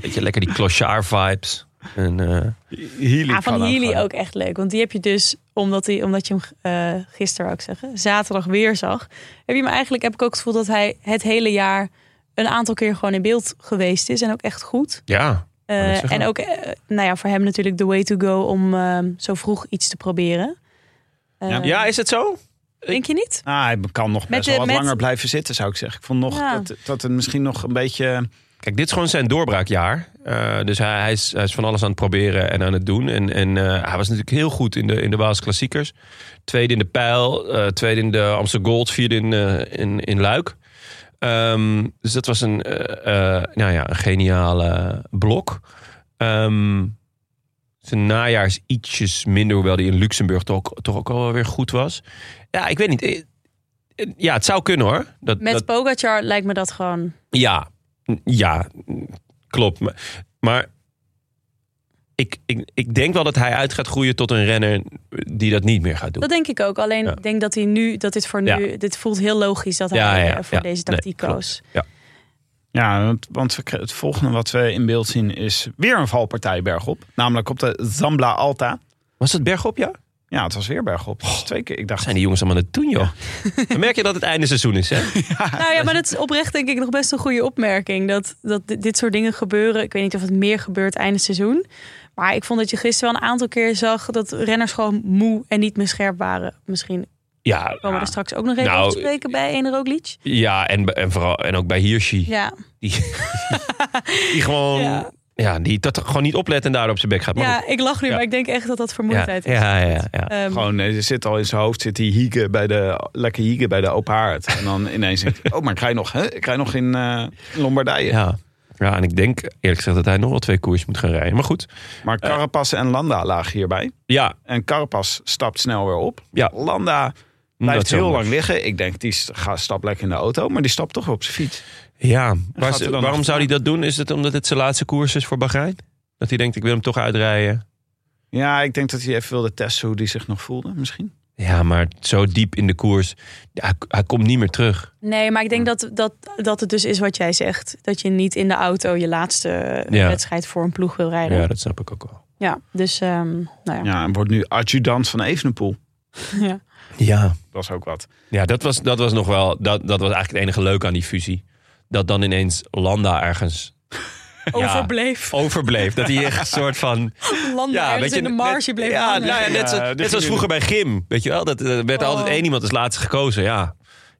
[SPEAKER 2] Beetje lekker die clochard vibes. En, eh,
[SPEAKER 1] zeggen. Healy
[SPEAKER 3] Ja, Ah, van
[SPEAKER 1] kan
[SPEAKER 3] Healy
[SPEAKER 1] gewoon.
[SPEAKER 3] ook echt leuk. Want die heb je dus, omdat, die, omdat je hem eh, gisteren, wou ik zeggen, zaterdag weer zag. Heb je hem eigenlijk, heb ik ook het gevoel dat hij het hele jaar een aantal keer gewoon in beeld geweest is. En ook echt goed.
[SPEAKER 2] ja,
[SPEAKER 3] Eh,
[SPEAKER 2] dat zeggen.
[SPEAKER 3] en ook, eh, nou ja, voor hem natuurlijk de way to go om eh, zo vroeg iets te proberen. Eh,
[SPEAKER 1] Ja.
[SPEAKER 2] ja, is het zo?
[SPEAKER 3] Denk je niet?
[SPEAKER 1] Ah, hij kan nog best
[SPEAKER 3] de-
[SPEAKER 1] wel wat
[SPEAKER 3] met-
[SPEAKER 1] langer blijven zitten, zou ik zeggen. Ik vond nog
[SPEAKER 3] Ja.
[SPEAKER 1] dat, dat het misschien nog een beetje...
[SPEAKER 2] Kijk, dit is gewoon zijn doorbraakjaar. Eh, dus hij, hij, is, hij is van alles aan het proberen en aan het doen. En, en eh, hij was natuurlijk heel goed in de, in de Waalse klassiekers. Tweede in de Pijl, eh, tweede in de Amsterdam Gold, vierde in, eh, in, in Luik. Ehm, dus dat was een, eh, eh, nou ja, een geniale blok. Ehm, zijn najaar is ietsjes minder, hoewel die in Luxemburg toch, ook- toch ook wel weer goed was. Ja, ik weet niet. Eh, eh, Ja, het zou kunnen hoor. Dat,
[SPEAKER 3] Met
[SPEAKER 2] dat,
[SPEAKER 3] Pogacar lijkt me dat gewoon...
[SPEAKER 2] ja, N- ja, n- klopt. Maar, maar ik, ik, ik denk wel dat hij uit gaat groeien tot een renner die dat niet meer gaat doen.
[SPEAKER 3] Dat denk ik ook. Alleen
[SPEAKER 2] Ja.
[SPEAKER 3] ik denk dat hij nu, dat dit voor nu,
[SPEAKER 2] Ja.
[SPEAKER 3] dit voelt heel logisch dat hij
[SPEAKER 2] Ja, ja,
[SPEAKER 3] eh,
[SPEAKER 2] ja.
[SPEAKER 3] voor
[SPEAKER 2] Ja.
[SPEAKER 3] deze
[SPEAKER 2] Nee,
[SPEAKER 3] tactiek
[SPEAKER 2] klopt.
[SPEAKER 3] koos.
[SPEAKER 1] Ja, want, want we kre- het volgende wat we in beeld zien is weer een valpartij bergop. Namelijk op de Zambla Alta.
[SPEAKER 2] Was het bergop, ja?
[SPEAKER 1] Ja, het was weer bergop. Dus twee keer. Ik dacht,
[SPEAKER 2] Oh. Zijn die jongens allemaal aan het doen, joh? Dan merk je dat het einde seizoen is, hè?
[SPEAKER 3] Nou ja, maar dat is oprecht denk ik nog best een goede opmerking. Dat, dat di- dit soort dingen gebeuren. Ik weet niet of het meer gebeurt einde seizoen. Maar ik vond dat je gisteren wel een aantal keer zag dat renners gewoon moe en niet meer scherp waren. Misschien
[SPEAKER 2] Ja,
[SPEAKER 3] komen we er straks ook nog even
[SPEAKER 2] Nou,
[SPEAKER 3] op te spreken bij Ene Roglic.
[SPEAKER 2] ja en, bij- en, vooral, en ook bij Hirschi.
[SPEAKER 3] Ja,
[SPEAKER 2] Die gewoon... Ja.
[SPEAKER 3] Ja.
[SPEAKER 2] die dat gewoon niet oplet en daar op zijn bek gaat. Maar
[SPEAKER 3] ja ik lach nu,
[SPEAKER 2] Ja.
[SPEAKER 3] maar ik denk echt dat dat
[SPEAKER 2] goed.
[SPEAKER 3] vermoeidheid is.
[SPEAKER 2] ja, ja, ja, ja.
[SPEAKER 3] Ehm,
[SPEAKER 1] gewoon, eh, er zit al in zijn hoofd, zit die hieken bij de, lekker hieken bij de open haard. En dan ineens denk ik, oh, maar ik rij nog, hè? ik rij nog in eh, Lombardije.
[SPEAKER 2] ja. Ja, en ik denk eerlijk gezegd dat hij nog wel twee koers moet gaan rijden. Maar goed,
[SPEAKER 1] Maar
[SPEAKER 2] Eh.
[SPEAKER 1] Carapaz en Landa lagen hierbij.
[SPEAKER 2] ja,
[SPEAKER 1] En Carapaz stapt snel weer op.
[SPEAKER 2] Ja.
[SPEAKER 1] Landa blijft
[SPEAKER 2] dat
[SPEAKER 1] heel
[SPEAKER 2] zomaar.
[SPEAKER 1] lang liggen. Ik denk, die sta- stapt lekker in de auto, maar die stapt toch op zijn fiets.
[SPEAKER 2] Ja,
[SPEAKER 1] gaat
[SPEAKER 2] waar,
[SPEAKER 1] hij dan
[SPEAKER 2] waarom
[SPEAKER 1] achteraan?
[SPEAKER 2] zou hij dat doen? Is het omdat het zijn laatste koers is voor Bahrein? Dat hij denkt, ik wil hem toch uitrijden.
[SPEAKER 1] Ja, ik denk dat hij even wilde testen hoe die zich nog voelde, misschien.
[SPEAKER 2] Ja, maar zo diep in de koers. Hij, hij komt niet meer terug.
[SPEAKER 3] Nee, maar ik denk dat, dat, dat het dus is wat jij zegt. Dat je niet in de auto je laatste eh,
[SPEAKER 2] Ja.
[SPEAKER 3] wedstrijd voor een ploeg wil rijden.
[SPEAKER 2] Ja,
[SPEAKER 3] Ja,
[SPEAKER 2] dat snap ik ook wel.
[SPEAKER 3] dus ehm, nou ja.
[SPEAKER 1] Ja, en wordt nu adjudant van Evenepoel.
[SPEAKER 3] ja.
[SPEAKER 2] Ja,
[SPEAKER 1] Dat is ook wat.
[SPEAKER 2] ja dat, was, dat was nog wel. Dat, dat was eigenlijk het enige leuke aan die fusie. Dat dan ineens Landa ergens
[SPEAKER 3] Overbleef.
[SPEAKER 2] overbleef. Dat hij echt een soort van.
[SPEAKER 3] Landen
[SPEAKER 2] Ja,
[SPEAKER 3] ergens
[SPEAKER 2] weet je,
[SPEAKER 3] in de marge bleef
[SPEAKER 2] ja,
[SPEAKER 3] hangen. Oh.
[SPEAKER 2] nou ja, net, zo,
[SPEAKER 1] Ja,
[SPEAKER 2] net
[SPEAKER 1] dus
[SPEAKER 2] zoals vroeger bij Gym. Weet je wel, dat er werd altijd één iemand als laatste gekozen. Ja,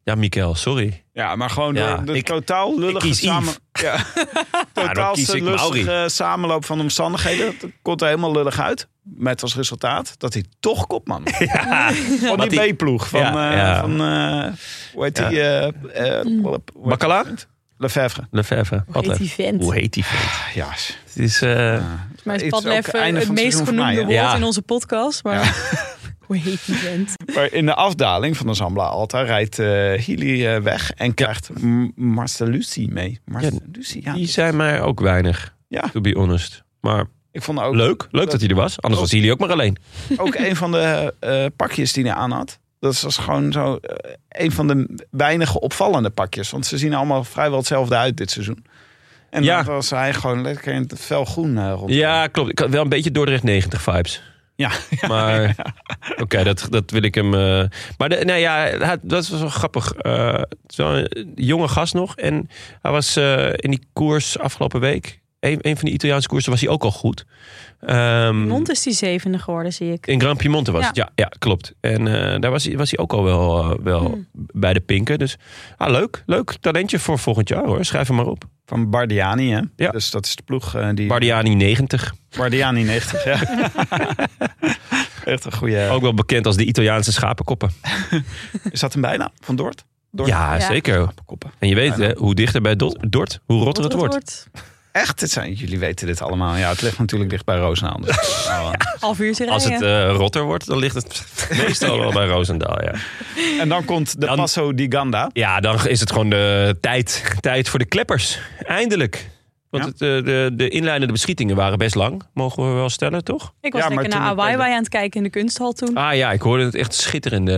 [SPEAKER 2] ja Mikkel, sorry.
[SPEAKER 1] Ja, maar gewoon
[SPEAKER 2] Ja,
[SPEAKER 1] door de
[SPEAKER 2] ik-
[SPEAKER 1] totaal lullige
[SPEAKER 2] kies Yves. Nou,
[SPEAKER 1] samen... Ja,
[SPEAKER 2] dan
[SPEAKER 1] totaal
[SPEAKER 2] kies ik
[SPEAKER 1] lustige samenloop van omstandigheden. Dat komt er helemaal lullig uit. Met als resultaat dat hij toch kopman wordt. Van
[SPEAKER 2] Wat die-
[SPEAKER 1] die B-ploeg. Van,
[SPEAKER 2] Ja,
[SPEAKER 1] eh,
[SPEAKER 2] ja.
[SPEAKER 1] van eh, hoe heet die? eh, eh, hoe heet die
[SPEAKER 2] Bacala?
[SPEAKER 1] vent? Lefevre.
[SPEAKER 2] Lefebvre.
[SPEAKER 3] Hoe heet die vent?
[SPEAKER 2] Hoe heet die vent?
[SPEAKER 1] Ja,
[SPEAKER 2] Het is, eh,
[SPEAKER 3] Maar
[SPEAKER 1] Iets
[SPEAKER 3] is
[SPEAKER 1] ook
[SPEAKER 3] Padlef
[SPEAKER 1] einde
[SPEAKER 3] eh,
[SPEAKER 1] van
[SPEAKER 3] het,
[SPEAKER 1] het
[SPEAKER 3] meest
[SPEAKER 1] seizoen voor mij,
[SPEAKER 3] genoemde
[SPEAKER 1] hè?
[SPEAKER 3] woord
[SPEAKER 2] Ja.
[SPEAKER 3] in onze podcast? Maar hoe heet die vent?
[SPEAKER 1] maar in de afdaling van de Zambla Alta rijdt eh Healy eh, weg en krijgt M- Marcelucci mee. Marcelucci, ja.
[SPEAKER 2] die zijn mij ook weinig,
[SPEAKER 1] Ja.
[SPEAKER 2] to be honest. Maar
[SPEAKER 1] Ik vond ook
[SPEAKER 2] leuk, leuk dat hij er was. Anders was jullie ook maar alleen.
[SPEAKER 1] ook een van de eh, pakjes die hij aan had. Dat was gewoon zo eh, een van de weinige opvallende pakjes. Want ze zien allemaal vrijwel hetzelfde uit dit seizoen. En
[SPEAKER 2] Ja.
[SPEAKER 1] dan was hij gewoon lekker in het fel groen eh, rond.
[SPEAKER 2] Ja, klopt. Ik had wel een beetje Dordrecht 90 vibes.
[SPEAKER 1] Ja.
[SPEAKER 2] Maar oké, dat, dat wil ik hem... eh, Maar de, nou ja, hij- dat was wel grappig. Eh, het is wel een jonge gast nog. En hij was eh, in die koers afgelopen week... Een, een van die Italiaanse koersen was hij ook al goed. Ehm,
[SPEAKER 3] Mond is die zevende geworden, zie ik.
[SPEAKER 2] In Grand Piemonte was
[SPEAKER 3] Ja.
[SPEAKER 2] het, ja, ja klopt. En eh, daar was hij, was hij ook al wel, eh, wel
[SPEAKER 3] Hmm.
[SPEAKER 2] bij de pinken. Dus ah, leuk, leuk talentje voor volgend jaar hoor. Schrijf hem maar op.
[SPEAKER 1] Van Bardiani, hè?
[SPEAKER 2] Ja.
[SPEAKER 1] Dus dat is de ploeg eh, die...
[SPEAKER 2] Bardiani 90.
[SPEAKER 1] Bardiani 90, ja. Echt een goede...
[SPEAKER 2] Ook wel bekend als de Italiaanse schapenkoppen.
[SPEAKER 1] Is dat een bijnaam? Van Dort? Dort?
[SPEAKER 2] Ja,
[SPEAKER 3] Ja.
[SPEAKER 2] zeker.
[SPEAKER 1] Schapenkoppen.
[SPEAKER 2] En je weet, hè, hoe dichter bij Dort, Dort, hoe rotter het wordt.
[SPEAKER 1] Echt, dit zijn, jullie weten dit allemaal. Ja, het ligt natuurlijk dicht bij Roosendaal. Dus. Oh,
[SPEAKER 3] Half uur rijden.
[SPEAKER 2] Als het eh, rotter wordt, dan ligt het meestal wel bij Roosendaal. Ja.
[SPEAKER 1] En dan komt de
[SPEAKER 2] Dan-
[SPEAKER 1] Passo di Ganda.
[SPEAKER 2] ja, dan is het gewoon de tijd, tijd voor de kleppers. Eindelijk. Want
[SPEAKER 1] Ja.
[SPEAKER 2] het, eh, de, de inleidende beschietingen waren best lang, mogen we wel stellen, toch?
[SPEAKER 3] ik was
[SPEAKER 1] Ja, maar
[SPEAKER 3] lekker naar
[SPEAKER 1] toen ik-
[SPEAKER 3] Awaiwai aan het kijken in de kunsthal toen.
[SPEAKER 2] Ah ja, ik hoorde het echt schitterende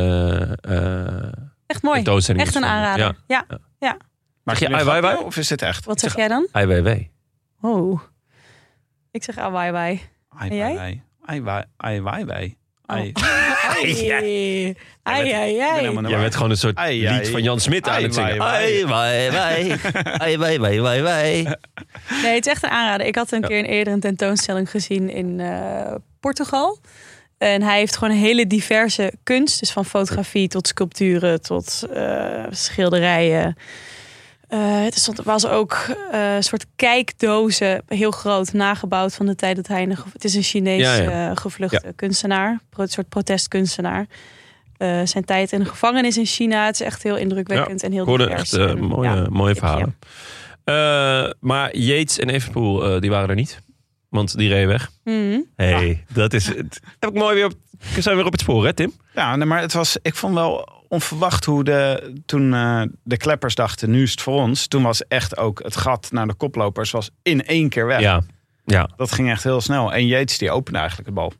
[SPEAKER 2] eh
[SPEAKER 3] Echt mooi.
[SPEAKER 2] tentoonstelling.
[SPEAKER 3] Echt een
[SPEAKER 2] is van-
[SPEAKER 3] aanrader.
[SPEAKER 2] Ja.
[SPEAKER 3] Ja. Ja. Ja.
[SPEAKER 1] Maak
[SPEAKER 2] Zeg je
[SPEAKER 1] nu een
[SPEAKER 2] ah, ai wai
[SPEAKER 1] grapje,
[SPEAKER 2] wai?
[SPEAKER 1] Of is dit echt?
[SPEAKER 3] Wat zeg jij dan?
[SPEAKER 2] Ai Weiwei.
[SPEAKER 3] Oh. Ik zeg ah, bye bye.
[SPEAKER 1] Ai
[SPEAKER 3] En jij? Oh,
[SPEAKER 1] wai wai. Ai wai wai. Ai.
[SPEAKER 2] Ja.
[SPEAKER 3] Ai,
[SPEAKER 1] Ik
[SPEAKER 3] ai,
[SPEAKER 1] ben
[SPEAKER 3] ai.
[SPEAKER 1] helemaal naar
[SPEAKER 2] Jij
[SPEAKER 1] waar.
[SPEAKER 2] bent gewoon een soort
[SPEAKER 1] Ai, ai.
[SPEAKER 2] lied van Jan Smit aan
[SPEAKER 1] Ai,
[SPEAKER 2] het zingen.
[SPEAKER 1] wai,
[SPEAKER 2] Ai, wai, wai. Ai, wai, wai, wai, wai.
[SPEAKER 3] Nee, het is echt een aanrader. Ik had een keer een eerder een tentoonstelling gezien in eh, Portugal. En hij heeft gewoon hele diverse kunst. Dus van fotografie tot sculpturen tot eh, schilderijen. Eh er stond- was ook eh, een soort kijkdozen, heel groot, nagebouwd van de tijd dat hij... In de ge- het is een Chinees
[SPEAKER 2] Ja, ja.
[SPEAKER 3] eh, gevluchte kunstenaar, pro- een soort protestkunstenaar. Eh, zijn tijd in de gevangenis in China. Het is echt heel indrukwekkend en heel
[SPEAKER 2] Ik hoorde
[SPEAKER 3] divers.
[SPEAKER 2] echt eh,
[SPEAKER 3] En,
[SPEAKER 2] mooie,
[SPEAKER 3] ja,
[SPEAKER 2] mooie
[SPEAKER 3] tipje.
[SPEAKER 2] verhalen. Eh, maar Yates en Evenpoel, eh, die waren er niet. Want die reden weg.
[SPEAKER 3] Mhm.
[SPEAKER 2] hey, dat is het. Heb ik mooi weer op, zijn we weer op het spoor, hè Tim?
[SPEAKER 1] Ja, nee, maar het was, ik vond wel onverwacht hoe de, toen eh, de kleppers dachten, nu is het voor ons. Toen was echt ook het gat naar de koplopers was in één keer weg.
[SPEAKER 2] Ja. ja.
[SPEAKER 1] Dat ging echt heel snel. En Yates die opende eigenlijk de bal.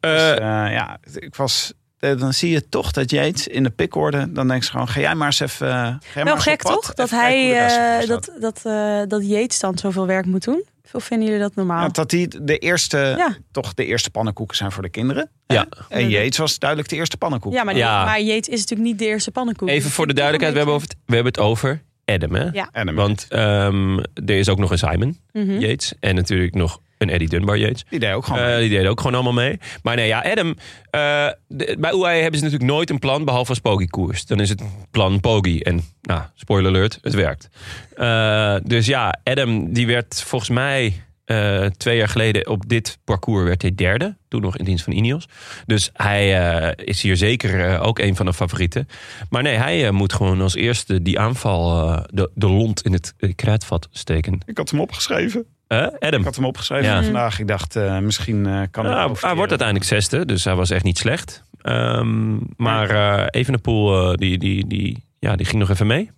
[SPEAKER 1] Dus,
[SPEAKER 2] Eh,
[SPEAKER 1] eh, ja, ik was... eh, Dan zie je toch dat Yates in de pik hoorde. Dan denk je gewoon, ga jij maar eens even... eh, Ga jij maar
[SPEAKER 3] Wel
[SPEAKER 1] eens op
[SPEAKER 3] gek
[SPEAKER 1] pad.
[SPEAKER 3] toch? Dat
[SPEAKER 1] Even kijken hoe
[SPEAKER 3] hij
[SPEAKER 1] de rest ervoor
[SPEAKER 3] eh,
[SPEAKER 1] staat.
[SPEAKER 3] dat, dat, eh, dat Yates dan zoveel werk moet doen. Of vinden jullie dat normaal?
[SPEAKER 1] Ja, dat eh, die de eerste,
[SPEAKER 3] Ja.
[SPEAKER 1] toch de eerste pannenkoeken zijn voor de kinderen.
[SPEAKER 2] Ja.
[SPEAKER 1] En Yates was duidelijk de eerste pannenkoek.
[SPEAKER 3] Ja, maar, die-
[SPEAKER 2] Ja.
[SPEAKER 3] maar Yates is natuurlijk niet de eerste pannenkoek.
[SPEAKER 2] Even voor de duidelijkheid, we hebben, over het, we hebben het over Adam, hè?
[SPEAKER 3] Ja.
[SPEAKER 1] En hem-
[SPEAKER 2] Want ehm, er is ook nog een Simon
[SPEAKER 3] Mhm.
[SPEAKER 2] Yates. En natuurlijk nog een Eddie Dunbar Yates.
[SPEAKER 1] die deed ook gewoon.
[SPEAKER 2] Eh, die deden ook gewoon allemaal mee. Maar nee, ja, Adam. eh, de- bij UAE hebben ze natuurlijk nooit een plan behalve als Pogi koerst. Dan is het plan Pogi. En, nou, spoiler alert, het werkt. Eh, dus ja, Adam, die werd volgens mij eh, twee jaar geleden op dit parcours werd hij derde. Toen nog in dienst van Ineos. Dus hij eh, is hier zeker eh, ook een van de favorieten. Maar nee, hij eh, moet gewoon als eerste die aanval eh, de, de lont in het eh, kruidvat steken.
[SPEAKER 1] ik had hem opgeschreven.
[SPEAKER 2] Eh, Adam.
[SPEAKER 1] Ik had hem opgeschreven
[SPEAKER 2] Ja.
[SPEAKER 1] vandaag. Ik dacht, eh, misschien eh, kan ik
[SPEAKER 2] Nou, hij
[SPEAKER 1] profiteren.
[SPEAKER 2] wordt uiteindelijk zesde, dus hij was echt niet slecht. Ehm, maar eh Evenepoel, eh, die, die, die, ja, die ging nog even mee.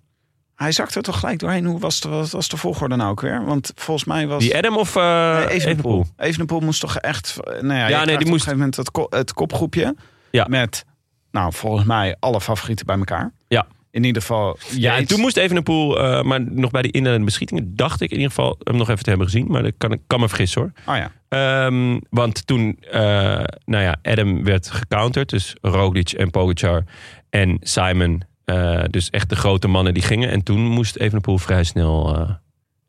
[SPEAKER 1] Hij zakte er toch gelijk doorheen. Hoe was de, wat was de volgorde nou ook weer? Want volgens mij was...
[SPEAKER 2] Die Adam of eh
[SPEAKER 1] Nee,
[SPEAKER 2] Evenepoel?
[SPEAKER 1] Evenepoel. Evenepoel moest toch echt... Nou ja,
[SPEAKER 2] nee,
[SPEAKER 1] ja
[SPEAKER 2] die
[SPEAKER 1] nee, die moest... op een
[SPEAKER 2] moest-
[SPEAKER 1] gegeven moment het, ko- het kopgroepje.
[SPEAKER 2] Ja.
[SPEAKER 1] Met, nou, volgens mij alle favorieten bij elkaar.
[SPEAKER 2] Ja.
[SPEAKER 1] In ieder geval...
[SPEAKER 2] Ja, en
[SPEAKER 1] Yates.
[SPEAKER 2] toen moest Evenepoel, eh maar nog bij die inleidende beschietingen, dacht ik in ieder geval hem nog even te hebben gezien. Maar dat kan, ik kan me vergissen hoor.
[SPEAKER 1] Oh ja.
[SPEAKER 2] Ehm, want toen, eh, nou ja, Adam werd gecounterd. Dus Roglic en Pogacar en Simon. eh, dus echt de grote mannen die gingen. En toen moest Evenepoel vrij snel, eh,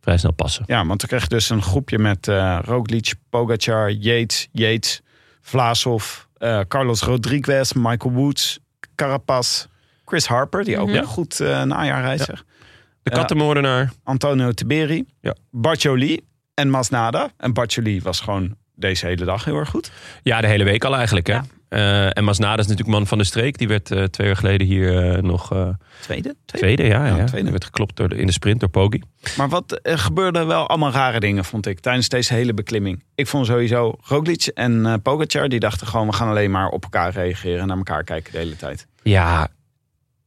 [SPEAKER 2] vrij snel passen.
[SPEAKER 1] Ja, want dan kreeg je dus een groepje met eh Roglic, Pogacar, Yates, Yates, Vlaashoff, eh, Carlos Rodriguez, Michael Woods, Carapaz, Chris Harper, die ook
[SPEAKER 3] Mhm.
[SPEAKER 1] een goed eh, najaar rijdt, zeg.
[SPEAKER 2] De
[SPEAKER 1] Ja.
[SPEAKER 2] kattenmoordenaar.
[SPEAKER 1] Antonio Tiberi,
[SPEAKER 2] Ja.
[SPEAKER 1] Bartjoli en Masnada. En Bartjoli was gewoon deze hele dag heel erg goed.
[SPEAKER 2] Ja, de hele week al eigenlijk. Hè?
[SPEAKER 3] Ja.
[SPEAKER 2] Eh, en Masnada is natuurlijk man van de streek. Die werd eh, twee jaar geleden hier eh, nog eh,
[SPEAKER 1] Tweede? Tweede.
[SPEAKER 2] tweede. Ja, ja,
[SPEAKER 1] Ja, tweede.
[SPEAKER 2] Die werd geklopt door de, in de sprint door Poggi.
[SPEAKER 1] Maar wat er gebeurde wel allemaal rare dingen, vond ik, tijdens deze hele beklimming. Ik vond sowieso Roglic en eh Pogacar, die dachten gewoon, we gaan alleen maar op elkaar reageren en naar elkaar kijken de hele tijd.
[SPEAKER 2] Ja,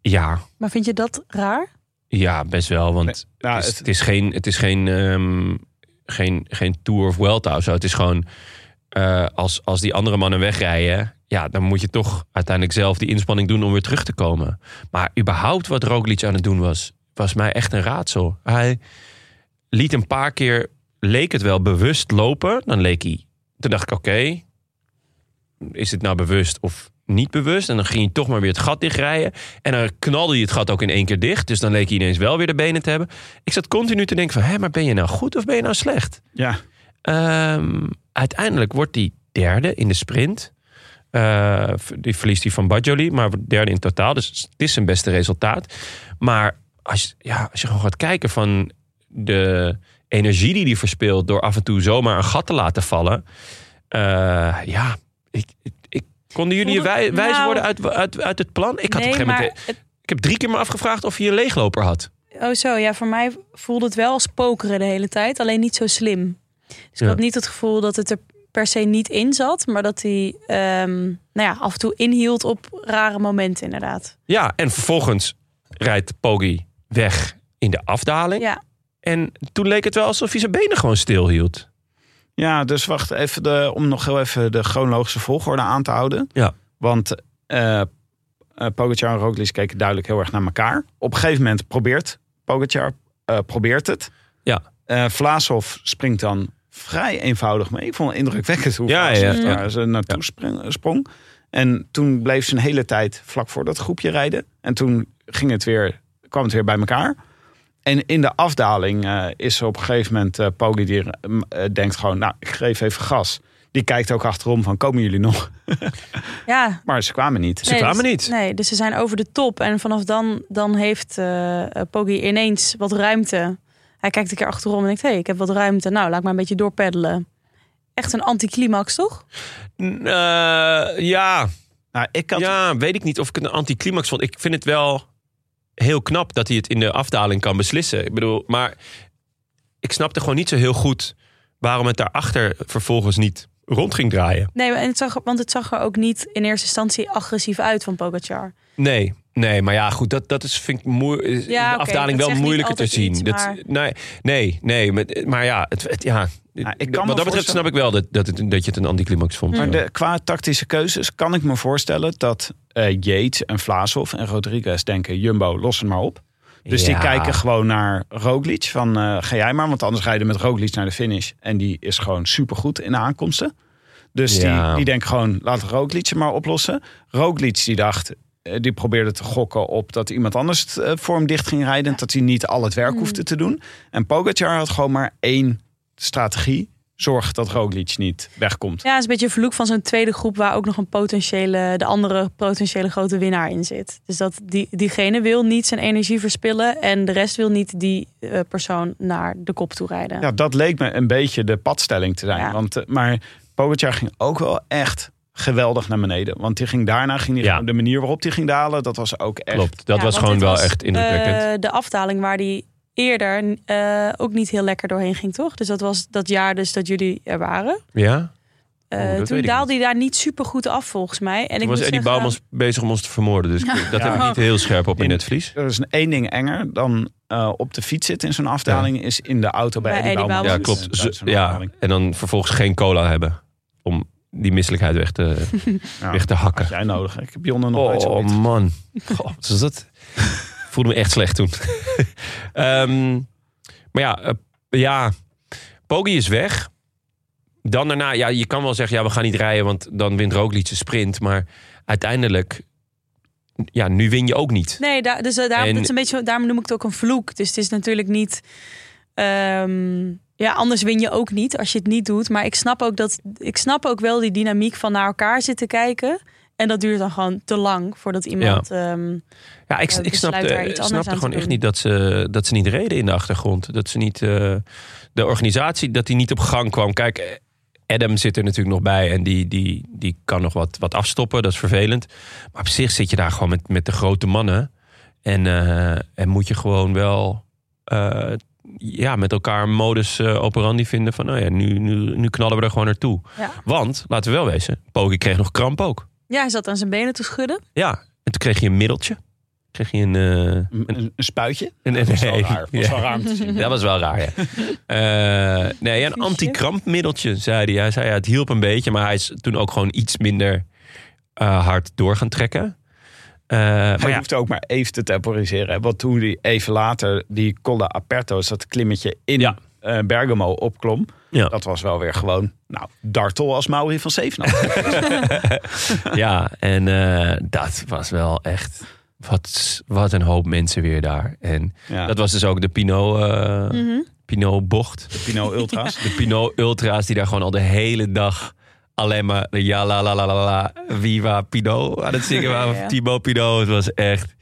[SPEAKER 2] ja,
[SPEAKER 3] Maar vind je dat raar?
[SPEAKER 2] ja, best wel. Want het,
[SPEAKER 1] Nou,
[SPEAKER 2] is,
[SPEAKER 1] het-
[SPEAKER 2] het is geen, het is geen, ehm, geen, geen Tour of Welta of zo. Het is gewoon, eh, als, als die andere mannen wegrijden... Ja, dan moet je toch uiteindelijk zelf die inspanning doen om weer terug te komen. Maar überhaupt wat Roglic aan het doen was, was mij echt een raadsel. Hij liet een paar keer, leek het wel, bewust lopen. Dan leek hij. Toen dacht ik, oké, is het nou bewust of niet bewust? En dan ging hij toch maar weer het gat dichtrijden. En dan knalde hij het gat ook in één keer dicht. Dus dan leek hij ineens wel weer de benen te hebben. Ik zat continu te denken van, hé, maar ben je nou goed of ben je nou slecht?
[SPEAKER 1] Ja,
[SPEAKER 2] Ehm, uiteindelijk wordt hij derde in de sprint. Eh, die verliest hij van Badjoli, maar wordt derde in totaal. Dus het is zijn beste resultaat. Maar als, je- ja, als je gewoon gaat kijken van de energie die hij verspeelt... door af en toe zomaar een gat te laten vallen. eh, ja, ik, ik, ik- konden jullie je
[SPEAKER 3] Vond het-
[SPEAKER 2] wij, wijs
[SPEAKER 3] nou,
[SPEAKER 2] worden uit, uit, uit het plan? Ik had op een gegeven moment...
[SPEAKER 3] het-
[SPEAKER 2] Ik heb drie keer me afgevraagd of je een leegloper had.
[SPEAKER 3] Oh zo, ja, voor mij voelde het wel als pokeren de hele tijd. Alleen niet zo slim. Dus
[SPEAKER 2] Ja.
[SPEAKER 3] ik had niet het gevoel dat het er per se niet in zat. Maar dat hij ehm, nou ja, af en toe inhield op rare momenten inderdaad.
[SPEAKER 2] Ja, en vervolgens rijdt Poggi weg in de afdaling.
[SPEAKER 3] Ja,
[SPEAKER 2] En toen leek het wel alsof hij zijn benen gewoon stil hield.
[SPEAKER 1] Ja, dus wacht even de, om nog heel even de chronologische volgorde aan te houden.
[SPEAKER 2] Ja.
[SPEAKER 1] Want eh eh, Pogacar en Roglic keken duidelijk heel erg naar elkaar. Op een gegeven moment probeert Pogacar eh, probeert het.
[SPEAKER 2] Ja.
[SPEAKER 1] Eh, Vlaashoff springt dan vrij eenvoudig mee. Ik vond het indrukwekkend hoe
[SPEAKER 2] Ja,
[SPEAKER 1] Vlaashoff
[SPEAKER 2] ja,
[SPEAKER 1] daar
[SPEAKER 2] ja.
[SPEAKER 1] ze naartoe spring- sprong. En toen bleef ze een hele tijd vlak voor dat groepje rijden. En toen ging het weer, kwam het weer bij elkaar. En in de afdaling eh, is er op een gegeven moment eh Poggi die eh, m- eh, denkt gewoon, nou, ik geef even gas. Die kijkt ook achterom van, komen jullie nog?
[SPEAKER 3] Ja,
[SPEAKER 1] Maar ze kwamen niet.
[SPEAKER 2] Ze kwamen
[SPEAKER 3] dus-
[SPEAKER 2] niet.
[SPEAKER 3] Nee, dus ze zijn over de top. En vanaf dan, dan heeft eh eh, Poggi ineens wat ruimte. Hij kijkt een keer achterom en denkt, hé, hey, ik heb wat ruimte. Nou, laat ik maar een beetje doorpeddelen. Echt een anticlimax, toch?
[SPEAKER 2] N- eh, ja,
[SPEAKER 1] Nou, ik had
[SPEAKER 2] ja, weet ik niet of ik het een anticlimax vond. Ik vind het wel heel knap dat hij het in de afdaling kan beslissen. Ik bedoel, maar ik snapte gewoon niet zo heel goed waarom het daarachter vervolgens niet rond ging draaien.
[SPEAKER 3] Nee, maar- en het zag, want het zag er ook niet in eerste instantie agressief uit van Pogacar.
[SPEAKER 2] Nee, nee, maar ja, goed, dat, dat is, vind ik moe, is in
[SPEAKER 3] Ja,
[SPEAKER 2] de
[SPEAKER 3] oké,
[SPEAKER 2] afdaling wel
[SPEAKER 3] dat zegt niet
[SPEAKER 2] moeilijker te
[SPEAKER 3] altijd
[SPEAKER 2] zien.
[SPEAKER 3] iets, maar-
[SPEAKER 2] dat, nee, nee, nee, maar, maar ja, het, het- ja,
[SPEAKER 1] ik kan me
[SPEAKER 2] wat dat betreft
[SPEAKER 1] voorstellen-
[SPEAKER 2] snap ik wel dat, dat, het- dat je het een anticlimax
[SPEAKER 3] Mm.
[SPEAKER 2] vond.
[SPEAKER 1] Maar
[SPEAKER 2] Ja.
[SPEAKER 1] de, qua tactische keuzes kan ik me voorstellen dat eh Yates en Vlaashoff en Rodriguez denken... Jumbo, los het maar op. Dus die
[SPEAKER 2] Ja.
[SPEAKER 1] kijken gewoon naar Roglic. Van eh, ga jij maar, want anders rijden met Roglic naar de finish. En die is gewoon supergoed in de aankomsten. Dus
[SPEAKER 2] Ja.
[SPEAKER 1] die, die denken gewoon, laat Roglic het maar oplossen. Roglic die dacht, eh, die probeerde te gokken op dat iemand anders het, eh, voor hem dicht ging rijden. En dat hij niet al het werk hoefde te doen. En Pogacar had gewoon maar één strategie. Zorg dat Roglic niet wegkomt.
[SPEAKER 3] Ja, het is een beetje een vloek van zo'n tweede groep... waar ook nog een potentiële, de andere potentiële grote winnaar in zit. Dus dat die, diegene wil niet zijn energie verspillen... en de rest wil niet die eh, persoon naar de kop toe rijden.
[SPEAKER 1] Ja, dat leek me een beetje de padstelling te zijn.
[SPEAKER 3] Ja.
[SPEAKER 1] Want, eh, maar Pogacar ging ook wel echt geweldig naar beneden. Want die ging daarna, ging die
[SPEAKER 2] Ja.
[SPEAKER 1] gewoon- de manier waarop die ging dalen, dat was ook echt...
[SPEAKER 2] Klopt, dat was
[SPEAKER 3] Ja, want
[SPEAKER 2] gewoon
[SPEAKER 3] dit
[SPEAKER 2] wel
[SPEAKER 3] was,
[SPEAKER 2] echt indrukwekkend.
[SPEAKER 3] eh, de afdaling waar die eerder eh, ook niet heel lekker doorheen ging, toch? Dus dat was dat jaar dus dat jullie er waren.
[SPEAKER 2] ja?
[SPEAKER 3] Eh,
[SPEAKER 2] Oeh, Oh, dat weet
[SPEAKER 3] toen
[SPEAKER 2] ik
[SPEAKER 3] daalde hij daar niet super goed af, volgens mij. En
[SPEAKER 2] Toen
[SPEAKER 3] ik
[SPEAKER 2] was
[SPEAKER 3] moet
[SPEAKER 2] Eddie
[SPEAKER 3] zeggen-
[SPEAKER 2] Bouwmans bezig om ons te vermoorden. Dus ik- dat heb ik niet heel scherp op in het vlies.
[SPEAKER 1] Er is een één ding enger dan eh, op de fiets zitten in zo'n afdaling... is in de auto bij,
[SPEAKER 3] Bij
[SPEAKER 1] Eddie
[SPEAKER 3] Eddie
[SPEAKER 1] Bouwman.
[SPEAKER 2] Ja,
[SPEAKER 3] Bouwman.
[SPEAKER 1] zitten.
[SPEAKER 2] klopt.
[SPEAKER 1] Dat is
[SPEAKER 2] Ze-
[SPEAKER 1] een
[SPEAKER 2] ja.
[SPEAKER 1] afdaling.
[SPEAKER 2] En dan vervolgens geen cola hebben. Om die misselijkheid weg te,
[SPEAKER 1] Ja,
[SPEAKER 2] weg te hakken.
[SPEAKER 1] had jij nodig. Ik heb Jonne nog nooit
[SPEAKER 2] Oh
[SPEAKER 1] zoiets.
[SPEAKER 2] man. Goh, wat is dat? voelde me echt slecht toen. Ehm, maar ja, eh, ja, Poggi is weg. Dan daarna, ja, je kan wel zeggen, ja, we gaan niet rijden, want dan wint Roglic de sprint. Maar uiteindelijk, ja, nu win je ook niet.
[SPEAKER 3] Nee, daar, dus eh, daarom,
[SPEAKER 2] En-
[SPEAKER 3] dat is een beetje, daarom noem ik het ook een vloek. Dus het is natuurlijk niet... ehm, ja, anders win je ook niet als je het niet doet. Maar ik snap ook, dat, ik snap ook wel die dynamiek van naar elkaar zitten kijken... En dat duurt dan gewoon te lang voordat iemand... ehm,
[SPEAKER 2] Ja, ik,
[SPEAKER 3] eh,
[SPEAKER 2] ik snap,
[SPEAKER 3] besluit daar
[SPEAKER 2] eh,
[SPEAKER 3] iets anders
[SPEAKER 2] snapte
[SPEAKER 3] aan te
[SPEAKER 2] gewoon echt
[SPEAKER 3] doen.
[SPEAKER 2] niet dat ze, dat ze niet reden in de achtergrond. Dat ze niet, eh, de organisatie, dat die niet op gang kwam. Kijk, eh, Adam zit er natuurlijk nog bij en die, die, die kan nog wat, wat afstoppen. Dat is vervelend. Maar op zich zit je daar gewoon met, met de grote mannen. En, eh, en moet je gewoon wel eh, ja, met elkaar een modus eh, operandi vinden van nou ja, nu, nu, nu knallen we er gewoon naartoe.
[SPEAKER 3] Ja.
[SPEAKER 2] Want, laten we wel wezen, Pogi kreeg nog kramp ook.
[SPEAKER 3] ja, hij zat aan zijn benen te schudden.
[SPEAKER 2] Ja, en toen kreeg je een middeltje. Kreeg je een... eh,
[SPEAKER 1] Een, een- een spuitje?
[SPEAKER 2] een,
[SPEAKER 1] Dat was wel
[SPEAKER 2] nee,
[SPEAKER 1] raar. Dat was
[SPEAKER 2] ja.
[SPEAKER 1] wel raar om te zien.
[SPEAKER 2] Dat was wel raar, ja. Eh, nee, een antikrampmiddeltje, zei hij. Hij zei, ja, het hielp een beetje, maar hij is toen ook gewoon iets minder eh, hard door gaan trekken. Eh, maar
[SPEAKER 1] Hij
[SPEAKER 2] ja,
[SPEAKER 1] hoeft ook maar even te temporiseren. hè. Want toen hij even later die Colle Aperto's, dat klimmetje in
[SPEAKER 2] Ja.
[SPEAKER 1] eh, Bergamo opklom.
[SPEAKER 2] Ja.
[SPEAKER 1] Dat was wel weer gewoon, nou, dartel als Mauri van Zevenam.
[SPEAKER 2] ja en eh, dat was wel echt... Wat, wat een hoop mensen weer daar. En
[SPEAKER 1] ja.
[SPEAKER 2] dat was dus ook de Pinot, eh, Pinot-bocht.
[SPEAKER 1] Pino Ultra's.
[SPEAKER 2] De Pinot Ultra's die daar gewoon al de hele dag alleen maar de ja la la la la la viva Pinot aan het zingen waren.
[SPEAKER 3] Ja, ja.
[SPEAKER 2] Timo Pinot, het was echt...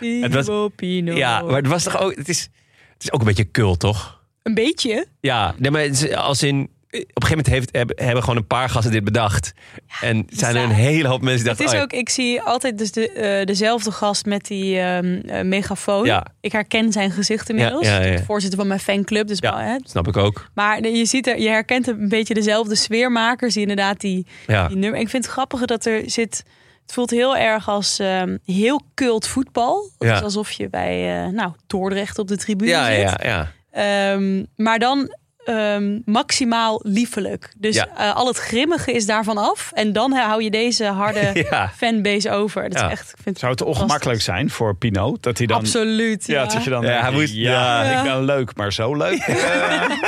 [SPEAKER 2] Het was-
[SPEAKER 3] Pino, Pino.
[SPEAKER 2] Ja, maar het was toch ook... Het is, het is ook een beetje cult, toch?
[SPEAKER 3] Een beetje.
[SPEAKER 2] Ja, nee, maar het is als in... Op een gegeven moment heeft, hebben, hebben gewoon een paar gasten dit bedacht. En zijn er een hele hoop mensen die
[SPEAKER 3] Het
[SPEAKER 2] dachten...
[SPEAKER 3] is
[SPEAKER 2] oh ja,
[SPEAKER 3] ook, ik zie altijd dus de, eh, dezelfde gast met die ehm, eh, megafoon.
[SPEAKER 2] Ja.
[SPEAKER 3] Ik herken zijn gezicht inmiddels.
[SPEAKER 2] Ja, ja, ja.
[SPEAKER 3] De Voorzitter van mijn fanclub. Dus
[SPEAKER 2] Ja.
[SPEAKER 3] maar, hè.
[SPEAKER 2] snap ik ook.
[SPEAKER 3] maar je, ziet er, je herkent een beetje dezelfde sfeermakers die inderdaad die,
[SPEAKER 2] Ja,
[SPEAKER 3] die nummer. Ik vind het grappige dat er zit. Het voelt heel erg als ehm, heel cult voetbal. Dus Het
[SPEAKER 2] Ja.
[SPEAKER 3] is alsof je bij eh, nou, Dordrecht op de tribune
[SPEAKER 2] ja,
[SPEAKER 3] zit.
[SPEAKER 2] ja. ja.
[SPEAKER 3] Ehm, maar dan eh, ehm, maximaal liefelijk. Dus
[SPEAKER 2] Ja.
[SPEAKER 3] eh, al het grimmige is daarvan af. En dan hou je deze harde
[SPEAKER 2] Ja.
[SPEAKER 3] fanbase over. Dat
[SPEAKER 2] Ja.
[SPEAKER 3] is echt, ik vind
[SPEAKER 1] Zou het ongemakkelijk zijn voor Pino dat hij dan...
[SPEAKER 3] Absoluut.
[SPEAKER 1] Ja,
[SPEAKER 3] Ja,
[SPEAKER 1] dat je dan
[SPEAKER 2] Ja,
[SPEAKER 1] denkt,
[SPEAKER 2] hij moet-
[SPEAKER 1] ja,
[SPEAKER 3] ja.
[SPEAKER 1] ik ben leuk, maar zo leuk.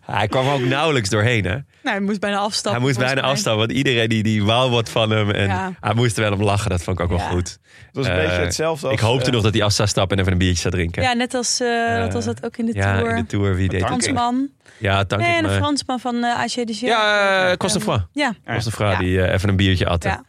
[SPEAKER 2] Hij kwam ook nauwelijks doorheen, hè?
[SPEAKER 3] Nou, hij moest bijna afstappen.
[SPEAKER 2] hij moest
[SPEAKER 3] volgens
[SPEAKER 2] bijna
[SPEAKER 3] mij.
[SPEAKER 2] afstappen, want iedereen die, die wou wat van hem. En
[SPEAKER 3] Ja.
[SPEAKER 2] hij moest er wel om lachen, dat vond ik ook wel
[SPEAKER 3] Ja.
[SPEAKER 2] goed.
[SPEAKER 1] Dat is een
[SPEAKER 2] Eh,
[SPEAKER 1] beetje hetzelfde als...
[SPEAKER 2] ik hoopte
[SPEAKER 1] eh,
[SPEAKER 2] nog dat hij af zou stappen en even een biertje zou drinken.
[SPEAKER 3] Ja, net als, eh, wat was dat ook in de
[SPEAKER 2] Ja,
[SPEAKER 3] tour?
[SPEAKER 2] in de Tour, wie deed het?
[SPEAKER 3] Fransman.
[SPEAKER 2] Ja, dank
[SPEAKER 3] Nee,
[SPEAKER 2] ik
[SPEAKER 3] en een
[SPEAKER 2] me.
[SPEAKER 3] Fransman van eh AG de Giro.
[SPEAKER 2] Ja, eh, Costefroid.
[SPEAKER 3] Ja.
[SPEAKER 2] Costefroid,
[SPEAKER 3] Ja.
[SPEAKER 2] die eh, even een biertje atte.
[SPEAKER 3] Ja. Ah,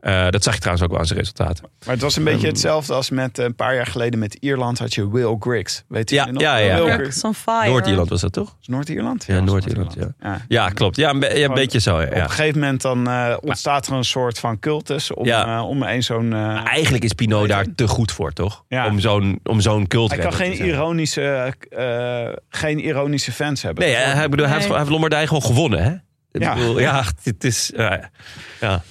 [SPEAKER 2] Eh, dat zag je trouwens ook wel aan zijn resultaten.
[SPEAKER 1] Maar het was een
[SPEAKER 2] Ehm,
[SPEAKER 1] beetje hetzelfde als met eh, een paar jaar geleden met Ierland had je Will Griggs. Weet je
[SPEAKER 2] Ja,
[SPEAKER 1] die nog?
[SPEAKER 2] ja, ja.
[SPEAKER 1] Will
[SPEAKER 2] Ja.
[SPEAKER 1] Griggs.
[SPEAKER 3] Works on fire.
[SPEAKER 2] Noord-Ierland was dat toch?
[SPEAKER 1] Is Noord-Ierland?
[SPEAKER 2] Ja,
[SPEAKER 1] was
[SPEAKER 2] Noord-Ierland,
[SPEAKER 1] Ja.
[SPEAKER 2] Ja, klopt. Ja, een, be- ja, een
[SPEAKER 1] Gewoon-
[SPEAKER 2] beetje zo. Ja.
[SPEAKER 1] Op een gegeven moment dan eh, ontstaat er een soort van cultus om,
[SPEAKER 2] Ja.
[SPEAKER 1] eh, om een zo'n... eh,
[SPEAKER 2] Maar Eigenlijk is Pino daar te goed voor, toch?
[SPEAKER 1] Ja.
[SPEAKER 2] Om zo'n om zo'n cult
[SPEAKER 1] hij kan geen ironische, eh, geen ironische fans hebben.
[SPEAKER 2] Nee, hij, hij- bedoel, hij, heeft,
[SPEAKER 3] Nee.
[SPEAKER 2] hij heeft Lombardij gewoon gewonnen, hè? Ik
[SPEAKER 1] Ja.
[SPEAKER 2] bedoel, ja, het is... eh, ja.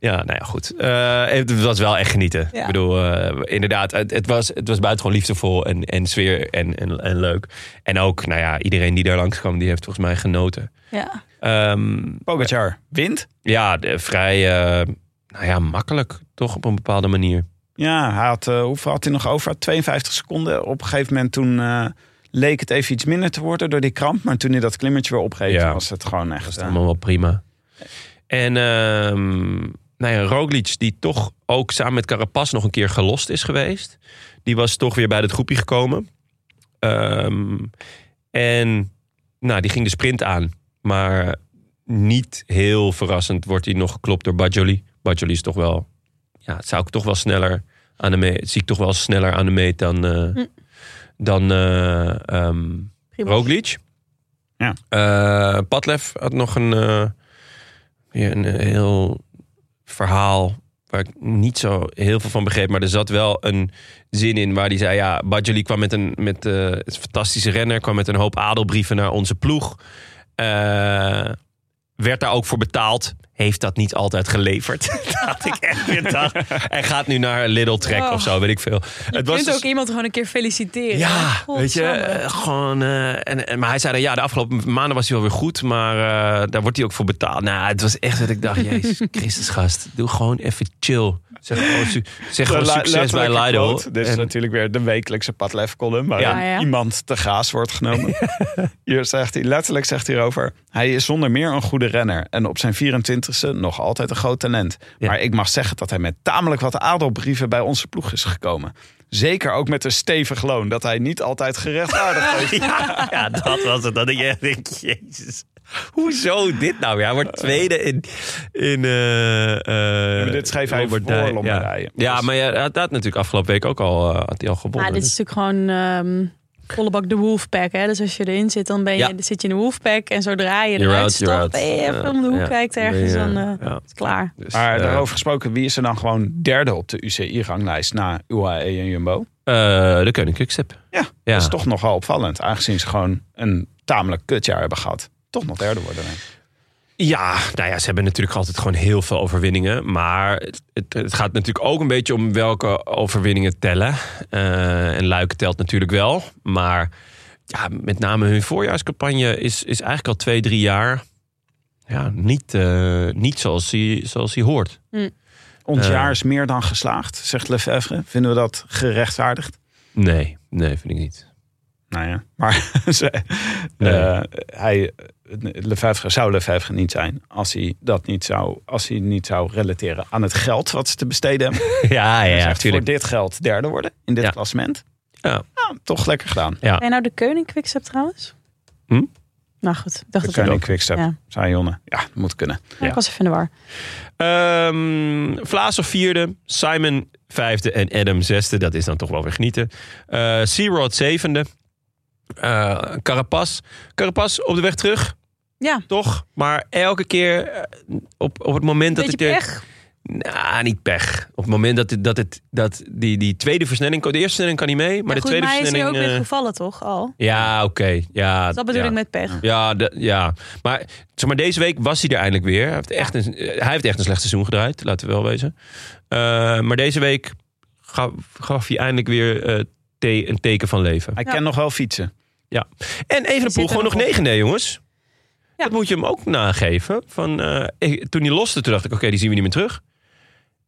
[SPEAKER 2] ja, nou ja, goed. Eh, het was wel echt genieten.
[SPEAKER 3] Ja.
[SPEAKER 2] Ik bedoel, eh, inderdaad, het, het, was, het was buitengewoon liefdevol en, en sfeer en, en, en leuk. En ook, nou ja, iedereen die daar langskwam, die heeft volgens mij genoten.
[SPEAKER 3] Ja.
[SPEAKER 2] Ehm,
[SPEAKER 1] Pogacar wint.
[SPEAKER 2] ja, de- vrij eh, nou ja, makkelijk, toch op een bepaalde manier.
[SPEAKER 1] Ja, hij had, eh, hoeveel had hij nog over? 52 seconden. Op een gegeven moment toen eh, leek het even iets minder te worden door die kramp. Maar toen hij dat klimmetje weer opgeeft,
[SPEAKER 2] Ja.
[SPEAKER 1] was het gewoon echt...
[SPEAKER 2] Dat is
[SPEAKER 1] eh,
[SPEAKER 2] allemaal wel prima. En ehm nou ja, Roglic, die toch ook samen met Carapaz nog een keer gelost is geweest. Die was toch weer bij het groepje gekomen. Ehm, en nou, die ging de sprint aan. Maar niet heel verrassend wordt hij nog geklopt door Bajoli. Bajoli is toch wel... Ja, het zou ik toch wel sneller aan de meet... Zie ik toch wel sneller aan de meet dan... eh,
[SPEAKER 3] Hm.
[SPEAKER 2] Dan eh, ehm,
[SPEAKER 3] Prima.
[SPEAKER 2] Roglic.
[SPEAKER 1] Ja.
[SPEAKER 2] Eh, Padlef had nog een, eh, weer een eh, heel verhaal waar ik niet zo heel veel van begreep. Maar er zat wel een zin in waar hij zei... Ja, Badjoli kwam met een, met, eh, het is een fantastische renner. Kwam met een hoop adelbrieven naar onze ploeg. Eh, werd daar ook voor betaald. Heeft dat niet altijd geleverd. dat had ik echt weer dacht. En gaat nu naar Lidl Trek
[SPEAKER 3] Oh.
[SPEAKER 2] of zo, weet ik veel. dus-
[SPEAKER 3] Je kunt
[SPEAKER 1] dus-
[SPEAKER 3] ook iemand gewoon een keer feliciteren.
[SPEAKER 2] Ja, weet je,
[SPEAKER 3] Godsamme.
[SPEAKER 2] eh, gewoon. eh, en, en, maar hij zei dan, ja, de afgelopen maanden was hij wel weer goed, maar eh, daar wordt hij ook voor betaald. Nou, het was echt dat ik dacht, jezus, Christus gast, doe gewoon even chill. Zeg gewoon, su- zeg gewoon
[SPEAKER 1] Li-
[SPEAKER 2] succes bij
[SPEAKER 1] letterlijke
[SPEAKER 2] Lido.
[SPEAKER 1] quote. Dit is
[SPEAKER 2] En-
[SPEAKER 1] natuurlijk weer de wekelijkse Padlef-column... waar
[SPEAKER 3] Ja. Ja, ja.
[SPEAKER 1] iemand te gaas wordt genomen. Hier zegt hij, letterlijk zegt hij erover... hij is zonder meer een goede renner... en op zijn 24e nog altijd een groot talent.
[SPEAKER 2] Ja.
[SPEAKER 1] Maar ik mag zeggen dat hij met tamelijk wat adelbrieven... bij onze ploeg is gekomen. Zeker ook met een stevig loon... dat hij niet altijd gerechtvaardigd heeft.
[SPEAKER 2] ja, ja, dat was het. Dat ik echt denk, jezus. Hoezo dit nou? Ja, hij wordt tweede in... in eh, eh,
[SPEAKER 1] maar dit schreef hij voor Dus-
[SPEAKER 2] Lombardij.
[SPEAKER 1] Lombardije.
[SPEAKER 2] Ja, ja maar ja, hij had dat natuurlijk afgelopen week ook al, eh, had hij al
[SPEAKER 3] Ja,
[SPEAKER 2] gewonnen.
[SPEAKER 3] Nou, dit is natuurlijk gewoon ehm volle bak de wolfpack. Hè? Dus als je erin zit, dan ben je,
[SPEAKER 2] Ja.
[SPEAKER 3] dan zit je in de wolfpack. En zodra je
[SPEAKER 2] You're
[SPEAKER 3] eruit
[SPEAKER 2] out, you're out.
[SPEAKER 3] stapt, ben je even om eh, de hoek
[SPEAKER 2] Ja.
[SPEAKER 3] kijkt
[SPEAKER 2] Ben je,
[SPEAKER 3] ergens, dan eh,
[SPEAKER 2] ja.
[SPEAKER 3] is het klaar.
[SPEAKER 2] Dus,
[SPEAKER 1] Maar
[SPEAKER 2] eh,
[SPEAKER 1] daarover gesproken, wie is er dan gewoon derde op de UCI-ranglijst na UAE en Jumbo?
[SPEAKER 2] Eh, de Koninklijke Stip.
[SPEAKER 1] Ja,
[SPEAKER 2] Ja.
[SPEAKER 1] dat is toch nogal opvallend. Aangezien ze gewoon een tamelijk kutjaar hebben gehad. Toch nog derde worden. denk ik.
[SPEAKER 2] Ja, nou ja, ze hebben natuurlijk altijd gewoon heel veel overwinningen. Maar het, het- het gaat natuurlijk ook een beetje om welke overwinningen tellen. Eh, en Luik telt natuurlijk wel. Maar ja, met name hun voorjaarscampagne is, is eigenlijk al twee, drie jaar... Ja, niet, eh, niet zoals hij zoals hij hoort.
[SPEAKER 1] Ons
[SPEAKER 2] Eh.
[SPEAKER 1] jaar is meer dan geslaagd, zegt Lefevre. Vinden we dat gerechtvaardigd?
[SPEAKER 2] Nee, nee, vind ik niet.
[SPEAKER 1] Nou ja, maar ze-
[SPEAKER 2] Nee.
[SPEAKER 1] eh, hij, Lefevre zou Lefevre niet zijn als hij dat niet zou, als hij niet zou relateren aan het geld wat ze te besteden hebben.
[SPEAKER 2] Ah Ja,
[SPEAKER 1] Hij
[SPEAKER 2] ja,
[SPEAKER 1] zegt, voor
[SPEAKER 2] natuurlijk.
[SPEAKER 1] dit geld derde worden in dit
[SPEAKER 2] Ja.
[SPEAKER 1] klassement.
[SPEAKER 2] Ja.
[SPEAKER 1] Nou, toch lekker gedaan.
[SPEAKER 3] Ben je nou de koning quickstep trouwens?
[SPEAKER 2] Hm?
[SPEAKER 3] Nou goed, ik dacht
[SPEAKER 1] De
[SPEAKER 3] dat ik
[SPEAKER 1] koning Quickstep,
[SPEAKER 3] Ja.
[SPEAKER 1] zei Jonne. Ja, dat moet kunnen.
[SPEAKER 3] Ja, ik was even in de war.
[SPEAKER 2] Ehm Vlaas of vierde, Simon vijfde en Adam zesde. Dat is dan toch wel weer genieten. Eh Searod zevende. Eh Carapaz. Carapaz op de weg terug,
[SPEAKER 3] Ja,
[SPEAKER 2] toch? Maar elke keer eh, op, op het eh, moment dat
[SPEAKER 3] beetje
[SPEAKER 2] ik... er-
[SPEAKER 3] pech.
[SPEAKER 2] Nou, niet pech. Op het moment dat, het- dat, het, dat die, die tweede versnelling... De eerste versnelling kan niet mee, maar
[SPEAKER 3] Maar,
[SPEAKER 2] de
[SPEAKER 3] goed,
[SPEAKER 2] tweede
[SPEAKER 3] maar hij is nu ook
[SPEAKER 2] versnelling...
[SPEAKER 3] weer
[SPEAKER 2] eh,
[SPEAKER 3] gevallen toch al?
[SPEAKER 2] ja, oké. Ja,
[SPEAKER 3] Dat bedoel
[SPEAKER 2] ja.
[SPEAKER 3] ik met pech.
[SPEAKER 2] Ja, de- ja. Maar, zeg maar deze week was hij er eindelijk weer. Hij heeft echt een, eh, hij heeft echt een slecht seizoen gedraaid, laten we wel wezen. Eh, maar deze week gaf, gaf hij eindelijk weer eh, te- een teken van leven.
[SPEAKER 1] Hij
[SPEAKER 3] Ja.
[SPEAKER 1] kan nog wel fietsen.
[SPEAKER 2] Ja. En Evenepoel
[SPEAKER 3] zit
[SPEAKER 2] gewoon
[SPEAKER 3] er
[SPEAKER 2] nog
[SPEAKER 3] nog op.
[SPEAKER 2] 9 nee, jongens.
[SPEAKER 3] Ja.
[SPEAKER 2] Dat moet je hem ook nageven. Van, eh, ik- toen hij loste, toen dacht ik, oké, die zien we niet meer terug.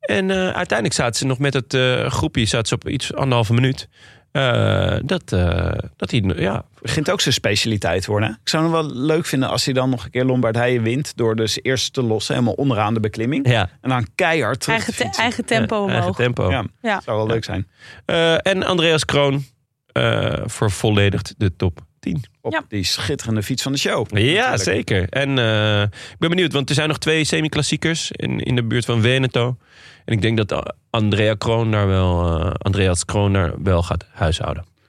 [SPEAKER 2] En eh, uiteindelijk zaten ze nog met het eh, groepje zaten ze op iets anderhalve minuut. Eh, dat, eh, dat hij, ja,
[SPEAKER 1] Begint ook zijn specialiteit worden. hè? Ik zou hem wel leuk vinden als hij dan nog een keer Lombard Heijen wint. Door dus eerst te lossen, helemaal onderaan de beklimming.
[SPEAKER 2] ja
[SPEAKER 1] En dan keihard terug
[SPEAKER 3] Eigen,
[SPEAKER 1] te
[SPEAKER 3] te-
[SPEAKER 1] fietsen.
[SPEAKER 3] eigen tempo
[SPEAKER 2] eh,
[SPEAKER 3] omhoog.
[SPEAKER 2] eigen tempo.
[SPEAKER 1] Ja,
[SPEAKER 3] Ja.
[SPEAKER 1] zou wel leuk zijn.
[SPEAKER 2] Eh, en Andreas Kroon eh vervolledigt de top 10.
[SPEAKER 1] Op
[SPEAKER 3] Ja.
[SPEAKER 1] die schitterende fiets van de show.
[SPEAKER 2] Ja,
[SPEAKER 1] Natuurlijk.
[SPEAKER 2] zeker. En eh, ik ben benieuwd, want er zijn nog twee semi-klassiekers in, in de buurt van Veneto. En ik denk dat eh, Andrea Kroon daar wel, eh, Andreas Kroon daar wel gaat huishouden.
[SPEAKER 1] Hm,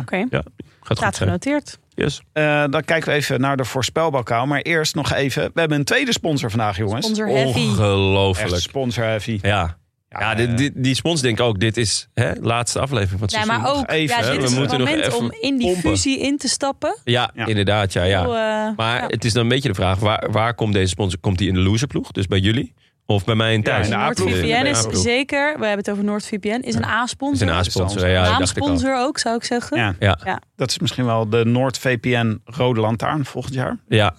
[SPEAKER 3] Oké,
[SPEAKER 2] Gaat goed
[SPEAKER 3] staat
[SPEAKER 2] zijn.
[SPEAKER 3] genoteerd.
[SPEAKER 2] Yes.
[SPEAKER 1] Eh, dan kijken we even naar de voorspelbalkou. Maar eerst nog even. We hebben een tweede sponsor vandaag, jongens.
[SPEAKER 3] Sponsor heavy.
[SPEAKER 1] Echt
[SPEAKER 2] Ongelooflijk.
[SPEAKER 1] sponsor heavy.
[SPEAKER 2] Ja, ja
[SPEAKER 1] eh,
[SPEAKER 2] die, die, die spons denken ook, dit is hè, laatste aflevering van het
[SPEAKER 3] Ja,
[SPEAKER 2] seizoen.
[SPEAKER 3] maar ook,
[SPEAKER 1] even,
[SPEAKER 3] ja,
[SPEAKER 1] hè?
[SPEAKER 3] dit
[SPEAKER 1] We
[SPEAKER 3] is het
[SPEAKER 2] moeten nog
[SPEAKER 3] moment
[SPEAKER 2] even
[SPEAKER 3] om in die
[SPEAKER 2] pompen.
[SPEAKER 3] fusie in te stappen.
[SPEAKER 2] Ja,
[SPEAKER 1] Ja.
[SPEAKER 2] inderdaad. Ja, ja.
[SPEAKER 3] Heel, eh,
[SPEAKER 2] Maar
[SPEAKER 3] ja.
[SPEAKER 2] het is dan een beetje de vraag, waar, waar komt deze sponsor? Komt die in de loserploeg, dus bij jullie? Of bij mij in thuis?
[SPEAKER 1] in de A-ploeg.
[SPEAKER 3] NoordVPN is
[SPEAKER 2] A-ploeg.
[SPEAKER 3] zeker, we hebben het over NoordVPN, is een
[SPEAKER 2] is
[SPEAKER 3] A-sponsor.
[SPEAKER 2] een A-sponsor, ja, dat dacht ik al.
[SPEAKER 3] Naamsponsor ook, zou ik zeggen.
[SPEAKER 1] Ja,
[SPEAKER 2] Ja,
[SPEAKER 1] dat is misschien wel de Noord-VPN Rode Lantaarn volgend jaar.
[SPEAKER 2] ja.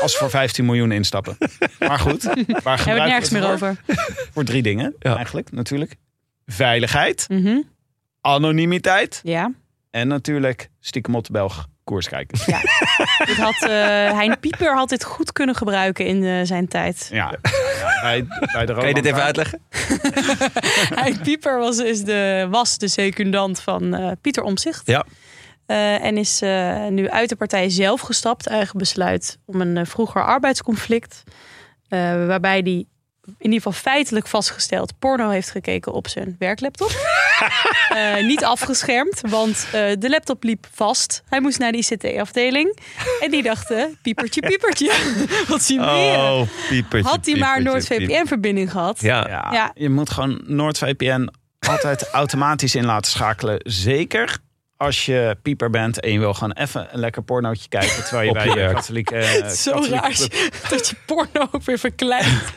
[SPEAKER 1] Als we voor 15 miljoen instappen. Maar goed, waar
[SPEAKER 3] Daar
[SPEAKER 1] gebruiken we
[SPEAKER 3] hebben we het nergens
[SPEAKER 1] het
[SPEAKER 3] meer
[SPEAKER 1] voor?
[SPEAKER 3] over.
[SPEAKER 1] Voor drie dingen
[SPEAKER 2] Ja.
[SPEAKER 1] eigenlijk, natuurlijk. Veiligheid,
[SPEAKER 3] Mhm.
[SPEAKER 1] anonimiteit
[SPEAKER 3] Ja,
[SPEAKER 1] en natuurlijk stiekem op de Belg koers kijken.
[SPEAKER 3] dit had, eh, Hein Pieper had dit goed kunnen gebruiken in eh, zijn tijd.
[SPEAKER 1] Ja, ja, bij, bij de Rode
[SPEAKER 2] Kan nou? je dit even
[SPEAKER 1] Lantaarn.
[SPEAKER 2] uitleggen?
[SPEAKER 3] Hein Pieper was, is de, was de secundant van eh, Pieter Omzicht.
[SPEAKER 2] Ja.
[SPEAKER 3] en is eh, nu uit de partij zelf gestapt. Eigen besluit om een eh, vroeger arbeidsconflict. eh, waarbij die in ieder geval feitelijk vastgesteld porno heeft gekeken op zijn werklaptop. Eh, niet afgeschermd, want eh, de laptop liep vast. Hij moest naar de ICT-afdeling. En die dachten, piepertje, piepertje. Wat zien we hier?
[SPEAKER 2] Oh, piepertje.
[SPEAKER 3] Had hij maar
[SPEAKER 2] piepertje, piepertje.
[SPEAKER 3] Noord-VPN-verbinding gehad.
[SPEAKER 2] Ja,
[SPEAKER 1] Ja,
[SPEAKER 3] Ja.
[SPEAKER 1] je moet gewoon NoordVPN altijd automatisch in laten schakelen. Zeker als je pieper bent en je wil gewoon even een lekker pornootje kijken. Terwijl je
[SPEAKER 2] Op
[SPEAKER 1] bij
[SPEAKER 2] je
[SPEAKER 1] je
[SPEAKER 2] werk.
[SPEAKER 1] katholieke... eh,
[SPEAKER 3] Zo
[SPEAKER 1] katholieke
[SPEAKER 3] raar
[SPEAKER 1] club-
[SPEAKER 3] dat je porno ook weer verkleint.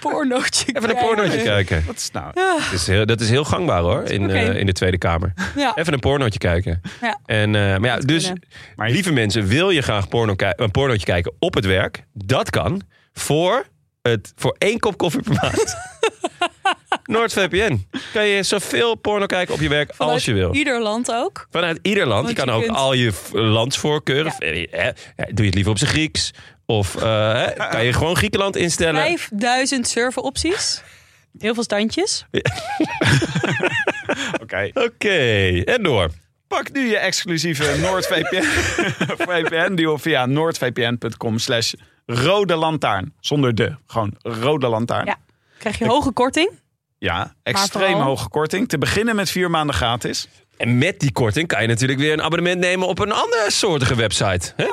[SPEAKER 3] Pornootje
[SPEAKER 2] even een
[SPEAKER 3] kijken.
[SPEAKER 2] pornootje kijken.
[SPEAKER 1] Wat is nou...
[SPEAKER 2] Dat is heel, dat is heel gangbaar hoor, in,
[SPEAKER 3] Oké.
[SPEAKER 2] eh, in de Tweede Kamer.
[SPEAKER 3] Ja.
[SPEAKER 2] Even een pornootje kijken.
[SPEAKER 3] Ja.
[SPEAKER 2] En, eh, maar ja,
[SPEAKER 3] Dat
[SPEAKER 2] dus
[SPEAKER 3] kunnen.
[SPEAKER 1] Maar je-
[SPEAKER 2] lieve mensen, wil je graag porno ki- een pornootje kijken op het werk? Dat kan voor, het, voor één kop koffie per maand. NoordVPN. Kan je zoveel porno kijken op je werk
[SPEAKER 3] Vanuit
[SPEAKER 2] als je wil.
[SPEAKER 3] Ieder land ook.
[SPEAKER 2] Vanuit ieder land. Je
[SPEAKER 3] Want
[SPEAKER 2] kan
[SPEAKER 3] je
[SPEAKER 2] ook
[SPEAKER 3] kunt-
[SPEAKER 2] al je v- landsvoorkeuren. eh, eh, Doe je het liever op zijn Grieks? Of eh, hè, kan je gewoon Griekenland instellen?
[SPEAKER 3] 5000 serveropties. Heel veel standjes.
[SPEAKER 1] Oké.
[SPEAKER 2] Oké, en door.
[SPEAKER 1] Pak nu je exclusieve NoordVPN VPN deal via noordvpn.com slash rode lantaarn. Zonder de, gewoon rode lantaarn. Ja,
[SPEAKER 3] Ja. Krijg je hoge korting.
[SPEAKER 1] extreem
[SPEAKER 3] vooral-
[SPEAKER 1] hoge korting. Te beginnen met vier maanden gratis.
[SPEAKER 2] En met die korting kan je natuurlijk weer een abonnement nemen op een andere soortige website. Hè?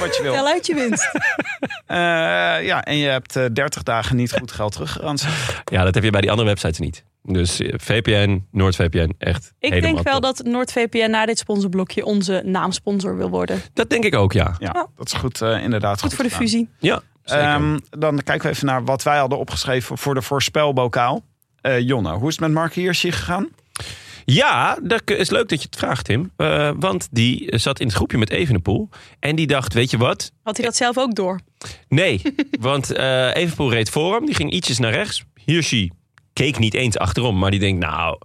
[SPEAKER 1] Wat je wil.
[SPEAKER 3] Tel uit je winst.
[SPEAKER 1] Eh, ja, en je hebt eh, 30 dagen niet goed geld teruggeranst.
[SPEAKER 3] Oh.
[SPEAKER 2] Ja, dat heb je bij die andere websites niet. Dus eh, VPN, NoordVPN, echt
[SPEAKER 3] Ik
[SPEAKER 2] helemaal
[SPEAKER 3] denk wel
[SPEAKER 2] top.
[SPEAKER 3] dat NoordVPN na dit sponsorblokje onze naamsponsor wil worden.
[SPEAKER 2] Dat denk ik ook, ja.
[SPEAKER 1] Ja, dat is goed, eh, inderdaad.
[SPEAKER 3] Goed voor de
[SPEAKER 1] gedaan.
[SPEAKER 3] fusie.
[SPEAKER 2] Ja, zeker.
[SPEAKER 1] Ehm, dan kijken we even naar wat wij hadden opgeschreven voor de voorspelbokaal. Eh Jonne, hoe is het met Mark Hirschi gegaan?
[SPEAKER 2] Ja, dat is leuk dat je het vraagt, Tim. Eh, want die zat in het groepje met Evenepoel. En die dacht, weet je wat?
[SPEAKER 3] Had hij dat zelf ook door?
[SPEAKER 2] Nee, want eh Evenpoel reed voor hem. Die ging ietsjes naar rechts. Hirschi keek niet eens achterom. Maar die denkt, nou,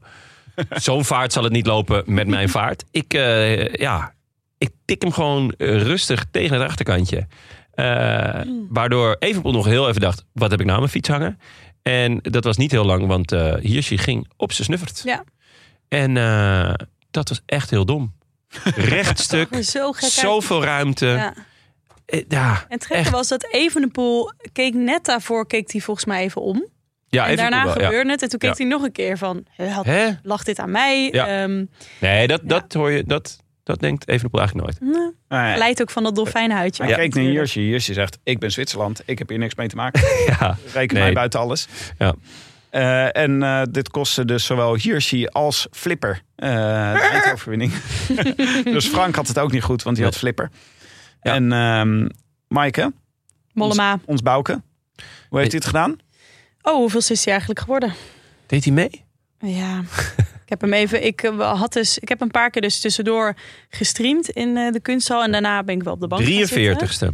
[SPEAKER 2] zo'n vaart zal het niet lopen met mijn vaart. Ik, eh, ja, ik tik hem gewoon eh, rustig tegen het achterkantje. Eh, waardoor Evenpoel nog heel even dacht, wat heb ik nou aan mijn fiets hangen? En dat was niet heel lang, want eh Hirschi ging op zijn snuffert.
[SPEAKER 3] Ja.
[SPEAKER 2] En eh, dat was echt heel dom. Rechtstuk,
[SPEAKER 3] Zo gek. uit.
[SPEAKER 2] zoveel ruimte.
[SPEAKER 3] Ja.
[SPEAKER 2] Eh, ja,
[SPEAKER 3] En het gekke
[SPEAKER 2] Echt.
[SPEAKER 3] was dat Evenepoel keek net daarvoor, keek hij volgens mij even om.
[SPEAKER 2] ja
[SPEAKER 3] en
[SPEAKER 2] Evenepoel
[SPEAKER 3] daarna
[SPEAKER 2] wel, ja.
[SPEAKER 3] gebeurde het. En toen keek
[SPEAKER 2] Ja.
[SPEAKER 3] hij nog een keer van, "Hè, had,
[SPEAKER 2] Hè?
[SPEAKER 3] lag dit aan mij?
[SPEAKER 2] Ja.
[SPEAKER 3] Ehm,
[SPEAKER 2] Nee, dat, dat hoor je, dat, dat denkt Evenepoel eigenlijk nooit.
[SPEAKER 3] nou,
[SPEAKER 1] Eh,
[SPEAKER 3] leidt ook van dat dolfijnhuidje.
[SPEAKER 1] Hij
[SPEAKER 3] af
[SPEAKER 1] kijkt naar
[SPEAKER 3] natuurlijk.
[SPEAKER 1] Hirschi. Hirschi zegt, ik ben Zwitserland. Ik heb hier niks mee te maken.
[SPEAKER 2] Ja,
[SPEAKER 1] Reken
[SPEAKER 2] Nee.
[SPEAKER 1] mij buiten alles.
[SPEAKER 2] Ja.
[SPEAKER 1] Eh, en eh, dit kostte dus zowel Hirschi als Flipper eh, de eindoverwinning. dus Frank had het ook niet goed, want hij had Flipper.
[SPEAKER 2] Ja.
[SPEAKER 1] En ehm Maaike,
[SPEAKER 3] Mollema.
[SPEAKER 1] ons Bouke, hoe heeft hij het gedaan? Nou,
[SPEAKER 3] Oh, hoeveel is hij eigenlijk geworden?
[SPEAKER 2] deed hij mee?
[SPEAKER 3] Ja, Ik heb hem even. Ik, eh, had dus, ik heb een paar keer dus tussendoor gestreamd in eh, de kunsthal. En daarna ben ik wel op de bank. gaan zitten.
[SPEAKER 2] 43ste.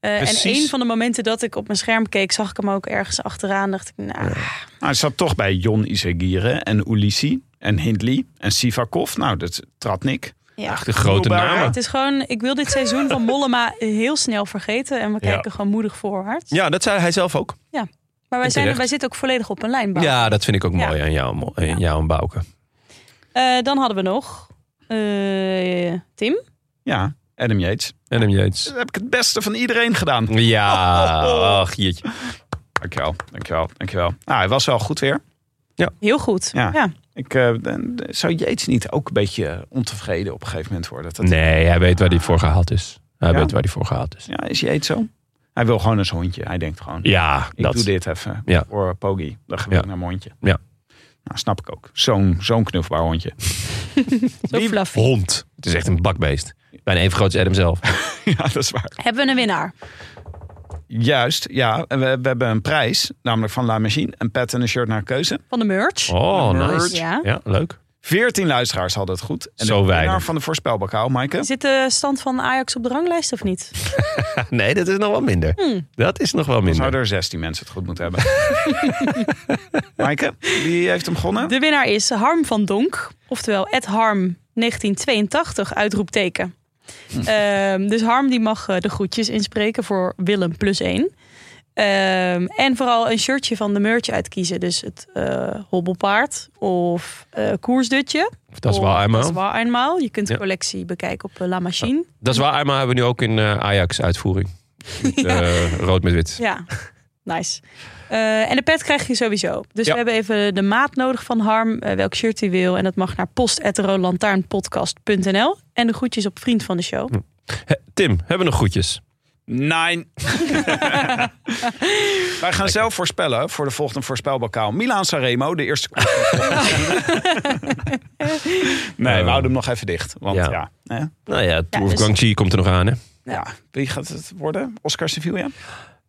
[SPEAKER 3] Eh, en
[SPEAKER 2] precies.
[SPEAKER 3] een van de momenten dat ik op mijn scherm keek, zag ik hem ook ergens achteraan. Dacht ik, nou,
[SPEAKER 1] Nou, het zat toch bij Jon Isagire en Ulissi en Hindley en Sivakov. Nou, dat trad Nick.
[SPEAKER 3] ja.
[SPEAKER 2] Echt de grote
[SPEAKER 1] Middelbare.
[SPEAKER 2] namen.
[SPEAKER 3] Het is gewoon, ik wil dit seizoen van Mollema heel snel vergeten. En we
[SPEAKER 2] Ja.
[SPEAKER 3] kijken gewoon moedig voorwaarts.
[SPEAKER 2] Ja, dat zei hij zelf ook.
[SPEAKER 3] Maar wij, zijn,
[SPEAKER 2] terecht.
[SPEAKER 3] wij zitten ook volledig op een lijn. Bouke.
[SPEAKER 2] Ja, dat vind ik ook
[SPEAKER 3] Ja.
[SPEAKER 2] mooi aan jou, mo- aan jou en Bouke.
[SPEAKER 3] Eh, dan hadden we nog eh, Tim.
[SPEAKER 1] Ja, Adam Yates.
[SPEAKER 2] En hem Jeets.
[SPEAKER 1] Dat heb ik het beste van iedereen gedaan.
[SPEAKER 2] Ja,
[SPEAKER 1] Oh, oh, oh.
[SPEAKER 2] ach jeetje.
[SPEAKER 1] Dankjewel, dankjewel, dankjewel. Nou, hij was wel goed weer.
[SPEAKER 3] Heel goed.
[SPEAKER 1] Ja.
[SPEAKER 3] Ja.
[SPEAKER 1] Ik, eh, de- de- zou Yates niet ook een beetje ontevreden op een gegeven moment worden? Dat
[SPEAKER 2] Nee, hij weet waar hij voor gehaald is. Hij
[SPEAKER 1] Ja?
[SPEAKER 2] weet waar hij voor gehaald is.
[SPEAKER 1] Ja, is Yates zo? Hij wil gewoon als hondje. Hij denkt gewoon,
[SPEAKER 2] Ja,
[SPEAKER 1] ik
[SPEAKER 2] dat.
[SPEAKER 1] doe dit even
[SPEAKER 2] Ja.
[SPEAKER 1] voor Pogi. Dan ga ik
[SPEAKER 2] Ja.
[SPEAKER 1] naar mijn hondje.
[SPEAKER 2] Ja.
[SPEAKER 1] Nou, snap ik ook. Zo'n zo'n knufbaar hondje.
[SPEAKER 3] Zo
[SPEAKER 1] Wie-
[SPEAKER 3] fluffy.
[SPEAKER 2] Hond. Het is echt een bakbeest. Bijna even groot als Adam zelf.
[SPEAKER 1] ja, dat is waar.
[SPEAKER 3] Hebben we een winnaar?
[SPEAKER 1] Juist, ja. En we, we hebben een prijs, namelijk van La Machine. Een pet en een shirt naar keuze.
[SPEAKER 3] Van de merch.
[SPEAKER 2] Oh, nice.
[SPEAKER 3] Ja.
[SPEAKER 2] Ja, leuk.
[SPEAKER 1] 14 luisteraars hadden het goed. En
[SPEAKER 2] Zo
[SPEAKER 1] de winnaar
[SPEAKER 2] weinig.
[SPEAKER 1] van de voorspelbokaal, Maaike.
[SPEAKER 3] Zit de stand van Ajax op de ranglijst of niet?
[SPEAKER 2] Nee, dat is nog wel minder.
[SPEAKER 3] Hmm.
[SPEAKER 2] Dat is nog wel
[SPEAKER 1] Dan
[SPEAKER 2] minder.
[SPEAKER 1] zouden er 16 mensen het goed moeten hebben. Maaike, wie heeft hem gewonnen?
[SPEAKER 3] De winnaar is Harm van Donk, oftewel Ed Harm 1982 uitroepteken. Ehm, dus Harm die mag eh, de groetjes inspreken voor Willem plus één. Ehm, en vooral een shirtje van de merch uitkiezen. Dus het eh, hobbelpaard of eh, koersdutje.
[SPEAKER 2] Dat is wel
[SPEAKER 3] Of Dat is
[SPEAKER 2] eenmaal.
[SPEAKER 3] wel eenmaal. Je kunt de
[SPEAKER 2] Ja.
[SPEAKER 3] collectie bekijken op eh, La Machine.
[SPEAKER 2] Dat is wel eenmaal hebben we nu ook in eh, Ajax uitvoering. Met, eh, rood met wit.
[SPEAKER 3] Ja, nice. Eh, en de pet krijg je sowieso. Dus
[SPEAKER 2] Ja.
[SPEAKER 3] we hebben even de maat nodig van Harm, eh, welk shirt hij wil. En dat mag naar post.rolantaarnpodcast.nl. En de groetjes op vriend van de show.
[SPEAKER 2] Hè, Tim, hebben we nog groetjes?
[SPEAKER 1] Nee. Wij gaan zelf voorspellen voor de volgende voorspelbokaal. Milaan Sanremo, de eerste. nee, we houden hem nog even dicht. Want Eh. ja,
[SPEAKER 2] Ja.
[SPEAKER 1] hè?
[SPEAKER 2] Nou ja, Tour of
[SPEAKER 3] dus-
[SPEAKER 2] Guangxi komt er nog aan, hè?
[SPEAKER 1] ja. wie gaat het worden? Oscar Sevilla?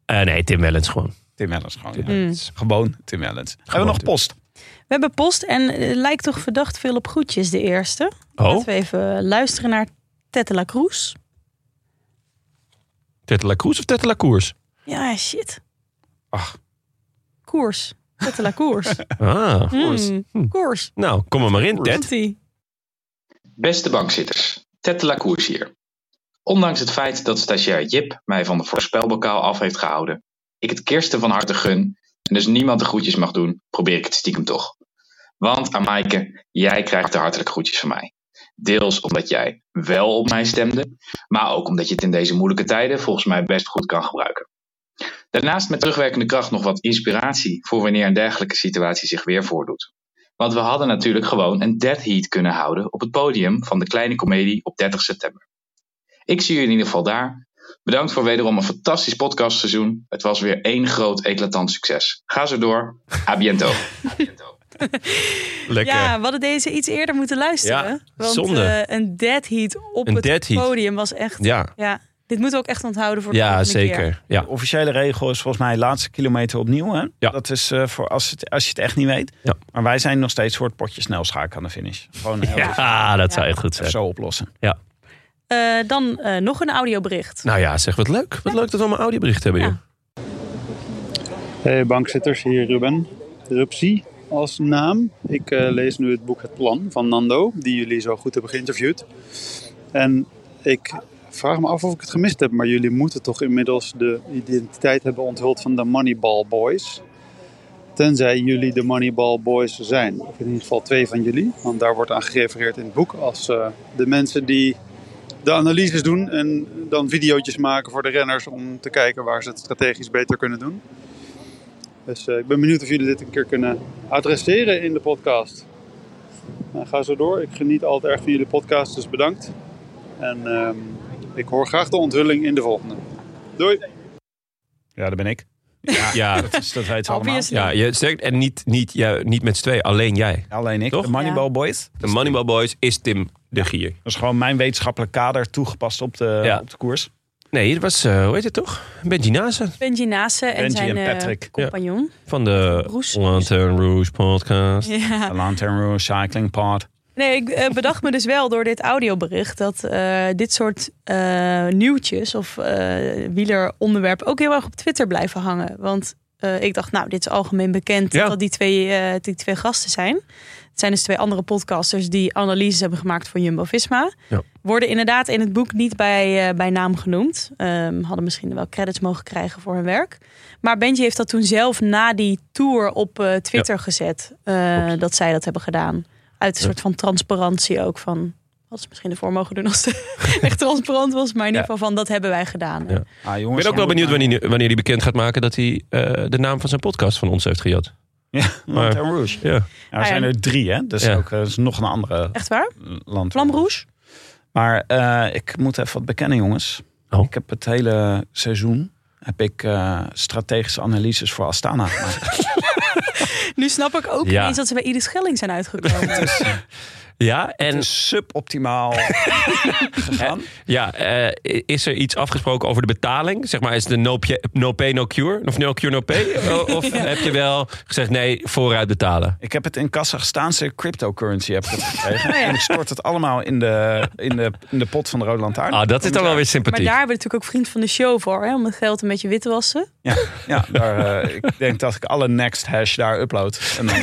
[SPEAKER 2] Eh, nee, Tim Wellens gewoon.
[SPEAKER 1] Tim Ellens gewoon. ja.
[SPEAKER 3] Mm.
[SPEAKER 1] Gewoon Tim Ellens. Hebben we nog
[SPEAKER 2] Tim.
[SPEAKER 1] post?
[SPEAKER 3] We hebben post en eh, lijkt toch verdacht veel op groetjes de eerste.
[SPEAKER 2] Oh,
[SPEAKER 3] Laten we even luisteren naar Tette La Cruz.
[SPEAKER 2] Tette La Cruz of Tette La Cours?
[SPEAKER 3] Ja, shit.
[SPEAKER 1] Ach.
[SPEAKER 3] Koers. Tette La Koers.
[SPEAKER 2] Ah,
[SPEAKER 3] Hmm, Koers.
[SPEAKER 2] nou, kom er maar in, Ted.
[SPEAKER 3] Komt-ie.
[SPEAKER 4] Beste bankzitters, Ted de La Koers hier. Ondanks het feit dat stagiair Jip mij van de voorspelbokaal af heeft gehouden, ik het Kirsten van harte gun en dus niemand de groetjes mag doen, probeer ik het stiekem toch. Want Amaike, jij krijgt de hartelijke groetjes van mij. Deels omdat jij wel op mij stemde, maar ook omdat je het in deze moeilijke tijden volgens mij best goed kan gebruiken. Daarnaast met terugwerkende kracht nog wat inspiratie voor wanneer een dergelijke situatie zich weer voordoet. Want we hadden natuurlijk gewoon een dead heat kunnen houden op het podium van de kleine comedie op 30 september. Ik zie jullie in ieder geval daar. Bedankt voor wederom een fantastisch podcastseizoen. Het was weer één groot eclatant succes. Ga zo door. A biento.
[SPEAKER 2] Lekker.
[SPEAKER 3] Ja, we hadden deze iets eerder moeten luisteren.
[SPEAKER 2] Ja,
[SPEAKER 3] want
[SPEAKER 2] zonde.
[SPEAKER 3] eh, een dead heat op
[SPEAKER 2] Een
[SPEAKER 3] het
[SPEAKER 2] dead heat.
[SPEAKER 3] podium was echt... Ja.
[SPEAKER 2] Ja,
[SPEAKER 3] dit moeten we ook echt onthouden voor de
[SPEAKER 2] ja
[SPEAKER 3] volgende keer.
[SPEAKER 2] zeker. Ja.
[SPEAKER 1] De officiële regel is volgens mij laatste kilometer opnieuw. Hè?
[SPEAKER 2] Ja.
[SPEAKER 1] Dat is eh, voor als, het, als je het echt niet weet.
[SPEAKER 2] Ja.
[SPEAKER 1] Maar wij zijn nog steeds soort potje snel schaken aan de finish. Gewoon heel even
[SPEAKER 2] Ja, dat zou echt goed zijn.
[SPEAKER 1] zo oplossen.
[SPEAKER 3] Eh, dan eh, nog een audiobericht.
[SPEAKER 2] Nou ja, zeg, wat leuk. Wat leuk dat we allemaal audioberichten hebben,
[SPEAKER 3] Ja.
[SPEAKER 2] joh.
[SPEAKER 5] Hey bankzitters, hier Ruben. Rupsi als naam. Ik eh, lees nu het boek Het Plan van Nando, die jullie zo goed hebben geïnterviewd. En ik vraag me af of ik het gemist heb, maar jullie moeten toch inmiddels de identiteit hebben onthuld van de Moneyball Boys. Tenzij jullie de Moneyball Boys zijn, of in ieder geval twee van jullie, want daar wordt aan gerefereerd in het boek als eh, de mensen die de analyses doen en dan videootjes maken voor de renners om te kijken waar ze het strategisch beter kunnen doen. Dus eh, ik ben benieuwd of jullie dit een keer kunnen adresseren in de podcast. Nou, ga zo door. Ik geniet altijd erg van jullie podcast, dus bedankt. En ehm, ik hoor graag de onthulling in de volgende. Doei!
[SPEAKER 1] Ja, dat ben ik.
[SPEAKER 2] Ja,
[SPEAKER 1] Dat, is, dat weten we allemaal.
[SPEAKER 3] Obviously.
[SPEAKER 2] ja je, sterk, en niet, niet, ja, niet met z'n tweeën, alleen jij.
[SPEAKER 1] Alleen ik,
[SPEAKER 2] Toch?
[SPEAKER 1] de Moneyball Boys.
[SPEAKER 2] De Moneyball Boys is Tim de Gier.
[SPEAKER 1] Dat is gewoon mijn wetenschappelijk kader toegepast op de,
[SPEAKER 2] Ja.
[SPEAKER 1] op de koers.
[SPEAKER 2] Nee, het was, eh, hoe heet het toch? Benji Nase
[SPEAKER 3] Benji Naassen en
[SPEAKER 1] Benji
[SPEAKER 3] zijn
[SPEAKER 1] en
[SPEAKER 3] eh,
[SPEAKER 1] Patrick.
[SPEAKER 3] compagnon.
[SPEAKER 2] van de
[SPEAKER 3] Roes.
[SPEAKER 2] Lantern Rouge podcast.
[SPEAKER 3] Ja.
[SPEAKER 1] De Lantern Room Cycling Pod.
[SPEAKER 3] Nee, ik eh, bedacht me dus wel door dit audiobericht dat eh, dit soort eh, nieuwtjes of wieler wieleronderwerpen ook heel erg op Twitter blijven hangen. Want eh, ik dacht, nou, dit is algemeen bekend
[SPEAKER 2] Ja.
[SPEAKER 3] dat die twee, eh, die twee gasten zijn. Het zijn dus twee andere podcasters die analyses hebben gemaakt van Jumbo-Visma.
[SPEAKER 2] Ja.
[SPEAKER 3] Worden inderdaad in het boek niet bij, eh, bij naam genoemd. Ehm, hadden misschien wel credits mogen krijgen voor hun werk. Maar Benji heeft dat toen zelf na die tour op eh, Twitter gezet. eh, dat zij dat hebben gedaan. Uit een
[SPEAKER 2] Ja.
[SPEAKER 3] soort van transparantie ook van... Hadden ze misschien ervoor mogen doen als het echt transparant was. Maar in ieder geval van, dat hebben wij gedaan.
[SPEAKER 2] Ja.
[SPEAKER 1] Ah,
[SPEAKER 2] Ik
[SPEAKER 1] jongens,
[SPEAKER 2] ben ook wel benieuwd wanneer hij, wanneer hij bekend gaat maken dat hij eh, de naam van zijn podcast van ons heeft gejat.
[SPEAKER 1] Ja, Lantern Rouge.
[SPEAKER 2] Ja.
[SPEAKER 3] Ah,
[SPEAKER 1] Ja, er zijn er drie, hè? Dus
[SPEAKER 2] Ja.
[SPEAKER 1] ook eh, is nog een andere eh,
[SPEAKER 3] Echt waar?
[SPEAKER 1] Lantern
[SPEAKER 3] Vlam Rouge?
[SPEAKER 1] Maar eh, ik moet even wat bekennen, jongens.
[SPEAKER 2] Oh.
[SPEAKER 1] Ik heb het hele seizoen heb ik, eh, strategische analyses voor Astana gemaakt.
[SPEAKER 3] Nu snap ik ook
[SPEAKER 2] Ja.
[SPEAKER 3] ineens dat ze bij Iris Schelling zijn uitgekomen.
[SPEAKER 2] Ja, en
[SPEAKER 1] Suboptimaal gegaan.
[SPEAKER 2] ja, eh, is er iets afgesproken over de betaling? Zeg maar, is de no, pje- no pay, no cure? Of no cure, no pay? O- Of heb je wel gezegd nee, vooruit betalen?
[SPEAKER 1] Ik heb het in Kazachstaanse cryptocurrency heb ik het gekregen. En ik stort het allemaal in de, in de, in de pot van de Rode Lantaarn.
[SPEAKER 2] Ah, dat is dan wel weer
[SPEAKER 3] Maar
[SPEAKER 2] sympathiek.
[SPEAKER 3] daar hebben we natuurlijk ook vriend van de show voor. Hè? Om het geld een beetje wit te wassen.
[SPEAKER 1] Ja, ja daar, eh, ik denk dat ik alle next hash daar upload. En dan,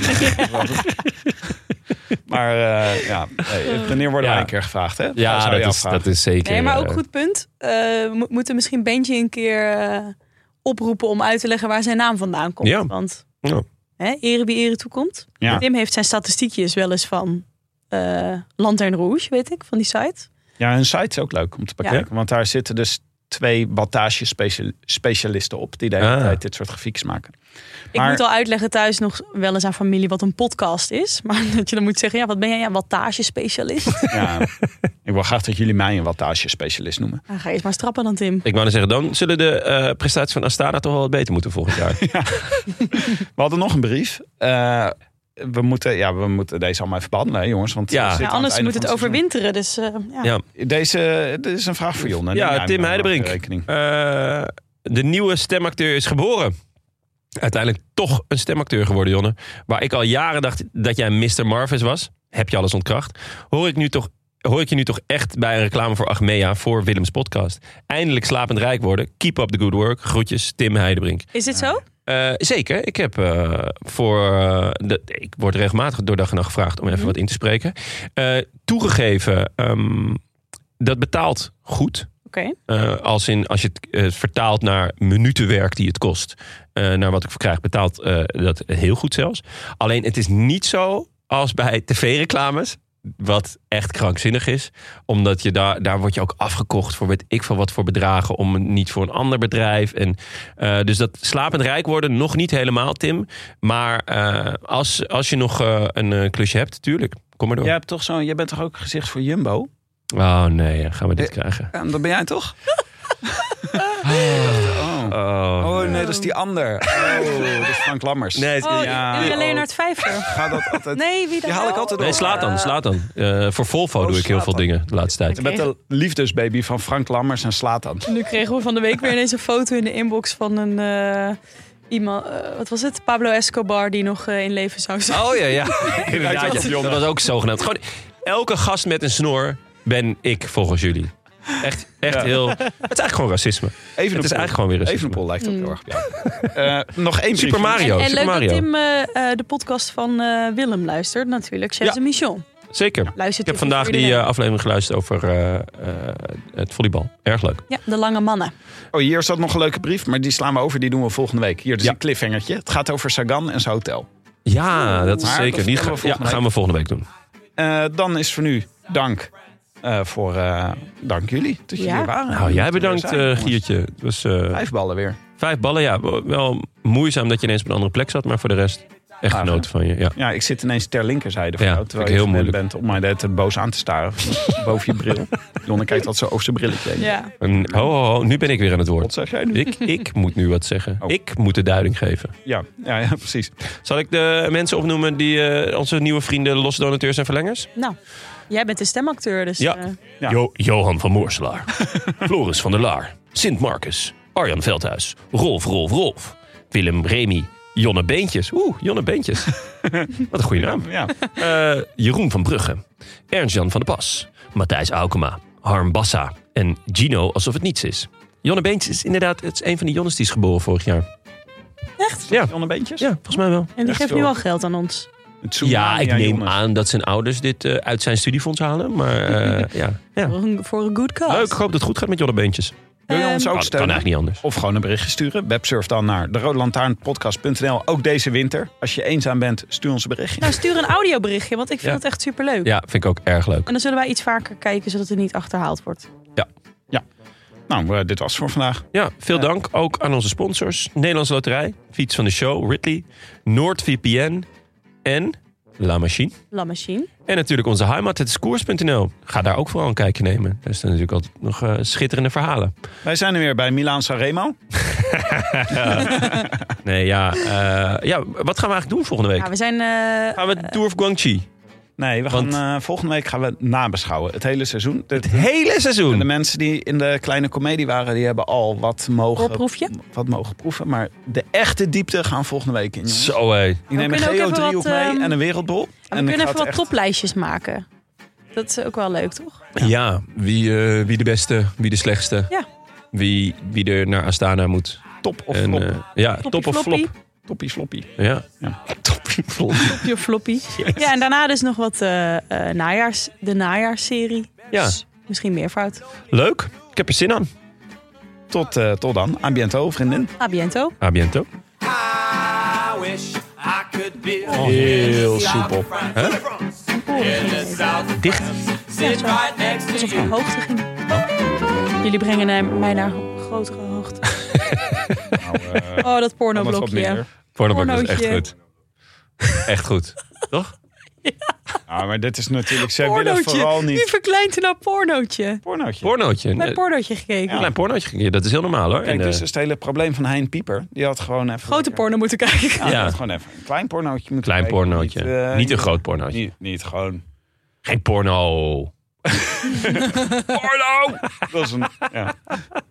[SPEAKER 1] Maar eh, ja, nee, wanneer worden
[SPEAKER 2] Ja.
[SPEAKER 1] wij een keer gevraagd? Hè?
[SPEAKER 2] Ja,
[SPEAKER 1] Zou je
[SPEAKER 2] dat is,
[SPEAKER 1] afvragen.
[SPEAKER 2] dat is zeker.
[SPEAKER 3] Nee, maar ook
[SPEAKER 2] eh,
[SPEAKER 3] goed punt. Eh, we mo- moeten misschien Benji een keer eh, oproepen om uit te leggen waar zijn naam vandaan komt.
[SPEAKER 2] Ja.
[SPEAKER 3] Want
[SPEAKER 2] Ja.
[SPEAKER 3] hè, ere wie ere toekomt.
[SPEAKER 1] Ja.
[SPEAKER 3] Tim heeft zijn statistiekjes wel eens van eh Lantern Rouge, weet ik, van die site.
[SPEAKER 1] Ja, hun site is ook leuk om te bekijken. Want daar zitten dus twee wattage specia- specialisten op. Die de hele
[SPEAKER 2] Ah.
[SPEAKER 1] tijd dit soort grafieks maken.
[SPEAKER 3] Ik
[SPEAKER 1] Maar-
[SPEAKER 3] moet al uitleggen thuis nog wel eens aan familie wat een podcast is. Maar dat je dan moet zeggen, ja, wat ben jij? Ja, wattage specialist.
[SPEAKER 1] Ja, ik wil graag dat jullie mij een wattage specialist noemen.
[SPEAKER 3] Dan ga je eerst maar strappen dan, Tim.
[SPEAKER 2] Ik wou dan zeggen, dan zullen de eh, prestaties van Astana toch wel wat beter moeten volgend jaar.
[SPEAKER 1] We hadden nog een brief. Eh, we, moeten, ja, we moeten deze allemaal even behandelen, hè, jongens. Want eh,
[SPEAKER 2] Ja.
[SPEAKER 1] we zitten
[SPEAKER 3] Ja,
[SPEAKER 1] aan
[SPEAKER 3] anders
[SPEAKER 1] einde
[SPEAKER 3] moet het
[SPEAKER 1] van seizoen.
[SPEAKER 3] overwinteren. Dus eh, ja.
[SPEAKER 2] Ja.
[SPEAKER 1] Deze dit is een vraag voor Jon. hè? Nou, Neem jij
[SPEAKER 2] ja,
[SPEAKER 1] hem
[SPEAKER 2] Tim
[SPEAKER 1] maar
[SPEAKER 2] Heidebrink.
[SPEAKER 1] op de rekening.
[SPEAKER 2] Eh, de nieuwe stemacteur is geboren. Uiteindelijk toch een stemacteur geworden, Jonne. Waar ik al jaren dacht dat jij Mr. Marvis was. Heb je alles ontkracht. Hoor ik, nu toch, hoor ik je nu toch echt bij een reclame voor Achmea voor Willems podcast. Eindelijk slapend rijk worden. Keep up the good work. Groetjes, Tim Heidebrink.
[SPEAKER 3] Is dit zo?
[SPEAKER 2] Eh, zeker. Ik heb eh, voor. eh, de, ik word regelmatig door dag en nacht gevraagd om even wat in te spreken. Eh, toegegeven, ehm, dat betaalt goed.
[SPEAKER 3] Oké.
[SPEAKER 2] Eh, als, in, als je het eh, vertaalt naar minutenwerk die het kost. eh, naar wat ik voor krijg betaalt eh, dat heel goed zelfs. Alleen het is niet zo als bij tv-reclames. Wat echt krankzinnig is. Omdat je daar, daar word je ook afgekocht voor weet ik van wat voor bedragen. Om een- niet voor een ander bedrijf. En, eh, dus dat slapend rijk worden nog niet helemaal, Tim. Maar eh, als, als je nog eh, een eh, klusje hebt, tuurlijk. Kom maar door.
[SPEAKER 1] Jij, hebt toch zo, jij bent toch ook gezicht voor Jumbo?
[SPEAKER 2] Oh nee, gaan we dit
[SPEAKER 1] Eh,
[SPEAKER 2] krijgen.
[SPEAKER 1] Ja, dat ben jij toch? Oh.
[SPEAKER 2] Oh,
[SPEAKER 1] Oh nee, dat is die ander. Oh, dat is Frank Lammers.
[SPEAKER 2] Nee,
[SPEAKER 3] Oh,
[SPEAKER 1] Ja,
[SPEAKER 3] ja,
[SPEAKER 1] oh.
[SPEAKER 3] Leonard Vijver.
[SPEAKER 1] Ga dat altijd.
[SPEAKER 3] Nee, wie dan
[SPEAKER 1] Die haal ik
[SPEAKER 3] wel?
[SPEAKER 1] altijd
[SPEAKER 2] Nee, slaat dan. Slaat dan. Eh, voor Volvo doe ik heel veel
[SPEAKER 1] Slatan.
[SPEAKER 2] dingen de laatste tijd.
[SPEAKER 3] Oké.
[SPEAKER 1] Met de liefdesbaby van Frank Lammers en slaat dan.
[SPEAKER 3] Nu kregen we van de week weer ineens een foto in de inbox van een eh, iemand. eh, wat was het? Pablo Escobar die nog eh, in leven zou zijn.
[SPEAKER 2] Oh ja, ja. Inderdaad,
[SPEAKER 1] als
[SPEAKER 2] ja.
[SPEAKER 1] een
[SPEAKER 2] Dat was ook zogenaamd. Gewoon elke gast met een snor ben ik volgens jullie. Echt, echt
[SPEAKER 1] Ja.
[SPEAKER 2] heel... Het is eigenlijk gewoon racisme.
[SPEAKER 1] Even
[SPEAKER 2] Het is eigenlijk gewoon weer racisme.
[SPEAKER 1] Evenepoel lijkt ook heel erg op jou. Eh, nog één
[SPEAKER 2] Super
[SPEAKER 1] briefje.
[SPEAKER 2] Oh, Mario.
[SPEAKER 3] en en
[SPEAKER 2] Super
[SPEAKER 3] leuk
[SPEAKER 2] Mario.
[SPEAKER 3] dat Tim eh, eh, de podcast van eh, Willem luistert, natuurlijk. Chef
[SPEAKER 2] Ja.
[SPEAKER 3] de Michon.
[SPEAKER 2] Zeker.
[SPEAKER 3] Luistert
[SPEAKER 2] Ik heb
[SPEAKER 3] u
[SPEAKER 2] vandaag
[SPEAKER 3] voor
[SPEAKER 2] die
[SPEAKER 3] iedereen.
[SPEAKER 2] eh, aflevering geluisterd over eh, eh, het volleybal. Erg leuk.
[SPEAKER 3] Ja, de lange mannen.
[SPEAKER 1] Oh, hier zat nog een leuke brief, maar die slaan we over. Die doen we volgende week. Hier, dus
[SPEAKER 2] Ja.
[SPEAKER 1] een cliffhangertje. Het gaat over Sagan en zijn hotel.
[SPEAKER 2] Ja, dat is
[SPEAKER 1] Maar
[SPEAKER 2] zeker.
[SPEAKER 1] dat
[SPEAKER 2] Die
[SPEAKER 1] vertellen we
[SPEAKER 2] ga- ja,
[SPEAKER 1] volgende week.
[SPEAKER 2] gaan we volgende week doen.
[SPEAKER 1] Eh, dan is voor nu dank eh, voor... eh, dank jullie dat jullie
[SPEAKER 3] Ja.
[SPEAKER 1] er waren.
[SPEAKER 2] Nou, jij
[SPEAKER 1] Dat we er
[SPEAKER 2] bedankt,
[SPEAKER 1] zijn,
[SPEAKER 2] eh,
[SPEAKER 1] jongens.
[SPEAKER 2] Giertje. Het was eh,
[SPEAKER 1] Vijf ballen weer.
[SPEAKER 2] vijf ballen. Ja, wel moeizaam dat je ineens op een andere plek zat. Maar voor de rest, echt
[SPEAKER 1] Gaaf, hè?
[SPEAKER 2] genoten van je. Ja.
[SPEAKER 1] Ja, ik zit ineens ter linkerzijde van
[SPEAKER 2] Ja,
[SPEAKER 1] jou.
[SPEAKER 2] vind ik
[SPEAKER 1] Terwijl je
[SPEAKER 2] heel
[SPEAKER 1] gewend
[SPEAKER 2] moeilijk.
[SPEAKER 1] bent om mij de hele tijd boos aan te staren. boven je bril. Jonne kijkt altijd zo over zijn brilletje heen.
[SPEAKER 3] Ja.
[SPEAKER 2] Een, ho, ho, ho, nu ben ik weer aan het
[SPEAKER 1] Wat
[SPEAKER 2] woord.
[SPEAKER 1] zeg jij nu?
[SPEAKER 2] Ik, ik moet nu wat zeggen.
[SPEAKER 1] Oh.
[SPEAKER 2] Ik moet de duiding geven.
[SPEAKER 1] Ja, ja, ja precies.
[SPEAKER 2] Zal ik de mensen opnoemen die eh, onze nieuwe vrienden, losse donateurs en verlengers?
[SPEAKER 3] Nou, jij bent de stemacteur, dus...
[SPEAKER 2] Ja.
[SPEAKER 3] eh,
[SPEAKER 1] Ja.
[SPEAKER 2] Jo- Johan van Moorselaar, Floris van der Laar, Sint Marcus, Arjan Veldhuis, Rolf, Rolf, Rolf, Willem Remy, Jonne Beentjes. Oeh, Jonne Beentjes. wat een goede naam.
[SPEAKER 1] Ja,
[SPEAKER 2] Eh, Jeroen van Brugge, Ernst-Jan van der Pas, Matthijs Aukema, Harm Bassa en Gino alsof het niets is. Jonne Beentjes is inderdaad het is een van die Jonnes die is geboren vorig jaar.
[SPEAKER 3] Echt?
[SPEAKER 2] Ja,
[SPEAKER 1] Jonne Beentjes?
[SPEAKER 2] ja volgens mij wel.
[SPEAKER 3] En die
[SPEAKER 1] Echt
[SPEAKER 3] geeft
[SPEAKER 1] wel.
[SPEAKER 3] nu al geld aan ons.
[SPEAKER 1] Een tsunami
[SPEAKER 2] Ja, ik neem
[SPEAKER 1] Jonne.
[SPEAKER 2] aan dat zijn ouders dit eh, uit zijn studiefonds halen. Maar eh, ja. ja.
[SPEAKER 3] Voor een, voor een good cause.
[SPEAKER 2] Leuk, ik hoop dat het goed gaat met Jonne Beentjes.
[SPEAKER 1] Wil je
[SPEAKER 3] Ehm,
[SPEAKER 1] ons ook
[SPEAKER 2] Kan, kan
[SPEAKER 1] steunen?
[SPEAKER 2] eigenlijk niet anders.
[SPEAKER 1] Of gewoon een berichtje sturen. Websurf dan naar de Ook deze winter. Als je eenzaam bent, stuur ons een berichtje.
[SPEAKER 3] Nou, stuur een audioberichtje, want ik vind
[SPEAKER 2] Ja.
[SPEAKER 3] het echt superleuk.
[SPEAKER 2] Ja, vind ik ook erg leuk.
[SPEAKER 3] En dan zullen wij iets vaker kijken, zodat het niet achterhaald wordt.
[SPEAKER 1] Nou, eh, dit was het voor vandaag.
[SPEAKER 2] Ja, veel dank ook aan onze sponsors. Nederlandse Loterij, Fiets van de Show, Ridley, NoordVPN en La Machine.
[SPEAKER 3] La Machine.
[SPEAKER 2] En natuurlijk onze heimat, het is koers.nl. Ga daar ook vooral een kijkje nemen. Er staan natuurlijk altijd nog eh, schitterende verhalen.
[SPEAKER 1] Wij zijn er weer bij Milaan Sanremo.
[SPEAKER 2] Nee, ja, eh, ja, wat gaan we eigenlijk doen volgende week?
[SPEAKER 3] Ja, we zijn... eh,
[SPEAKER 2] Gaan we Tour of Guangxi?
[SPEAKER 1] Nee, we gaan, eh, volgende week gaan we nabeschouwen. Het hele seizoen. De,
[SPEAKER 2] Het hele
[SPEAKER 1] de
[SPEAKER 2] seizoen.
[SPEAKER 1] mensen die in de kleine komedie waren, die hebben al wat mogen,
[SPEAKER 3] Voorproefje?
[SPEAKER 1] wat mogen proeven. Maar de echte diepte gaan volgende week in. jongens.
[SPEAKER 2] Zo hé.
[SPEAKER 1] Ik neem een
[SPEAKER 3] kunnen ook even
[SPEAKER 1] geo-driehoek
[SPEAKER 3] wat,
[SPEAKER 1] mee
[SPEAKER 3] ehm,
[SPEAKER 1] en een wereldbol.
[SPEAKER 3] en
[SPEAKER 1] ik
[SPEAKER 3] we
[SPEAKER 1] ga
[SPEAKER 3] kunnen even wat
[SPEAKER 1] het echt-
[SPEAKER 3] toplijstjes maken. Dat is ook wel leuk, toch?
[SPEAKER 2] Ja, wie, eh, wie de beste, wie de slechtste.
[SPEAKER 3] Ja.
[SPEAKER 2] Wie, wie er naar Astana moet.
[SPEAKER 1] Top of
[SPEAKER 2] En,
[SPEAKER 1] flop.
[SPEAKER 2] eh, ja,
[SPEAKER 3] Floppy,
[SPEAKER 2] top of
[SPEAKER 3] floppy.
[SPEAKER 2] flop.
[SPEAKER 1] Toppie sloppie.
[SPEAKER 2] Ja.
[SPEAKER 1] Ja.
[SPEAKER 2] Toppie flop.
[SPEAKER 3] Je floppy. Ja, en daarna dus nog wat eh, eh, najaars, de najaarsserie.
[SPEAKER 2] Ja.
[SPEAKER 3] Dus misschien meer fout.
[SPEAKER 2] Leuk. Ik heb er zin aan.
[SPEAKER 1] Tot, eh, tot dan. A biento, vriendin.
[SPEAKER 3] A biento.
[SPEAKER 2] A biento.
[SPEAKER 6] I wish I could be
[SPEAKER 2] Heel soepel. Hè? Dicht.
[SPEAKER 6] Sit right next
[SPEAKER 3] Alsof
[SPEAKER 6] to
[SPEAKER 3] je
[SPEAKER 6] you.
[SPEAKER 3] hoogte ging. Jullie brengen naar- mij naar grotere hoogte. oh, dat
[SPEAKER 1] Anders wat
[SPEAKER 3] pornoblokje.
[SPEAKER 1] minder.
[SPEAKER 2] Pornobak was echt
[SPEAKER 3] Pornootje.
[SPEAKER 2] goed. Echt goed. Toch?
[SPEAKER 1] Ja, Nou, maar dit is natuurlijk... Zij willen vooral
[SPEAKER 3] Pornootje. Wie
[SPEAKER 1] niet...
[SPEAKER 3] verkleint er nou pornootje?
[SPEAKER 1] Pornootje.
[SPEAKER 2] Pornootje.
[SPEAKER 3] Naar
[SPEAKER 2] Een
[SPEAKER 3] pornootje gekeken.
[SPEAKER 2] klein pornootje. Ja, Dat is heel normaal hoor.
[SPEAKER 1] Kijk,
[SPEAKER 2] En,
[SPEAKER 1] dus
[SPEAKER 2] eh,
[SPEAKER 1] is het hele probleem van Hein Pieper. Die had gewoon even...
[SPEAKER 3] Grote
[SPEAKER 1] lekker-
[SPEAKER 3] porno moeten kijken.
[SPEAKER 1] Ja, die
[SPEAKER 2] Ja.
[SPEAKER 1] had gewoon even een klein pornootje moeten
[SPEAKER 2] klein
[SPEAKER 1] kijken.
[SPEAKER 2] pornootje. Niet,
[SPEAKER 1] eh,
[SPEAKER 2] een groot pornootje.
[SPEAKER 1] Niet, niet gewoon...
[SPEAKER 2] Geen porno.
[SPEAKER 1] Dat is een... Ja.